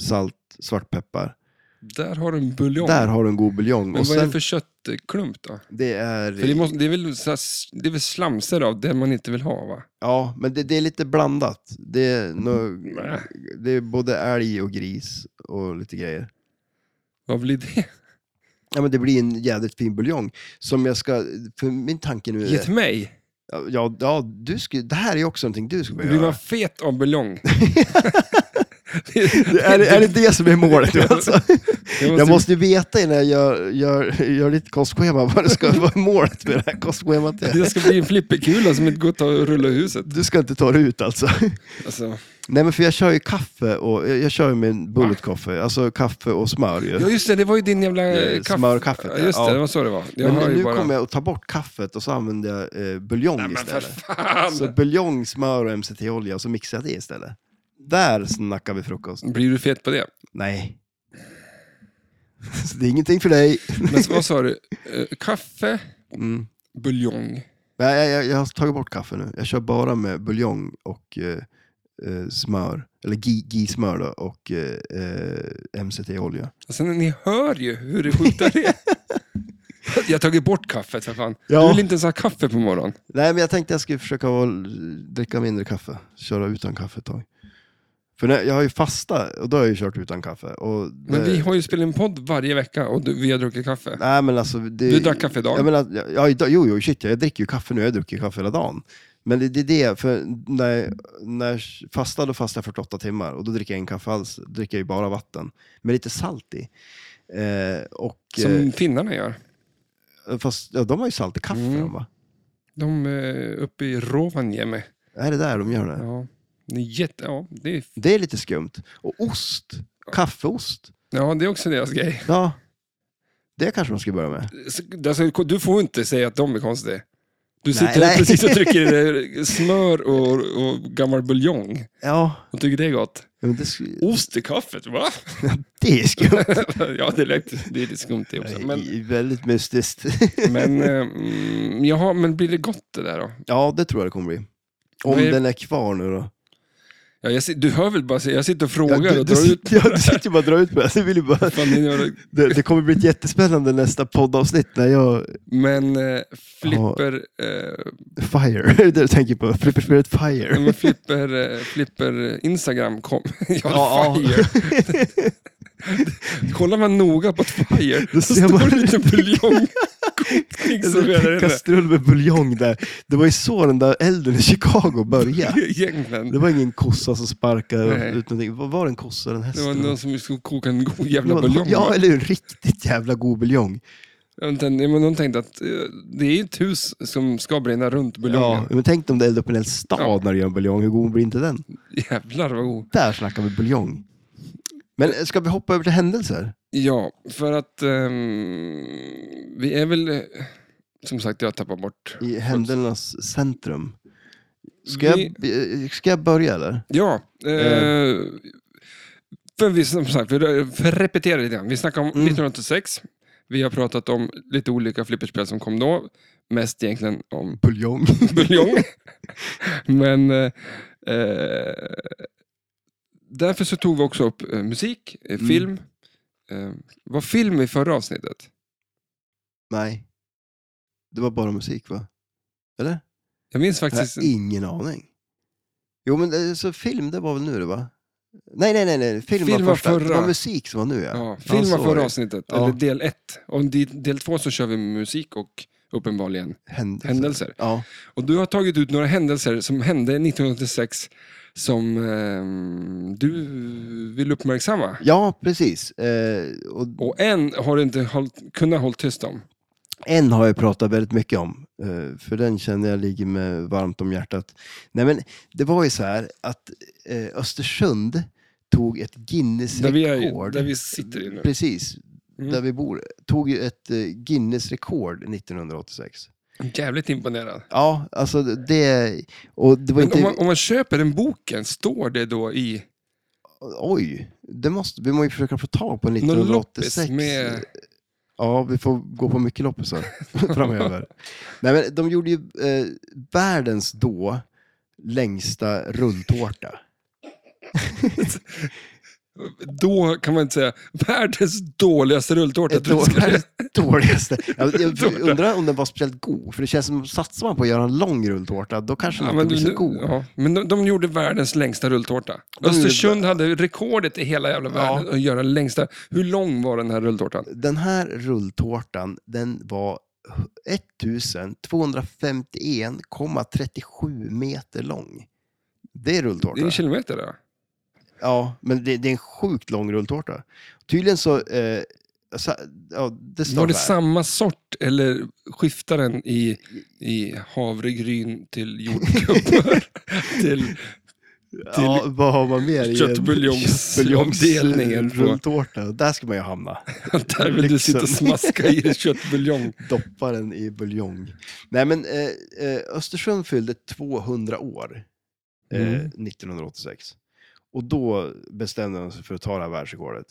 Speaker 2: salt, svartpeppar.
Speaker 1: Där har du en buljong.
Speaker 2: Där har du en god buljong.
Speaker 1: Men
Speaker 2: och
Speaker 1: vad är
Speaker 2: sen,
Speaker 1: det för köttklump då?
Speaker 2: det är,
Speaker 1: För det, måste, det, är väl, så här s- det är väl slamser av det man inte vill ha va?
Speaker 2: Ja, men det, det är lite blandat. Det är, nå-
Speaker 1: Nä.
Speaker 2: det är både älg och gris och lite grejer.
Speaker 1: Vad blir det?
Speaker 2: Ja, men det blir en jädrigt fin buljong. Som jag ska, för min tanke nu
Speaker 1: Ge
Speaker 2: är...
Speaker 1: till mig.
Speaker 2: Ja, ja du skulle, det här är också någonting du skulle
Speaker 1: Blir
Speaker 2: behöva
Speaker 1: man
Speaker 2: göra.
Speaker 1: fet av buljong?
Speaker 2: Är, det- är det det som är målet?
Speaker 1: Ja.
Speaker 2: Alltså?
Speaker 1: Jag måste,
Speaker 2: Jag måste ju veta innan jag gör, gör, gör ditt kostschema vad det ska vara målet med det här kostschemat. är.
Speaker 1: Det ska bli en flipperkula som inte går att ta och rulla i huset.
Speaker 2: Du ska inte ta det ut alltså.
Speaker 1: Alltså.
Speaker 2: Nej men för jag kör ju kaffe och jag jag kör ju min bullet coffee, alltså kaffe och smör ju.
Speaker 1: Ja just det, det var ju din jävla
Speaker 2: Eh,
Speaker 1: eh, kaff...
Speaker 2: smörkaffet,
Speaker 1: Ja, just det,
Speaker 2: ja.
Speaker 1: det var så det var. Jag har
Speaker 2: Men
Speaker 1: ju
Speaker 2: nu
Speaker 1: bara...
Speaker 2: kommer jag att ta bort kaffet och så använder jag eh, buljong
Speaker 1: Nej, men för
Speaker 2: istället.
Speaker 1: fan!
Speaker 2: Så buljong, smör och MCT-olja och så mixar jag det istället. Där snackar vi frukost.
Speaker 1: Blir du fet på det?
Speaker 2: Nej. Så det är ingenting för dig.
Speaker 1: Men så- vad sa du? Eh, Kaffe,
Speaker 2: Mm.
Speaker 1: buljong.
Speaker 2: Nej, jag, jag, jag har tagit bort kaffe nu. Jag kör bara med buljong och eh, eh, smör. Eller gi- gismör då och eh, eh, MCT-olja.
Speaker 1: Alltså, ni hör ju hur det sjukt det är. Jag har tagit bort kaffet för fan.
Speaker 2: Ja.
Speaker 1: Du vill inte ens ha kaffe på morgonen.
Speaker 2: Nej, men jag tänkte jag skulle försöka vara, dricka mindre kaffe. Köra utan kaffe ett tag. För när, jag har ju fasta och då har jag ju kört utan kaffe. Och
Speaker 1: Men
Speaker 2: det-
Speaker 1: vi har ju spelat in podd varje vecka och du, vi har druckit kaffe.
Speaker 2: Nej, men alltså, det,
Speaker 1: Du drack kaffe idag.
Speaker 2: Jag menar, ja, ja, idag- jo, jo, shit, jag dricker ju kaffe nu. Jag dricker ju kaffe hela dagen. Men det, det är det, för när, när jag fastar, då fastar jag 48 timmar och då dricker jag ingen kaffe alls. Då dricker jag ju bara vatten med lite salt i. Eh, och,
Speaker 1: Som finnarna gör.
Speaker 2: eh, fast ja, de har ju salt i kaffe,
Speaker 1: Mm.
Speaker 2: de, va?
Speaker 1: De eh, uppe i Rovaniemi.
Speaker 2: Är det där de gör det?
Speaker 1: Ja. Det är, jätte, ja, det är,
Speaker 2: Det är lite skumt. Och ost, kaffeost.
Speaker 1: ja, det är också deras grej.
Speaker 2: Ja, det kanske man ska börja med.
Speaker 1: Så- Alltså, du får inte säga att de är konstiga. Du sitter
Speaker 2: Nej, nej.
Speaker 1: precis och trycker i dig smör och, och gammal buljong
Speaker 2: Ja,
Speaker 1: och tycker det är gott.
Speaker 2: men det, sk-
Speaker 1: Ost i kaffet, va?
Speaker 2: det är skumt.
Speaker 1: ja, det lät, det är lite skumt det också. Men,
Speaker 2: Det är Väldigt mystiskt.
Speaker 1: men, eh, mm, jaha, men blir det gott det där då?
Speaker 2: Ja, det tror jag det kommer bli. Om
Speaker 1: Vad är-
Speaker 2: den är kvar nu då.
Speaker 1: Ja, jag, si- du hör väl bara, jag sitter och
Speaker 2: Ja,
Speaker 1: frågar
Speaker 2: du,
Speaker 1: och
Speaker 2: du,
Speaker 1: drar ut.
Speaker 2: sitter, ja, du sitter ju bara och drar ut på det. Jag vill ju bara,
Speaker 1: Fan, ni gör det.
Speaker 2: det, det kommer bli ett jättespännande nästa poddavsnitt när jag...
Speaker 1: Men eh, flipper, eh,
Speaker 2: Fire, det är det du tänker på. Flipperspelet Fire.
Speaker 1: men flipper, eh, flipper Instagram kom. ja,
Speaker 2: Ja,
Speaker 1: fire. Kollar man noga på ett fire,
Speaker 2: Då
Speaker 1: så
Speaker 2: ser
Speaker 1: står
Speaker 2: man-
Speaker 1: det en liten buljongkokning som är där
Speaker 2: En
Speaker 1: inne.
Speaker 2: kastrull Alltså, med buljong där. Det var ju så den där elden i Chicago började. Det
Speaker 1: Egentligen.
Speaker 2: var ingen kossa som sparkade
Speaker 1: Nej.
Speaker 2: ut någonting. Vad Var det en kossa eller en häst?
Speaker 1: Det var
Speaker 2: eller
Speaker 1: någon
Speaker 2: något?
Speaker 1: som skulle koka en god
Speaker 2: Det var-
Speaker 1: jävla buljong. va?
Speaker 2: Ja, eller hur? Riktigt jävla god buljong.
Speaker 1: Ja, men den- ja, men de tänkte att eh, det är ett hus som ska brinna runt
Speaker 2: Ja,
Speaker 1: buljongen.
Speaker 2: men tänk om det eldade upp en hel stad
Speaker 1: Ja.
Speaker 2: när du gör en buljong. Hur god blir inte den?
Speaker 1: Jävlar vad god.
Speaker 2: Där snackar vi buljong. Men ska vi hoppa över till händelser?
Speaker 1: Ja, för att ehm, vi är väl... eh, Som sagt, jag tappar bort.
Speaker 2: I händelsernas centrum. Ska,
Speaker 1: Vi-
Speaker 2: jag, eh, ska jag börja eller?
Speaker 1: Ja. Eh,
Speaker 2: Eh.
Speaker 1: För vi, som sagt, vi för repeterar lite grann. Vi snackar
Speaker 2: Mm.
Speaker 1: om 1986. Vi har pratat om lite olika flipperspel som kom då. Mest egentligen om
Speaker 2: Buljong.
Speaker 1: buljong. Men eh, eh, därför så tog vi också upp eh, musik, eh,
Speaker 2: Mm.
Speaker 1: film. Eh, var film i förra avsnittet?
Speaker 2: Nej. Det var bara musik va? Eller?
Speaker 1: Jag minns
Speaker 2: Jag
Speaker 1: faktiskt...
Speaker 2: har ingen aning. Jo men eh, så film det var väl nu det va? Nej, nej, nej, nej. Film,
Speaker 1: Film
Speaker 2: var
Speaker 1: var
Speaker 2: första. Det var
Speaker 1: förra.
Speaker 2: musik som var nu, ja.
Speaker 1: Ja,
Speaker 2: Ja, så
Speaker 1: filma
Speaker 2: var
Speaker 1: förra
Speaker 2: det.
Speaker 1: avsnittet,
Speaker 2: Ja.
Speaker 1: eller del ett. Och i del två så kör vi musik och uppenbarligen
Speaker 2: Händelser.
Speaker 1: händelser.
Speaker 2: Ja.
Speaker 1: Och du har tagit ut några händelser som hände 1986 som ehm, du vill uppmärksamma.
Speaker 2: ja, precis. Eh, och
Speaker 1: Och en har du inte hållt, kunnat hålla tyst om.
Speaker 2: En har jag pratat väldigt mycket om, eh, för den känner jag ligger mig varmt om hjärtat. Nej, men det var ju så här att eh, Östersund tog ett
Speaker 1: Där vi, är,
Speaker 2: Guinness-rekord.
Speaker 1: där vi sitter i nu.
Speaker 2: Precis,
Speaker 1: Mm.
Speaker 2: där vi bor. Tog ju ett eh, Guinness-rekord 1986.
Speaker 1: Jävligt imponerad.
Speaker 2: Ja, alltså det... Och det var
Speaker 1: Men
Speaker 2: inte...
Speaker 1: om, man, om man köper den boken, står det då i
Speaker 2: Oj, det måste... vi måste ju försöka få tag på
Speaker 1: någon loppis
Speaker 2: 1986.
Speaker 1: med...
Speaker 2: Ja, vi får gå på mycket loppisar framöver. Nej, men de gjorde ju eh, världens då längsta rundtårta.
Speaker 1: Då kan man inte säga världens dåligaste rulltårta.
Speaker 2: Ett
Speaker 1: tror jag ska-
Speaker 2: dåligaste- dåligaste. Jag, jag undrar om den var speciellt god, för det känns som satsar man på att göra en lång rulltårta, då kanske den
Speaker 1: Ja,
Speaker 2: inte
Speaker 1: men,
Speaker 2: blir så
Speaker 1: nu-
Speaker 2: god.
Speaker 1: ja, men de, de gjorde världens längsta rulltårta.
Speaker 2: De gjorde-
Speaker 1: Östersund hade rekordet i hela jävla världen att göra den längsta. Hur lång var den här rulltårtan?
Speaker 2: Den här rulltårtan, den var 1251,37 meter lång. Det är
Speaker 1: Det är
Speaker 2: rulltårta.
Speaker 1: en kilometer då.
Speaker 2: Ja, men det, det är en sjukt lång rulltårta. Tydligen så... Eh, så ja, det står
Speaker 1: Var det
Speaker 2: här.
Speaker 1: samma sort eller skiftar den i, i havregryn till jordgubbar? till,
Speaker 2: ja, vad har man mer? i en
Speaker 1: Köttbuljongs-
Speaker 2: köttbuljongsavdelningen
Speaker 1: avdelningen
Speaker 2: på-
Speaker 1: på-
Speaker 2: Rulltårta, där ska man ju hamna.
Speaker 1: där vill du sitta och
Speaker 2: Lyxen.
Speaker 1: smaska i köttbuljong.
Speaker 2: Doppa den i buljong. Nej, men eh, eh, Östersund fyllde 200 år eh,
Speaker 1: Mm.
Speaker 2: 1986. Och då bestämde de sig för att ta det här världsrekordet.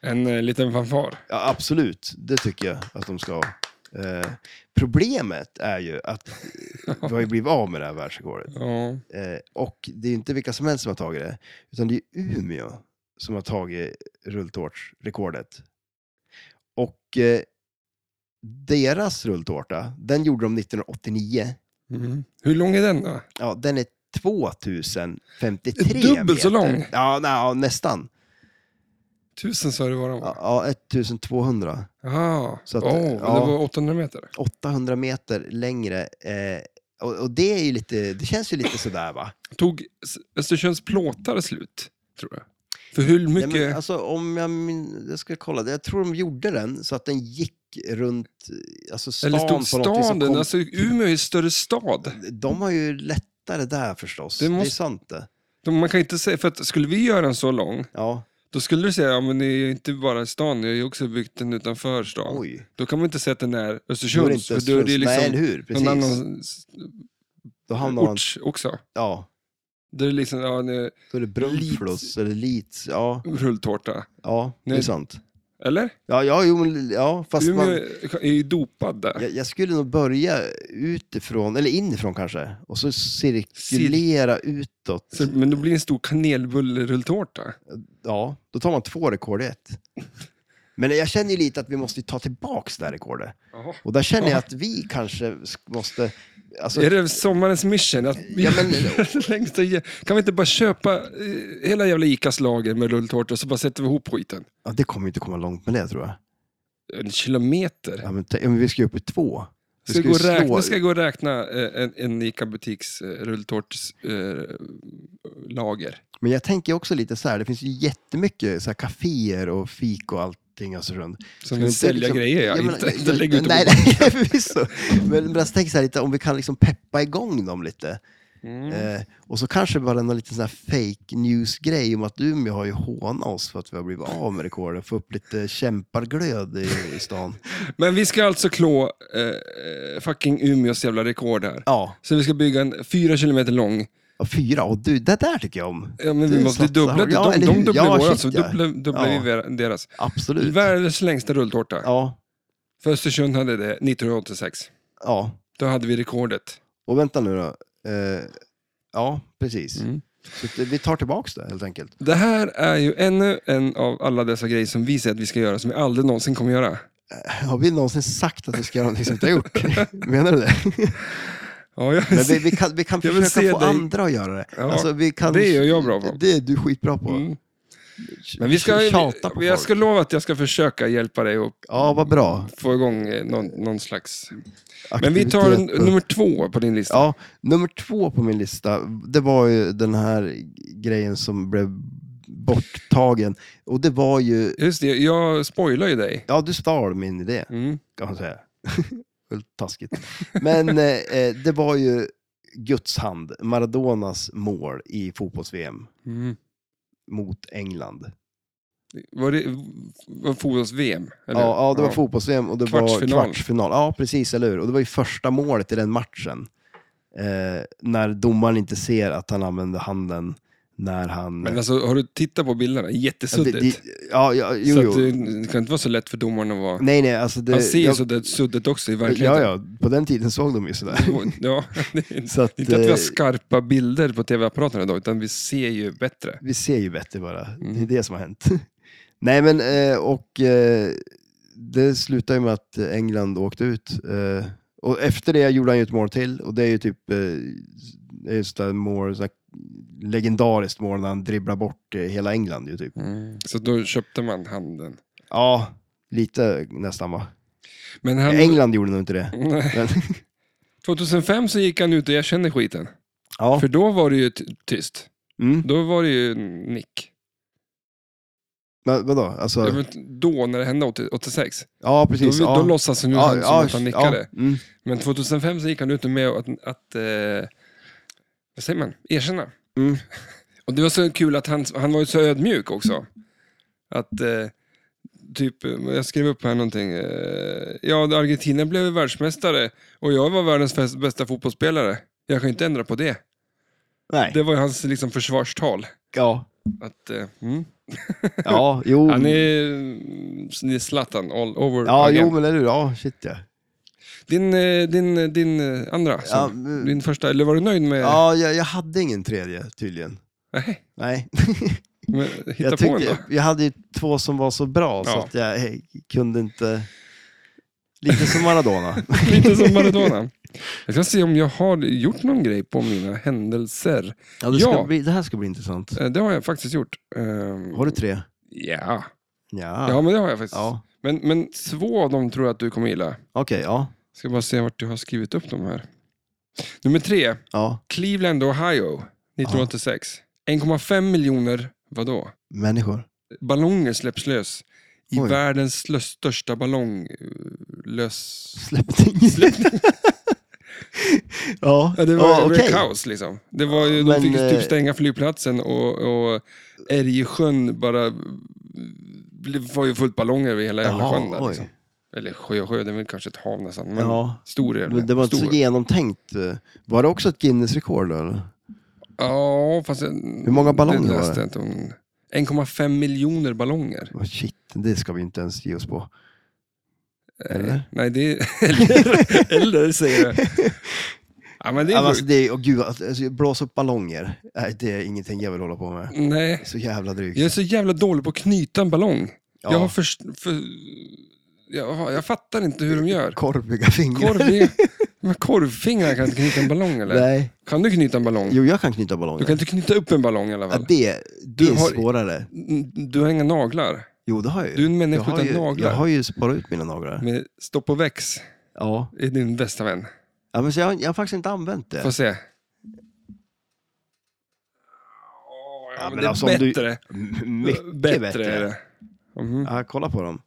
Speaker 1: En eh, liten fanfar.
Speaker 2: Ja, absolut, det tycker jag att de ska ha. Eh, problemet är ju att vi har ju blivit av med det här världsrekordet.
Speaker 1: Ja.
Speaker 2: Eh, och det är ju inte vilka som helst som har tagit det, utan det är Umeå som har tagit rulltårtsrekordet. Och eh, deras rulltårta, den gjorde de 1989.
Speaker 1: Mm. Hur lång är den då?
Speaker 2: Ja, den är 2053
Speaker 1: Dubbelt så
Speaker 2: meter.
Speaker 1: lång.
Speaker 2: Ja, nej, ja nästan.
Speaker 1: Tusen sa du vad den
Speaker 2: Ja,
Speaker 1: var.
Speaker 2: ja, 1200.
Speaker 1: Ja.
Speaker 2: Så att,
Speaker 1: Åh,
Speaker 2: ja.
Speaker 1: Det var 800 meter.
Speaker 2: 800 meter längre. Eh, och, och det är ju lite, det känns ju lite sådär va?
Speaker 1: Tog S- Östersunds plåtare slut, tror jag? För hur
Speaker 2: Nej,
Speaker 1: mycket...
Speaker 2: men alltså, om jag, min- jag ska kolla, jag tror de gjorde den så att den gick runt eh, alltså, stan
Speaker 1: Eller stod
Speaker 2: på något vis
Speaker 1: staden?
Speaker 2: som kom-
Speaker 1: Alltså, Umeå är en större stad.
Speaker 2: De har ju lättare där förstås, det,
Speaker 1: Det
Speaker 2: är
Speaker 1: måste-
Speaker 2: sant det.
Speaker 1: De- Man kan inte säga, för att skulle vi göra en så lång,
Speaker 2: Ja,
Speaker 1: då skulle du säga, ja men det är ju inte bara stan, ni har ju också byggt den utanför stan.
Speaker 2: oj.
Speaker 1: Då kan man inte säga att den är
Speaker 2: Då är det
Speaker 1: Östersunds,
Speaker 2: inte
Speaker 1: för då är det
Speaker 2: Östersunds. Nej,
Speaker 1: liksom
Speaker 2: eller hur? Precis.
Speaker 1: någon annan s-
Speaker 2: Då hamnar man,
Speaker 1: ort också.
Speaker 2: ja,
Speaker 1: Där det är liksom, ja, ni-
Speaker 2: då är det Brunflos eller Leeds. Ja,
Speaker 1: rulltårta.
Speaker 2: ja det är
Speaker 1: Nej.
Speaker 2: sant.
Speaker 1: Eller?
Speaker 2: Ja, ja, jo, men- ja fast
Speaker 1: Umeå
Speaker 2: man,
Speaker 1: är ju dopad där.
Speaker 2: jag, jag skulle nog börja utifrån, eller inifrån kanske, och så cirkulera utåt.
Speaker 1: Så, men då blir det en stor kanelbullerulltårta.
Speaker 2: Ja, då tar man två rekord i ett. Men jag känner ju lite att vi måste ju ta tillbaks det här rekordet.
Speaker 1: Jaha.
Speaker 2: Och där känner jag att vi kanske sk- måste... Alltså,
Speaker 1: Är det sommarens mission? Att vi
Speaker 2: Ja,
Speaker 1: ja,
Speaker 2: men-
Speaker 1: längsta, jä- kan vi inte bara köpa eh, hela jävla Icas lager med rulltårta och så bara sätter vi ihop skiten?
Speaker 2: ja, det kommer ju inte komma långt med det tror jag.
Speaker 1: En kilometer.
Speaker 2: Ja, men, tänk- ja, men vi ska ju upp i två. Vi
Speaker 1: Ska
Speaker 2: ska
Speaker 1: gå
Speaker 2: ju
Speaker 1: och räkna,
Speaker 2: slå-
Speaker 1: ska gå och räkna eh, en, en Ica-butiks eh, rulltårtslager. Eh, lager.
Speaker 2: Men jag tänker också lite så här, det finns ju jättemycket så här, kaféer och fik och allting alltså, i Östersund.
Speaker 1: som
Speaker 2: Ska vi
Speaker 1: vill
Speaker 2: inte
Speaker 1: sälja
Speaker 2: liksom-
Speaker 1: grejer, ja.
Speaker 2: Ja, men-
Speaker 1: inte, inte lägga ut
Speaker 2: Nej,
Speaker 1: dem.
Speaker 2: nej, förvisso. Men, men jag tänker så här lite, om vi kan liksom peppa igång dem lite.
Speaker 1: Mm.
Speaker 2: Eh, och så kanske bara en liten sån här fake news-grej om att Umeå har ju hånat oss för att vi har blivit av med rekordet. Få upp lite kämparglöd i, i stan.
Speaker 1: Men vi ska alltså klå eh, eh, fucking Umeås jävla rekord här.
Speaker 2: Ja,
Speaker 1: Så vi ska bygga en fyra kilometer lång.
Speaker 2: och fyra. Och du, det där tycker jag om.
Speaker 1: Ja, men
Speaker 2: Det
Speaker 1: vi
Speaker 2: är
Speaker 1: måste
Speaker 2: satsar
Speaker 1: dubbla.
Speaker 2: hårt. Ja,
Speaker 1: de,
Speaker 2: eller
Speaker 1: de
Speaker 2: hur?
Speaker 1: dubblar
Speaker 2: Ja,
Speaker 1: våra,
Speaker 2: shit,
Speaker 1: så
Speaker 2: ja.
Speaker 1: dubblar, dubblar
Speaker 2: Ja.
Speaker 1: vi ver- deras.
Speaker 2: Absolut.
Speaker 1: Världens längsta rulltårta.
Speaker 2: Ja,
Speaker 1: För Östersund hade det 1986.
Speaker 2: ja.
Speaker 1: Då hade vi rekordet.
Speaker 2: Och vänta nu då. Eh, ja, precis.
Speaker 1: Mm.
Speaker 2: Så att vi tar tillbaks det helt enkelt.
Speaker 1: Det här är ju ännu en av alla dessa grejer som vi säger att vi ska göra, som vi aldrig någonsin kommer göra.
Speaker 2: Har vi någonsin sagt att vi ska göra någonting som vi inte har gjort? Menar du det?
Speaker 1: Ja, jag
Speaker 2: Men vi, vi kan, vi kan
Speaker 1: Jag vill se
Speaker 2: försöka få
Speaker 1: dig.
Speaker 2: andra att göra det.
Speaker 1: Ja,
Speaker 2: alltså, vi kan,
Speaker 1: det är jag bra på.
Speaker 2: Det är du skitbra på.
Speaker 1: Mm. Men vi ska,
Speaker 2: Tjata på
Speaker 1: vi, jag
Speaker 2: folk.
Speaker 1: ska lova att jag ska försöka hjälpa dig att
Speaker 2: Ja, vad bra.
Speaker 1: få igång eh, någon, någon slags... Men vi tar en,
Speaker 2: Aktivitet och-
Speaker 1: nummer två på din lista.
Speaker 2: Ja, nummer två på min lista, det var ju den här grejen som blev borttagen. Och det var ju,
Speaker 1: Just det, jag spoilar ju dig.
Speaker 2: ja du stal min idé
Speaker 1: Mm.
Speaker 2: kan man säga. Väldigt taskigt. Men eh, eh, det var ju Guds hand, Maradonas mål i fotbolls-VM
Speaker 1: Mm.
Speaker 2: mot England.
Speaker 1: Var det var fotbolls-VM?
Speaker 2: Ja,
Speaker 1: eller?
Speaker 2: ja, det var fotbolls-VM och det var
Speaker 1: Kvartsfinal.
Speaker 2: kvartsfinal. Ja, precis, eller hur? Och det var ju första målet i den matchen. Eh, när domaren inte ser att han använder handen när han...
Speaker 1: Men alltså, har du tittat på bilderna?
Speaker 2: Ja, det-
Speaker 1: Jättesuddigt.
Speaker 2: det- ja, ja, jo,
Speaker 1: så
Speaker 2: jo.
Speaker 1: att det, det kan inte vara så lätt för domaren att vara...
Speaker 2: Nej, nej, alltså det...
Speaker 1: Han ser ju
Speaker 2: jag-
Speaker 1: så där suddigt också i verkligheten.
Speaker 2: Ja, ja, på den tiden såg de ju sådär.
Speaker 1: Ja, det är
Speaker 2: Så att,
Speaker 1: inte att vi har
Speaker 2: eh,
Speaker 1: skarpa bilder på tv-apparaterna idag, utan vi ser ju bättre.
Speaker 2: vi ser ju bättre bara. Det
Speaker 1: Mm.
Speaker 2: är det som har hänt. Nej, men eh, och eh, det slutade ju med att England åkte ut. Eh, och efter det gjorde han ju ett mål till och det är ju typ eh, det är ju sånt där mål, sånt där legendariskt mål när han dribblar bort eh, hela England ju typ.
Speaker 1: Så då köpte man handen.
Speaker 2: Ja, lite nästan va.
Speaker 1: Men han,
Speaker 2: England gjorde nog inte det.
Speaker 1: Nej.
Speaker 2: Men,
Speaker 1: 2005 så gick han ut och jag kände skiten.
Speaker 2: ja.
Speaker 1: För då var det ju ty- tyst.
Speaker 2: Mm.
Speaker 1: Då var det ju nick.
Speaker 2: Men, vadå? Alltså,
Speaker 1: Jag vet, då, när det hände 80 86,
Speaker 2: ja, precis.
Speaker 1: då,
Speaker 2: ja.
Speaker 1: då låtsas han ju
Speaker 2: ja,
Speaker 1: som
Speaker 2: ja,
Speaker 1: att han nickade.
Speaker 2: Ja, mm.
Speaker 1: Men 2005 så gick han ut med att, att eh, vad säger man, erkänna.
Speaker 2: Mm.
Speaker 1: Och det var så kul att han, han var ju så ödmjuk också. Att eh, typ, eh, jag skrev upp här någonting. Eh, ja, Argentina blev världsmästare och jag var världens fäst- bästa fotbollsspelare. Jag kan ju inte ändra på det.
Speaker 2: Nej.
Speaker 1: Det var ju hans liksom, försvarstal.
Speaker 2: Ja.
Speaker 1: Att, eh, mm.
Speaker 2: ja, jo.
Speaker 1: Han är, mm, det är Zlatan all over
Speaker 2: Ja,
Speaker 1: again.
Speaker 2: jo men eller hur. Ja, shit ja.
Speaker 1: Din, eh, din, eh, din eh, andra,
Speaker 2: Ja, mm.
Speaker 1: som,
Speaker 2: men-
Speaker 1: din första, eller var du nöjd med?
Speaker 2: Ja, jag, jag hade ingen tredje tydligen.
Speaker 1: Nej.
Speaker 2: Nej.
Speaker 1: Men, hitta
Speaker 2: jag,
Speaker 1: på en då.
Speaker 2: jag hade ju två som var så bra så
Speaker 1: Ja.
Speaker 2: att jag eh, kunde inte... Lite som Maradona.
Speaker 1: Lite som Maradona. Jag ska se om jag har gjort någon grej på mina händelser.
Speaker 2: Ja, det, ska
Speaker 1: Ja.
Speaker 2: Bli, det här ska bli intressant.
Speaker 1: Eh, Det har jag faktiskt gjort. Ehm,
Speaker 2: Har du tre?
Speaker 1: Ja,
Speaker 2: Ja.
Speaker 1: ja men det har jag faktiskt.
Speaker 2: Ah. ja.
Speaker 1: Men, men två av dem tror jag att du kommer gilla.
Speaker 2: Okej, ja.
Speaker 1: Ska bara se vart du har skrivit upp dem här. Nummer tre,
Speaker 2: ja.
Speaker 1: Cleveland, Ohio, 1986. 1,5 miljoner, vadå?
Speaker 2: Människor.
Speaker 1: Ballonger släpps lös i
Speaker 2: Oj.
Speaker 1: världens slö- största ballong... eh, Lös...
Speaker 2: Släppte ingen. ja,
Speaker 1: Ja, det var,
Speaker 2: ja,
Speaker 1: det var
Speaker 2: okej.
Speaker 1: kaos liksom. Det var ju,
Speaker 2: Ja,
Speaker 1: de
Speaker 2: men,
Speaker 1: fick ju
Speaker 2: eh,
Speaker 1: typ stänga flygplatsen och, och Ärjesjön bara... Det var ju fullt ballonger över hela jävla
Speaker 2: Jaha,
Speaker 1: sjön där.
Speaker 2: oj.
Speaker 1: Liksom. Eller sjö och sjö, det är väl kanske ett hav nästan. Men
Speaker 2: Ja.
Speaker 1: stor är
Speaker 2: Men det var inte
Speaker 1: stor.
Speaker 2: så genomtänkt. Var det också ett Guinness-rekord då? eller?
Speaker 1: Ja, fast...
Speaker 2: Hur många ballonger var
Speaker 1: det?
Speaker 2: det?
Speaker 1: läste jag inte om. 1,5 miljoner ballonger.
Speaker 2: Åh, shit, det ska vi inte ens ge oss på.
Speaker 1: Eh,
Speaker 2: Eller?
Speaker 1: Nej, det... Eller, eller säger jag. Ja, men det
Speaker 2: Det
Speaker 1: är
Speaker 2: alltså,
Speaker 1: sjukt.
Speaker 2: det är, åh gud, alltså, blåsa upp ballonger. Nej, det är ingenting jag vill hålla på med.
Speaker 1: Nej.
Speaker 2: Så jävla drygt.
Speaker 1: Jag är så jävla dålig på att knyta en ballong.
Speaker 2: Ja.
Speaker 1: Jag, har först, för, jag, har- jag fattar inte hur de gör.
Speaker 2: Korviga fingrar.
Speaker 1: Korv är, men korvfingrar kan inte knyta en ballong eller?
Speaker 2: Nej.
Speaker 1: Kan du knyta en ballong?
Speaker 2: Jo, jag kan knyta ballonger.
Speaker 1: Du kan inte knyta upp en ballong i alla
Speaker 2: ja,
Speaker 1: fall.
Speaker 2: det det
Speaker 1: Du
Speaker 2: är
Speaker 1: har-
Speaker 2: svårare.
Speaker 1: Mm, Du har inga naglar.
Speaker 2: Jo, det har jag ju.
Speaker 1: Du är en människa
Speaker 2: jag har
Speaker 1: utan
Speaker 2: ju,
Speaker 1: naglar.
Speaker 2: Jag har ju sparat ut mina naglar.
Speaker 1: Med stopp och väx
Speaker 2: Ja.
Speaker 1: är din bästa vän.
Speaker 2: ja men så jag, har- jag har faktiskt inte använt det.
Speaker 1: Får se. Åh, Ja, men det är
Speaker 2: alltså, om du-
Speaker 1: bättre.
Speaker 2: M- Mycket
Speaker 1: bättre.
Speaker 2: bättre.
Speaker 1: är det. Mhm.
Speaker 2: Ja, kolla på dem.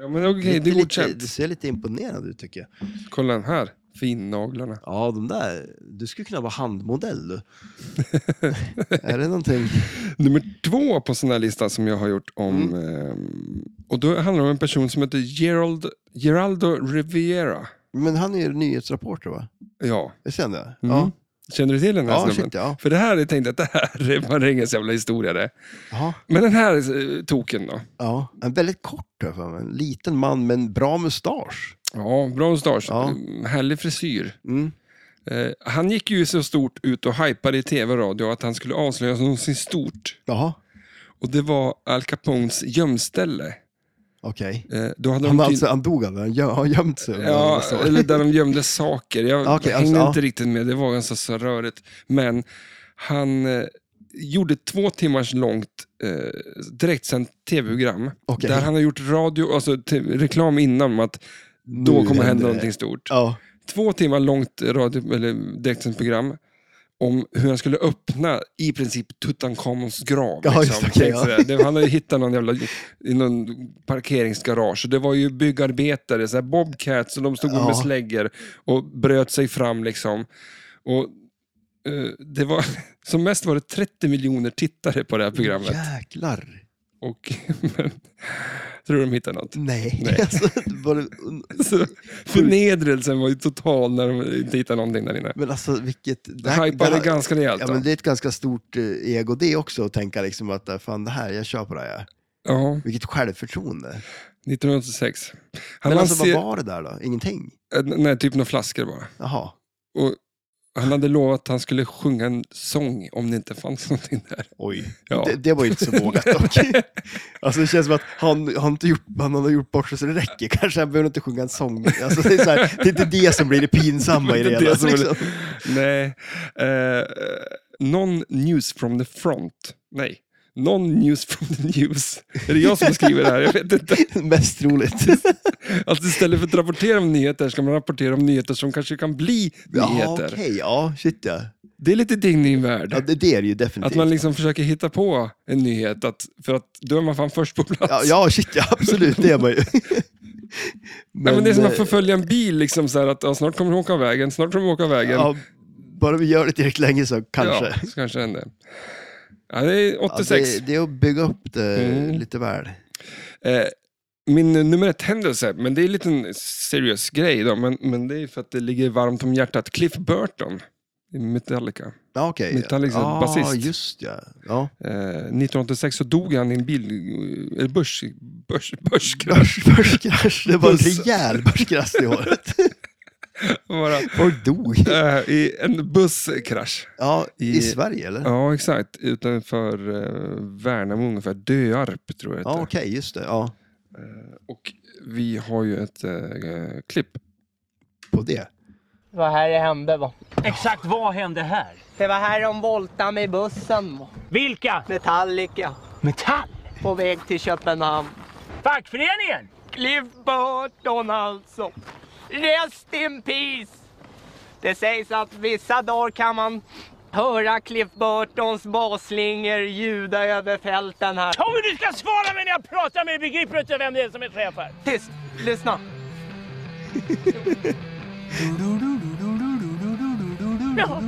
Speaker 1: Ja, men okej,
Speaker 2: Lite-
Speaker 1: det är
Speaker 2: lite-
Speaker 1: godkänt.
Speaker 2: Du ser lite imponerad ut tycker jag.
Speaker 1: Kolla den här. Finnaglarna.
Speaker 2: Ja, de där. Du skulle kunna vara handmodell du. är det någonting?
Speaker 1: Nummer två på sån här lista som jag har gjort om...
Speaker 2: Mm.
Speaker 1: Eh, och då handlar det om en person som heter Gerald, Geraldo Riviera.
Speaker 2: Men han är ju nyhetsrapporter va?
Speaker 1: Ja.
Speaker 2: Visst är han det?
Speaker 1: Mm.
Speaker 2: Ja.
Speaker 1: Känner du till den här
Speaker 2: Ja,
Speaker 1: snubben?
Speaker 2: shit, ja.
Speaker 1: För det här, jag tänkte att det här var ingen jävla historia det.
Speaker 2: Jaha.
Speaker 1: Men den här eh, token då.
Speaker 2: Ja, en väldigt kort har jag för mig. En liten man med en bra mustasch.
Speaker 1: Ja, bra mustasch.
Speaker 2: Ja.
Speaker 1: Mm, Härlig frisyr.
Speaker 2: Mm.
Speaker 1: Eh, han gick ju så stort ut och hypade i tv och radio att han skulle avslöjas någonsin stort.
Speaker 2: Jaha.
Speaker 1: Och det var Al Capones gömställe.
Speaker 2: Okej.
Speaker 1: Eh, Då hade de
Speaker 2: Han, var
Speaker 1: ty-
Speaker 2: alltså, han dog av det? Han gö- har gömt sig? under
Speaker 1: Ja,
Speaker 2: massa år.
Speaker 1: eller där de gömde saker. Jag
Speaker 2: Okej,
Speaker 1: hängde
Speaker 2: alltså,
Speaker 1: inte riktigt med, det var ganska så rörigt. Men han eh, gjorde två timmars långt eh, direktsänt tv-program.
Speaker 2: Okej.
Speaker 1: Där han har gjort radio, alltså te- reklam innan om att då kommer
Speaker 2: Nu
Speaker 1: hända
Speaker 2: händer det.
Speaker 1: någonting stort.
Speaker 2: ja.
Speaker 1: Två timmar långt radio, eller direktsänt program om hur han skulle öppna i princip Tutankhamons grav. liksom.
Speaker 2: Ja, just det, okej,
Speaker 1: Tänk sådär. Det- Han hade hittat någon jävla i någon parkeringsgarage. Och Det var ju byggarbetare, sådär bobcats, och de stod
Speaker 2: Ja.
Speaker 1: med slägger och bröt sig fram. liksom. Och eh, det var, Som mest var det 30 miljoner tittare på det här programmet.
Speaker 2: Jäklar.
Speaker 1: Och, men, tror du de hittade något?
Speaker 2: Nej.
Speaker 1: Nej.
Speaker 2: Alltså, det var det-
Speaker 1: Så, förnedrelsen var ju total när de inte hittade någonting där inne.
Speaker 2: men alltså vilket... Det
Speaker 1: Det hypade
Speaker 2: det här-
Speaker 1: ganska rejält.
Speaker 2: Ja,
Speaker 1: då.
Speaker 2: men det är ett ganska stort eh, ego det också, att tänka liksom att eh, fan det här, jag kör på det här.
Speaker 1: Ja,
Speaker 2: Vilket självförtroende.
Speaker 1: 1986. Han
Speaker 2: Men alltså
Speaker 1: lanser-
Speaker 2: vad var det där då? Ingenting?
Speaker 1: eh, Nej, typ några flaskor bara.
Speaker 2: Jaha.
Speaker 1: Och han hade lovat att han skulle sjunga en sång om det inte fanns någonting där.
Speaker 2: Oj.
Speaker 1: Ja.
Speaker 2: Det, det var ju inte så vågat dock. alltså det känns som att han, han, har inte gjort, han har gjort bort sig så det räcker. Kanske han behöver inte sjunga en sång. Alltså, det, är så här, det är inte det som blir det pinsamma i det
Speaker 1: Det är
Speaker 2: hela.
Speaker 1: det som är-
Speaker 2: liksom.
Speaker 1: Nej. Eh, non news from the front. Nej. Non news from the news. Är det jag som skriver det här? Jag vet inte.
Speaker 2: liksom. Mest roligt.
Speaker 1: Alltså istället för att rapportera om nyheter ska man rapportera om nyheter som kanske kan bli
Speaker 2: Ja,
Speaker 1: nyheter.
Speaker 2: okej. Ja, shit ja.
Speaker 1: Det är lite ding din värld.
Speaker 2: ja. Det, det är det ju definitivt.
Speaker 1: Att man liksom försöker hitta på en nyhet, att, för att då är man fan först på plats.
Speaker 2: ja, ja, shit ja. Absolut, det är man ju.
Speaker 1: Nej, men det är som att
Speaker 2: eh,
Speaker 1: förfölja en bil, liksom, så här, att ja, snart kommer de åka av vägen, snart kommer de åka av vägen.
Speaker 2: ja, bara vi gör det tillräckligt länge så kanske.
Speaker 1: Ja, så kanske det händer. Ja, det är 86.
Speaker 2: det, det är att bygga upp det
Speaker 1: Mm.
Speaker 2: lite väl.
Speaker 1: Eh, min eh, nummer ett-händelse, men det är en liten seriös grej, då, men, men det är för att det ligger varmt om hjärtat. Cliff Burton, i Metallica.
Speaker 2: Ja, okej.
Speaker 1: Metallica,
Speaker 2: ja,
Speaker 1: liksom, basist.
Speaker 2: just ja. ja.
Speaker 1: Eh, 1986 så dog han i en bil, eller börs, börs, börskrasch.
Speaker 2: Börs, börskrasch. Det var en
Speaker 1: Buss.
Speaker 2: rejäl börskrasch det året.
Speaker 1: Bara,
Speaker 2: Folk dog.
Speaker 1: eh, I en busskrasch.
Speaker 2: Ja, i,
Speaker 1: I-
Speaker 2: Sverige eller? Ja,
Speaker 1: Ja, exakt. Utanför eh, Värnamo ungefär. Döarp tror jag det heter.
Speaker 2: okej, just det. Ja,
Speaker 1: Och vi har ju ett eh, klipp.
Speaker 2: på det.
Speaker 3: Vad här det hände va?
Speaker 6: Exakt vad hände här?
Speaker 3: Det var här de voltade med bussen va?
Speaker 6: Vilka?
Speaker 3: Metallica.
Speaker 6: Metall?
Speaker 3: På väg till Köpenhamn.
Speaker 6: Fackföreningen?
Speaker 3: Cliff Burton alltså. Rest in peace. Det sägs att vissa dagar kan man höra Cliff Burtons basslingor ljuda över fälten här.
Speaker 6: Tommy du ska svara mig när jag pratar med dig! Begriper du inte vem det är som är chef här?
Speaker 3: Tyst, lyssna.
Speaker 6: Ja.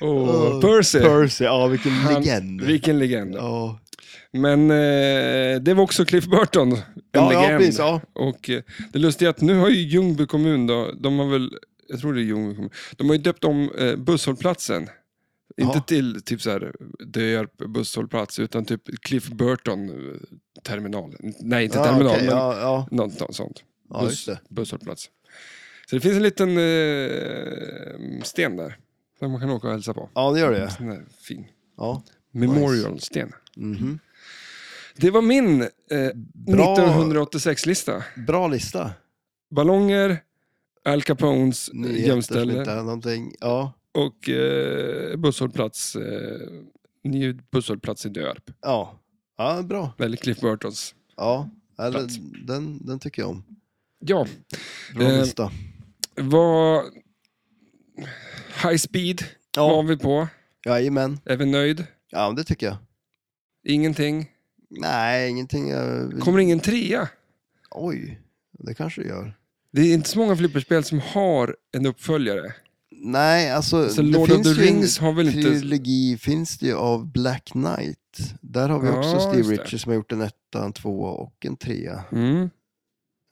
Speaker 1: Oh, Percy.
Speaker 2: Percy, ja vilken
Speaker 1: Han-
Speaker 2: legend.
Speaker 1: Vilken legend.
Speaker 2: Ja.
Speaker 1: Men eh, det var också Cliff Burton. En
Speaker 2: Ja, ja,
Speaker 1: legend.
Speaker 2: precis, ja.
Speaker 1: Och eh, det lustiga är att nu har ju Ljungby kommun, då, de har väl, jag tror det är Ljungby kommun, de har ju döpt om eh, busshållplatsen. Inte
Speaker 2: Ja.
Speaker 1: till typ så här Döjarp busshållplats, utan typ Cliff Burton eh, terminal. Nej, inte
Speaker 2: Ja,
Speaker 1: terminal,
Speaker 2: Ah, okej,
Speaker 1: men
Speaker 2: ja, ja.
Speaker 1: något, något sånt.
Speaker 2: Ja, just det.
Speaker 1: Busshållplats. Så det finns en liten eh, sten där, där man kan åka och hälsa på.
Speaker 2: ja, det gör det.
Speaker 1: Sån där fin.
Speaker 2: Ja.
Speaker 1: Memorial-sten.
Speaker 2: Mm-hmm.
Speaker 1: Det var min eh, 1986-lista.
Speaker 2: Bra lista.
Speaker 1: Ballonger, Al Capones eh,
Speaker 2: Nyheter som inte
Speaker 1: gömställe
Speaker 2: är någonting. Ja,
Speaker 1: och eh, busshållplats, eh, ny busshållplats i Döarp.
Speaker 2: ja. ja bra.
Speaker 1: Eller Cliff Burtons.
Speaker 2: Ja, eller,
Speaker 1: Plats.
Speaker 2: den, den tycker jag om.
Speaker 1: Ja,
Speaker 2: Bra
Speaker 1: Eh,
Speaker 2: lista.
Speaker 1: vad... High speed
Speaker 2: Ja.
Speaker 1: var vi på.
Speaker 2: Jajamän.
Speaker 1: Är vi nöjd?
Speaker 2: Ja, men det tycker jag.
Speaker 1: Ingenting.
Speaker 2: Nej, ingenting. Jag...
Speaker 1: Kommer ingen trea?
Speaker 2: Oj, det kanske det gör.
Speaker 1: Det är inte så många flipperspel som har en uppföljare.
Speaker 2: Nej, alltså,
Speaker 1: Så
Speaker 2: det
Speaker 1: Lord of
Speaker 2: finns
Speaker 1: the
Speaker 2: ju
Speaker 1: Rings
Speaker 2: en
Speaker 1: har väl inte-
Speaker 2: trilogi finns det ju av Black Knight. Där har vi
Speaker 1: Ja,
Speaker 2: också Steve
Speaker 1: just det.
Speaker 2: Richards som har gjort en etta, en tvåa och en trea.
Speaker 1: Mm.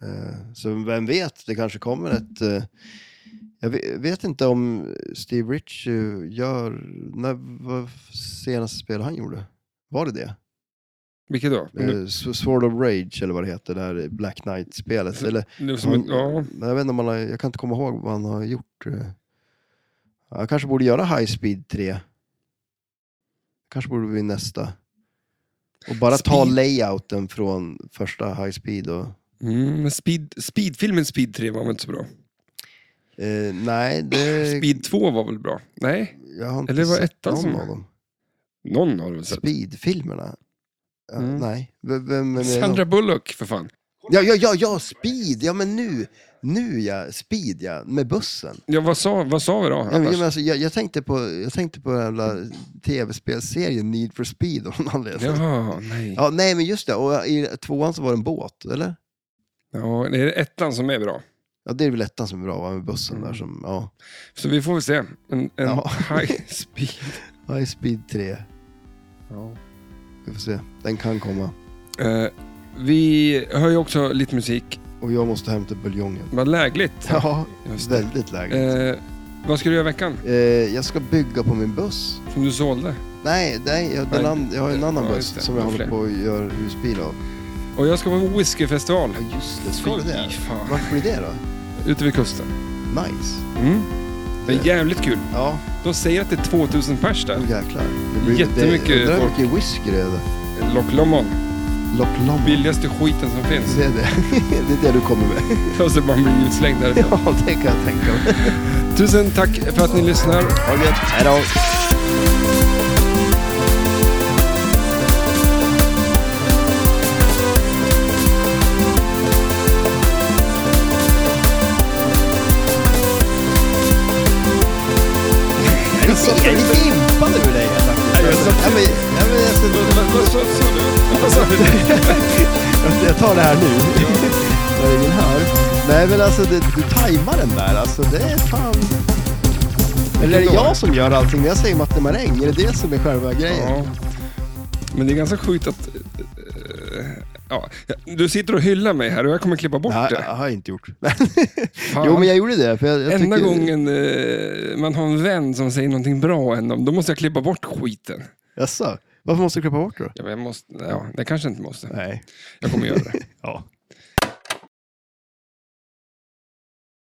Speaker 2: Eh, Så vem vet, det kanske kommer ett... eh, Jag ve- vet inte om Steve Rich eh, gör... När var senaste spel han gjorde? Var det det?
Speaker 1: Vilket då? Nu,
Speaker 2: Eh, S- Sword of Rage eller vad det heter, det här Black Knight-spelet. Eller
Speaker 1: nu som,
Speaker 2: han-
Speaker 1: ja.
Speaker 2: Nej, Jag, vet inte om han har, jag kan inte komma ihåg vad han har gjort. eh. Han kanske borde göra High Speed 3. Kanske borde vi nästa. Och bara ta
Speaker 1: Speed.
Speaker 2: layouten från första High Speed. Och,
Speaker 1: Mm, men speed, speedfilmen Speed 3 var väl inte så bra?
Speaker 2: eh, nej, det...
Speaker 1: Speed 2 var väl bra? Nej,
Speaker 2: Jag har inte
Speaker 1: Eller var
Speaker 2: sett
Speaker 1: ettan
Speaker 2: någon
Speaker 1: som-
Speaker 2: av dem.
Speaker 1: någon har du väl sett?
Speaker 2: Speed-filmerna? Ja,
Speaker 1: Mm.
Speaker 2: Nej. V- Vem, vem är det?
Speaker 1: Sandra Bullock för fan.
Speaker 2: Ja, ja, ja, ja, speed! Ja, men nu, nu ja, speed ja, med bussen.
Speaker 1: Ja, vad sa, vad sa vi då?
Speaker 2: Ja, men,
Speaker 1: annars?
Speaker 2: jag, men alltså, jag, jag tänkte på, jag tänkte på den jävla tv-spelserien Need for speed av någon anledning. Ja.
Speaker 1: Jaha, nej.
Speaker 2: nej men just det, och i tvåan så var det en båt, eller?
Speaker 1: Ja, det är ettan som är bra.
Speaker 2: Ja, det är väl ettan som är bra, va, med bussen där som, ja.
Speaker 1: Så vi får väl se. En, en
Speaker 2: Ja.
Speaker 1: high speed.
Speaker 2: High speed 3,
Speaker 1: Ja.
Speaker 2: vi får se, den kan komma.
Speaker 1: Eh, vi hör ju också lite musik.
Speaker 2: Och jag måste hämta buljongen.
Speaker 1: Vad lägligt.
Speaker 2: Ja,
Speaker 1: Just det.
Speaker 2: väldigt lägligt.
Speaker 1: Eh, vad ska du göra i veckan?
Speaker 2: Eh, jag ska bygga på min buss.
Speaker 1: Som du sålde?
Speaker 2: Nej, nej, jag, den
Speaker 1: Nej.
Speaker 2: an, jag har en annan
Speaker 1: Ja, just det.
Speaker 2: buss som jag
Speaker 1: Du har
Speaker 2: håller
Speaker 1: fler.
Speaker 2: på att göra husbil av.
Speaker 1: Och jag ska på whiskyfestival.
Speaker 2: Ja, just det,
Speaker 1: Skoj,
Speaker 2: skoj det.
Speaker 1: fan.
Speaker 2: Vart blir det då?
Speaker 1: Ute vid kusten.
Speaker 2: Nice.
Speaker 1: Mm. Det är jävligt kul.
Speaker 2: Ja,
Speaker 1: De säger att det är 2000 pers där.
Speaker 2: oh, jäklar.
Speaker 1: Jättemycket
Speaker 2: det, undrar hur
Speaker 1: folk.
Speaker 2: mycket whisky det är. där.
Speaker 1: Loch Lomond.
Speaker 2: Loch Lomond.
Speaker 1: Billigaste skiten som finns.
Speaker 2: Det är det. det är det du kommer med.
Speaker 1: Och så man blir utslängd därifrån.
Speaker 2: Ja, det kan jag tänka mig.
Speaker 1: Tusen tack för att ni lyssnar.
Speaker 2: Ha det gött. Hej då. Jag är lite impad över dig här faktiskt. Ja, men, ja, men, alltså,
Speaker 1: Vad sa du? Vad sa du?
Speaker 2: Alltså, jag tar det här nu. När ingen hör. Nej men alltså det, du tajmar den där alltså. Det är fan... Eller är det jag som gör allting när jag säger Matte Maräng? Är det det som är själva grejen?
Speaker 1: Ja. Men det är ganska sjukt att... eh, ja. Du sitter och hyllar mig här och jag kommer klippa bort
Speaker 2: Nej,
Speaker 1: det.
Speaker 2: jag har jag inte gjort.
Speaker 1: Fan.
Speaker 2: jo men jag gjorde det. För jag, jag
Speaker 1: Enda
Speaker 2: tycker,
Speaker 1: gången eh, man har en vän som säger någonting bra om då måste jag klippa bort skiten.
Speaker 2: Jaså? Varför måste du klippa bort det då?
Speaker 1: Ja, men jag måste, ja, det kanske jag inte måste.
Speaker 2: Nej.
Speaker 1: Jag kommer göra det.
Speaker 2: Ja.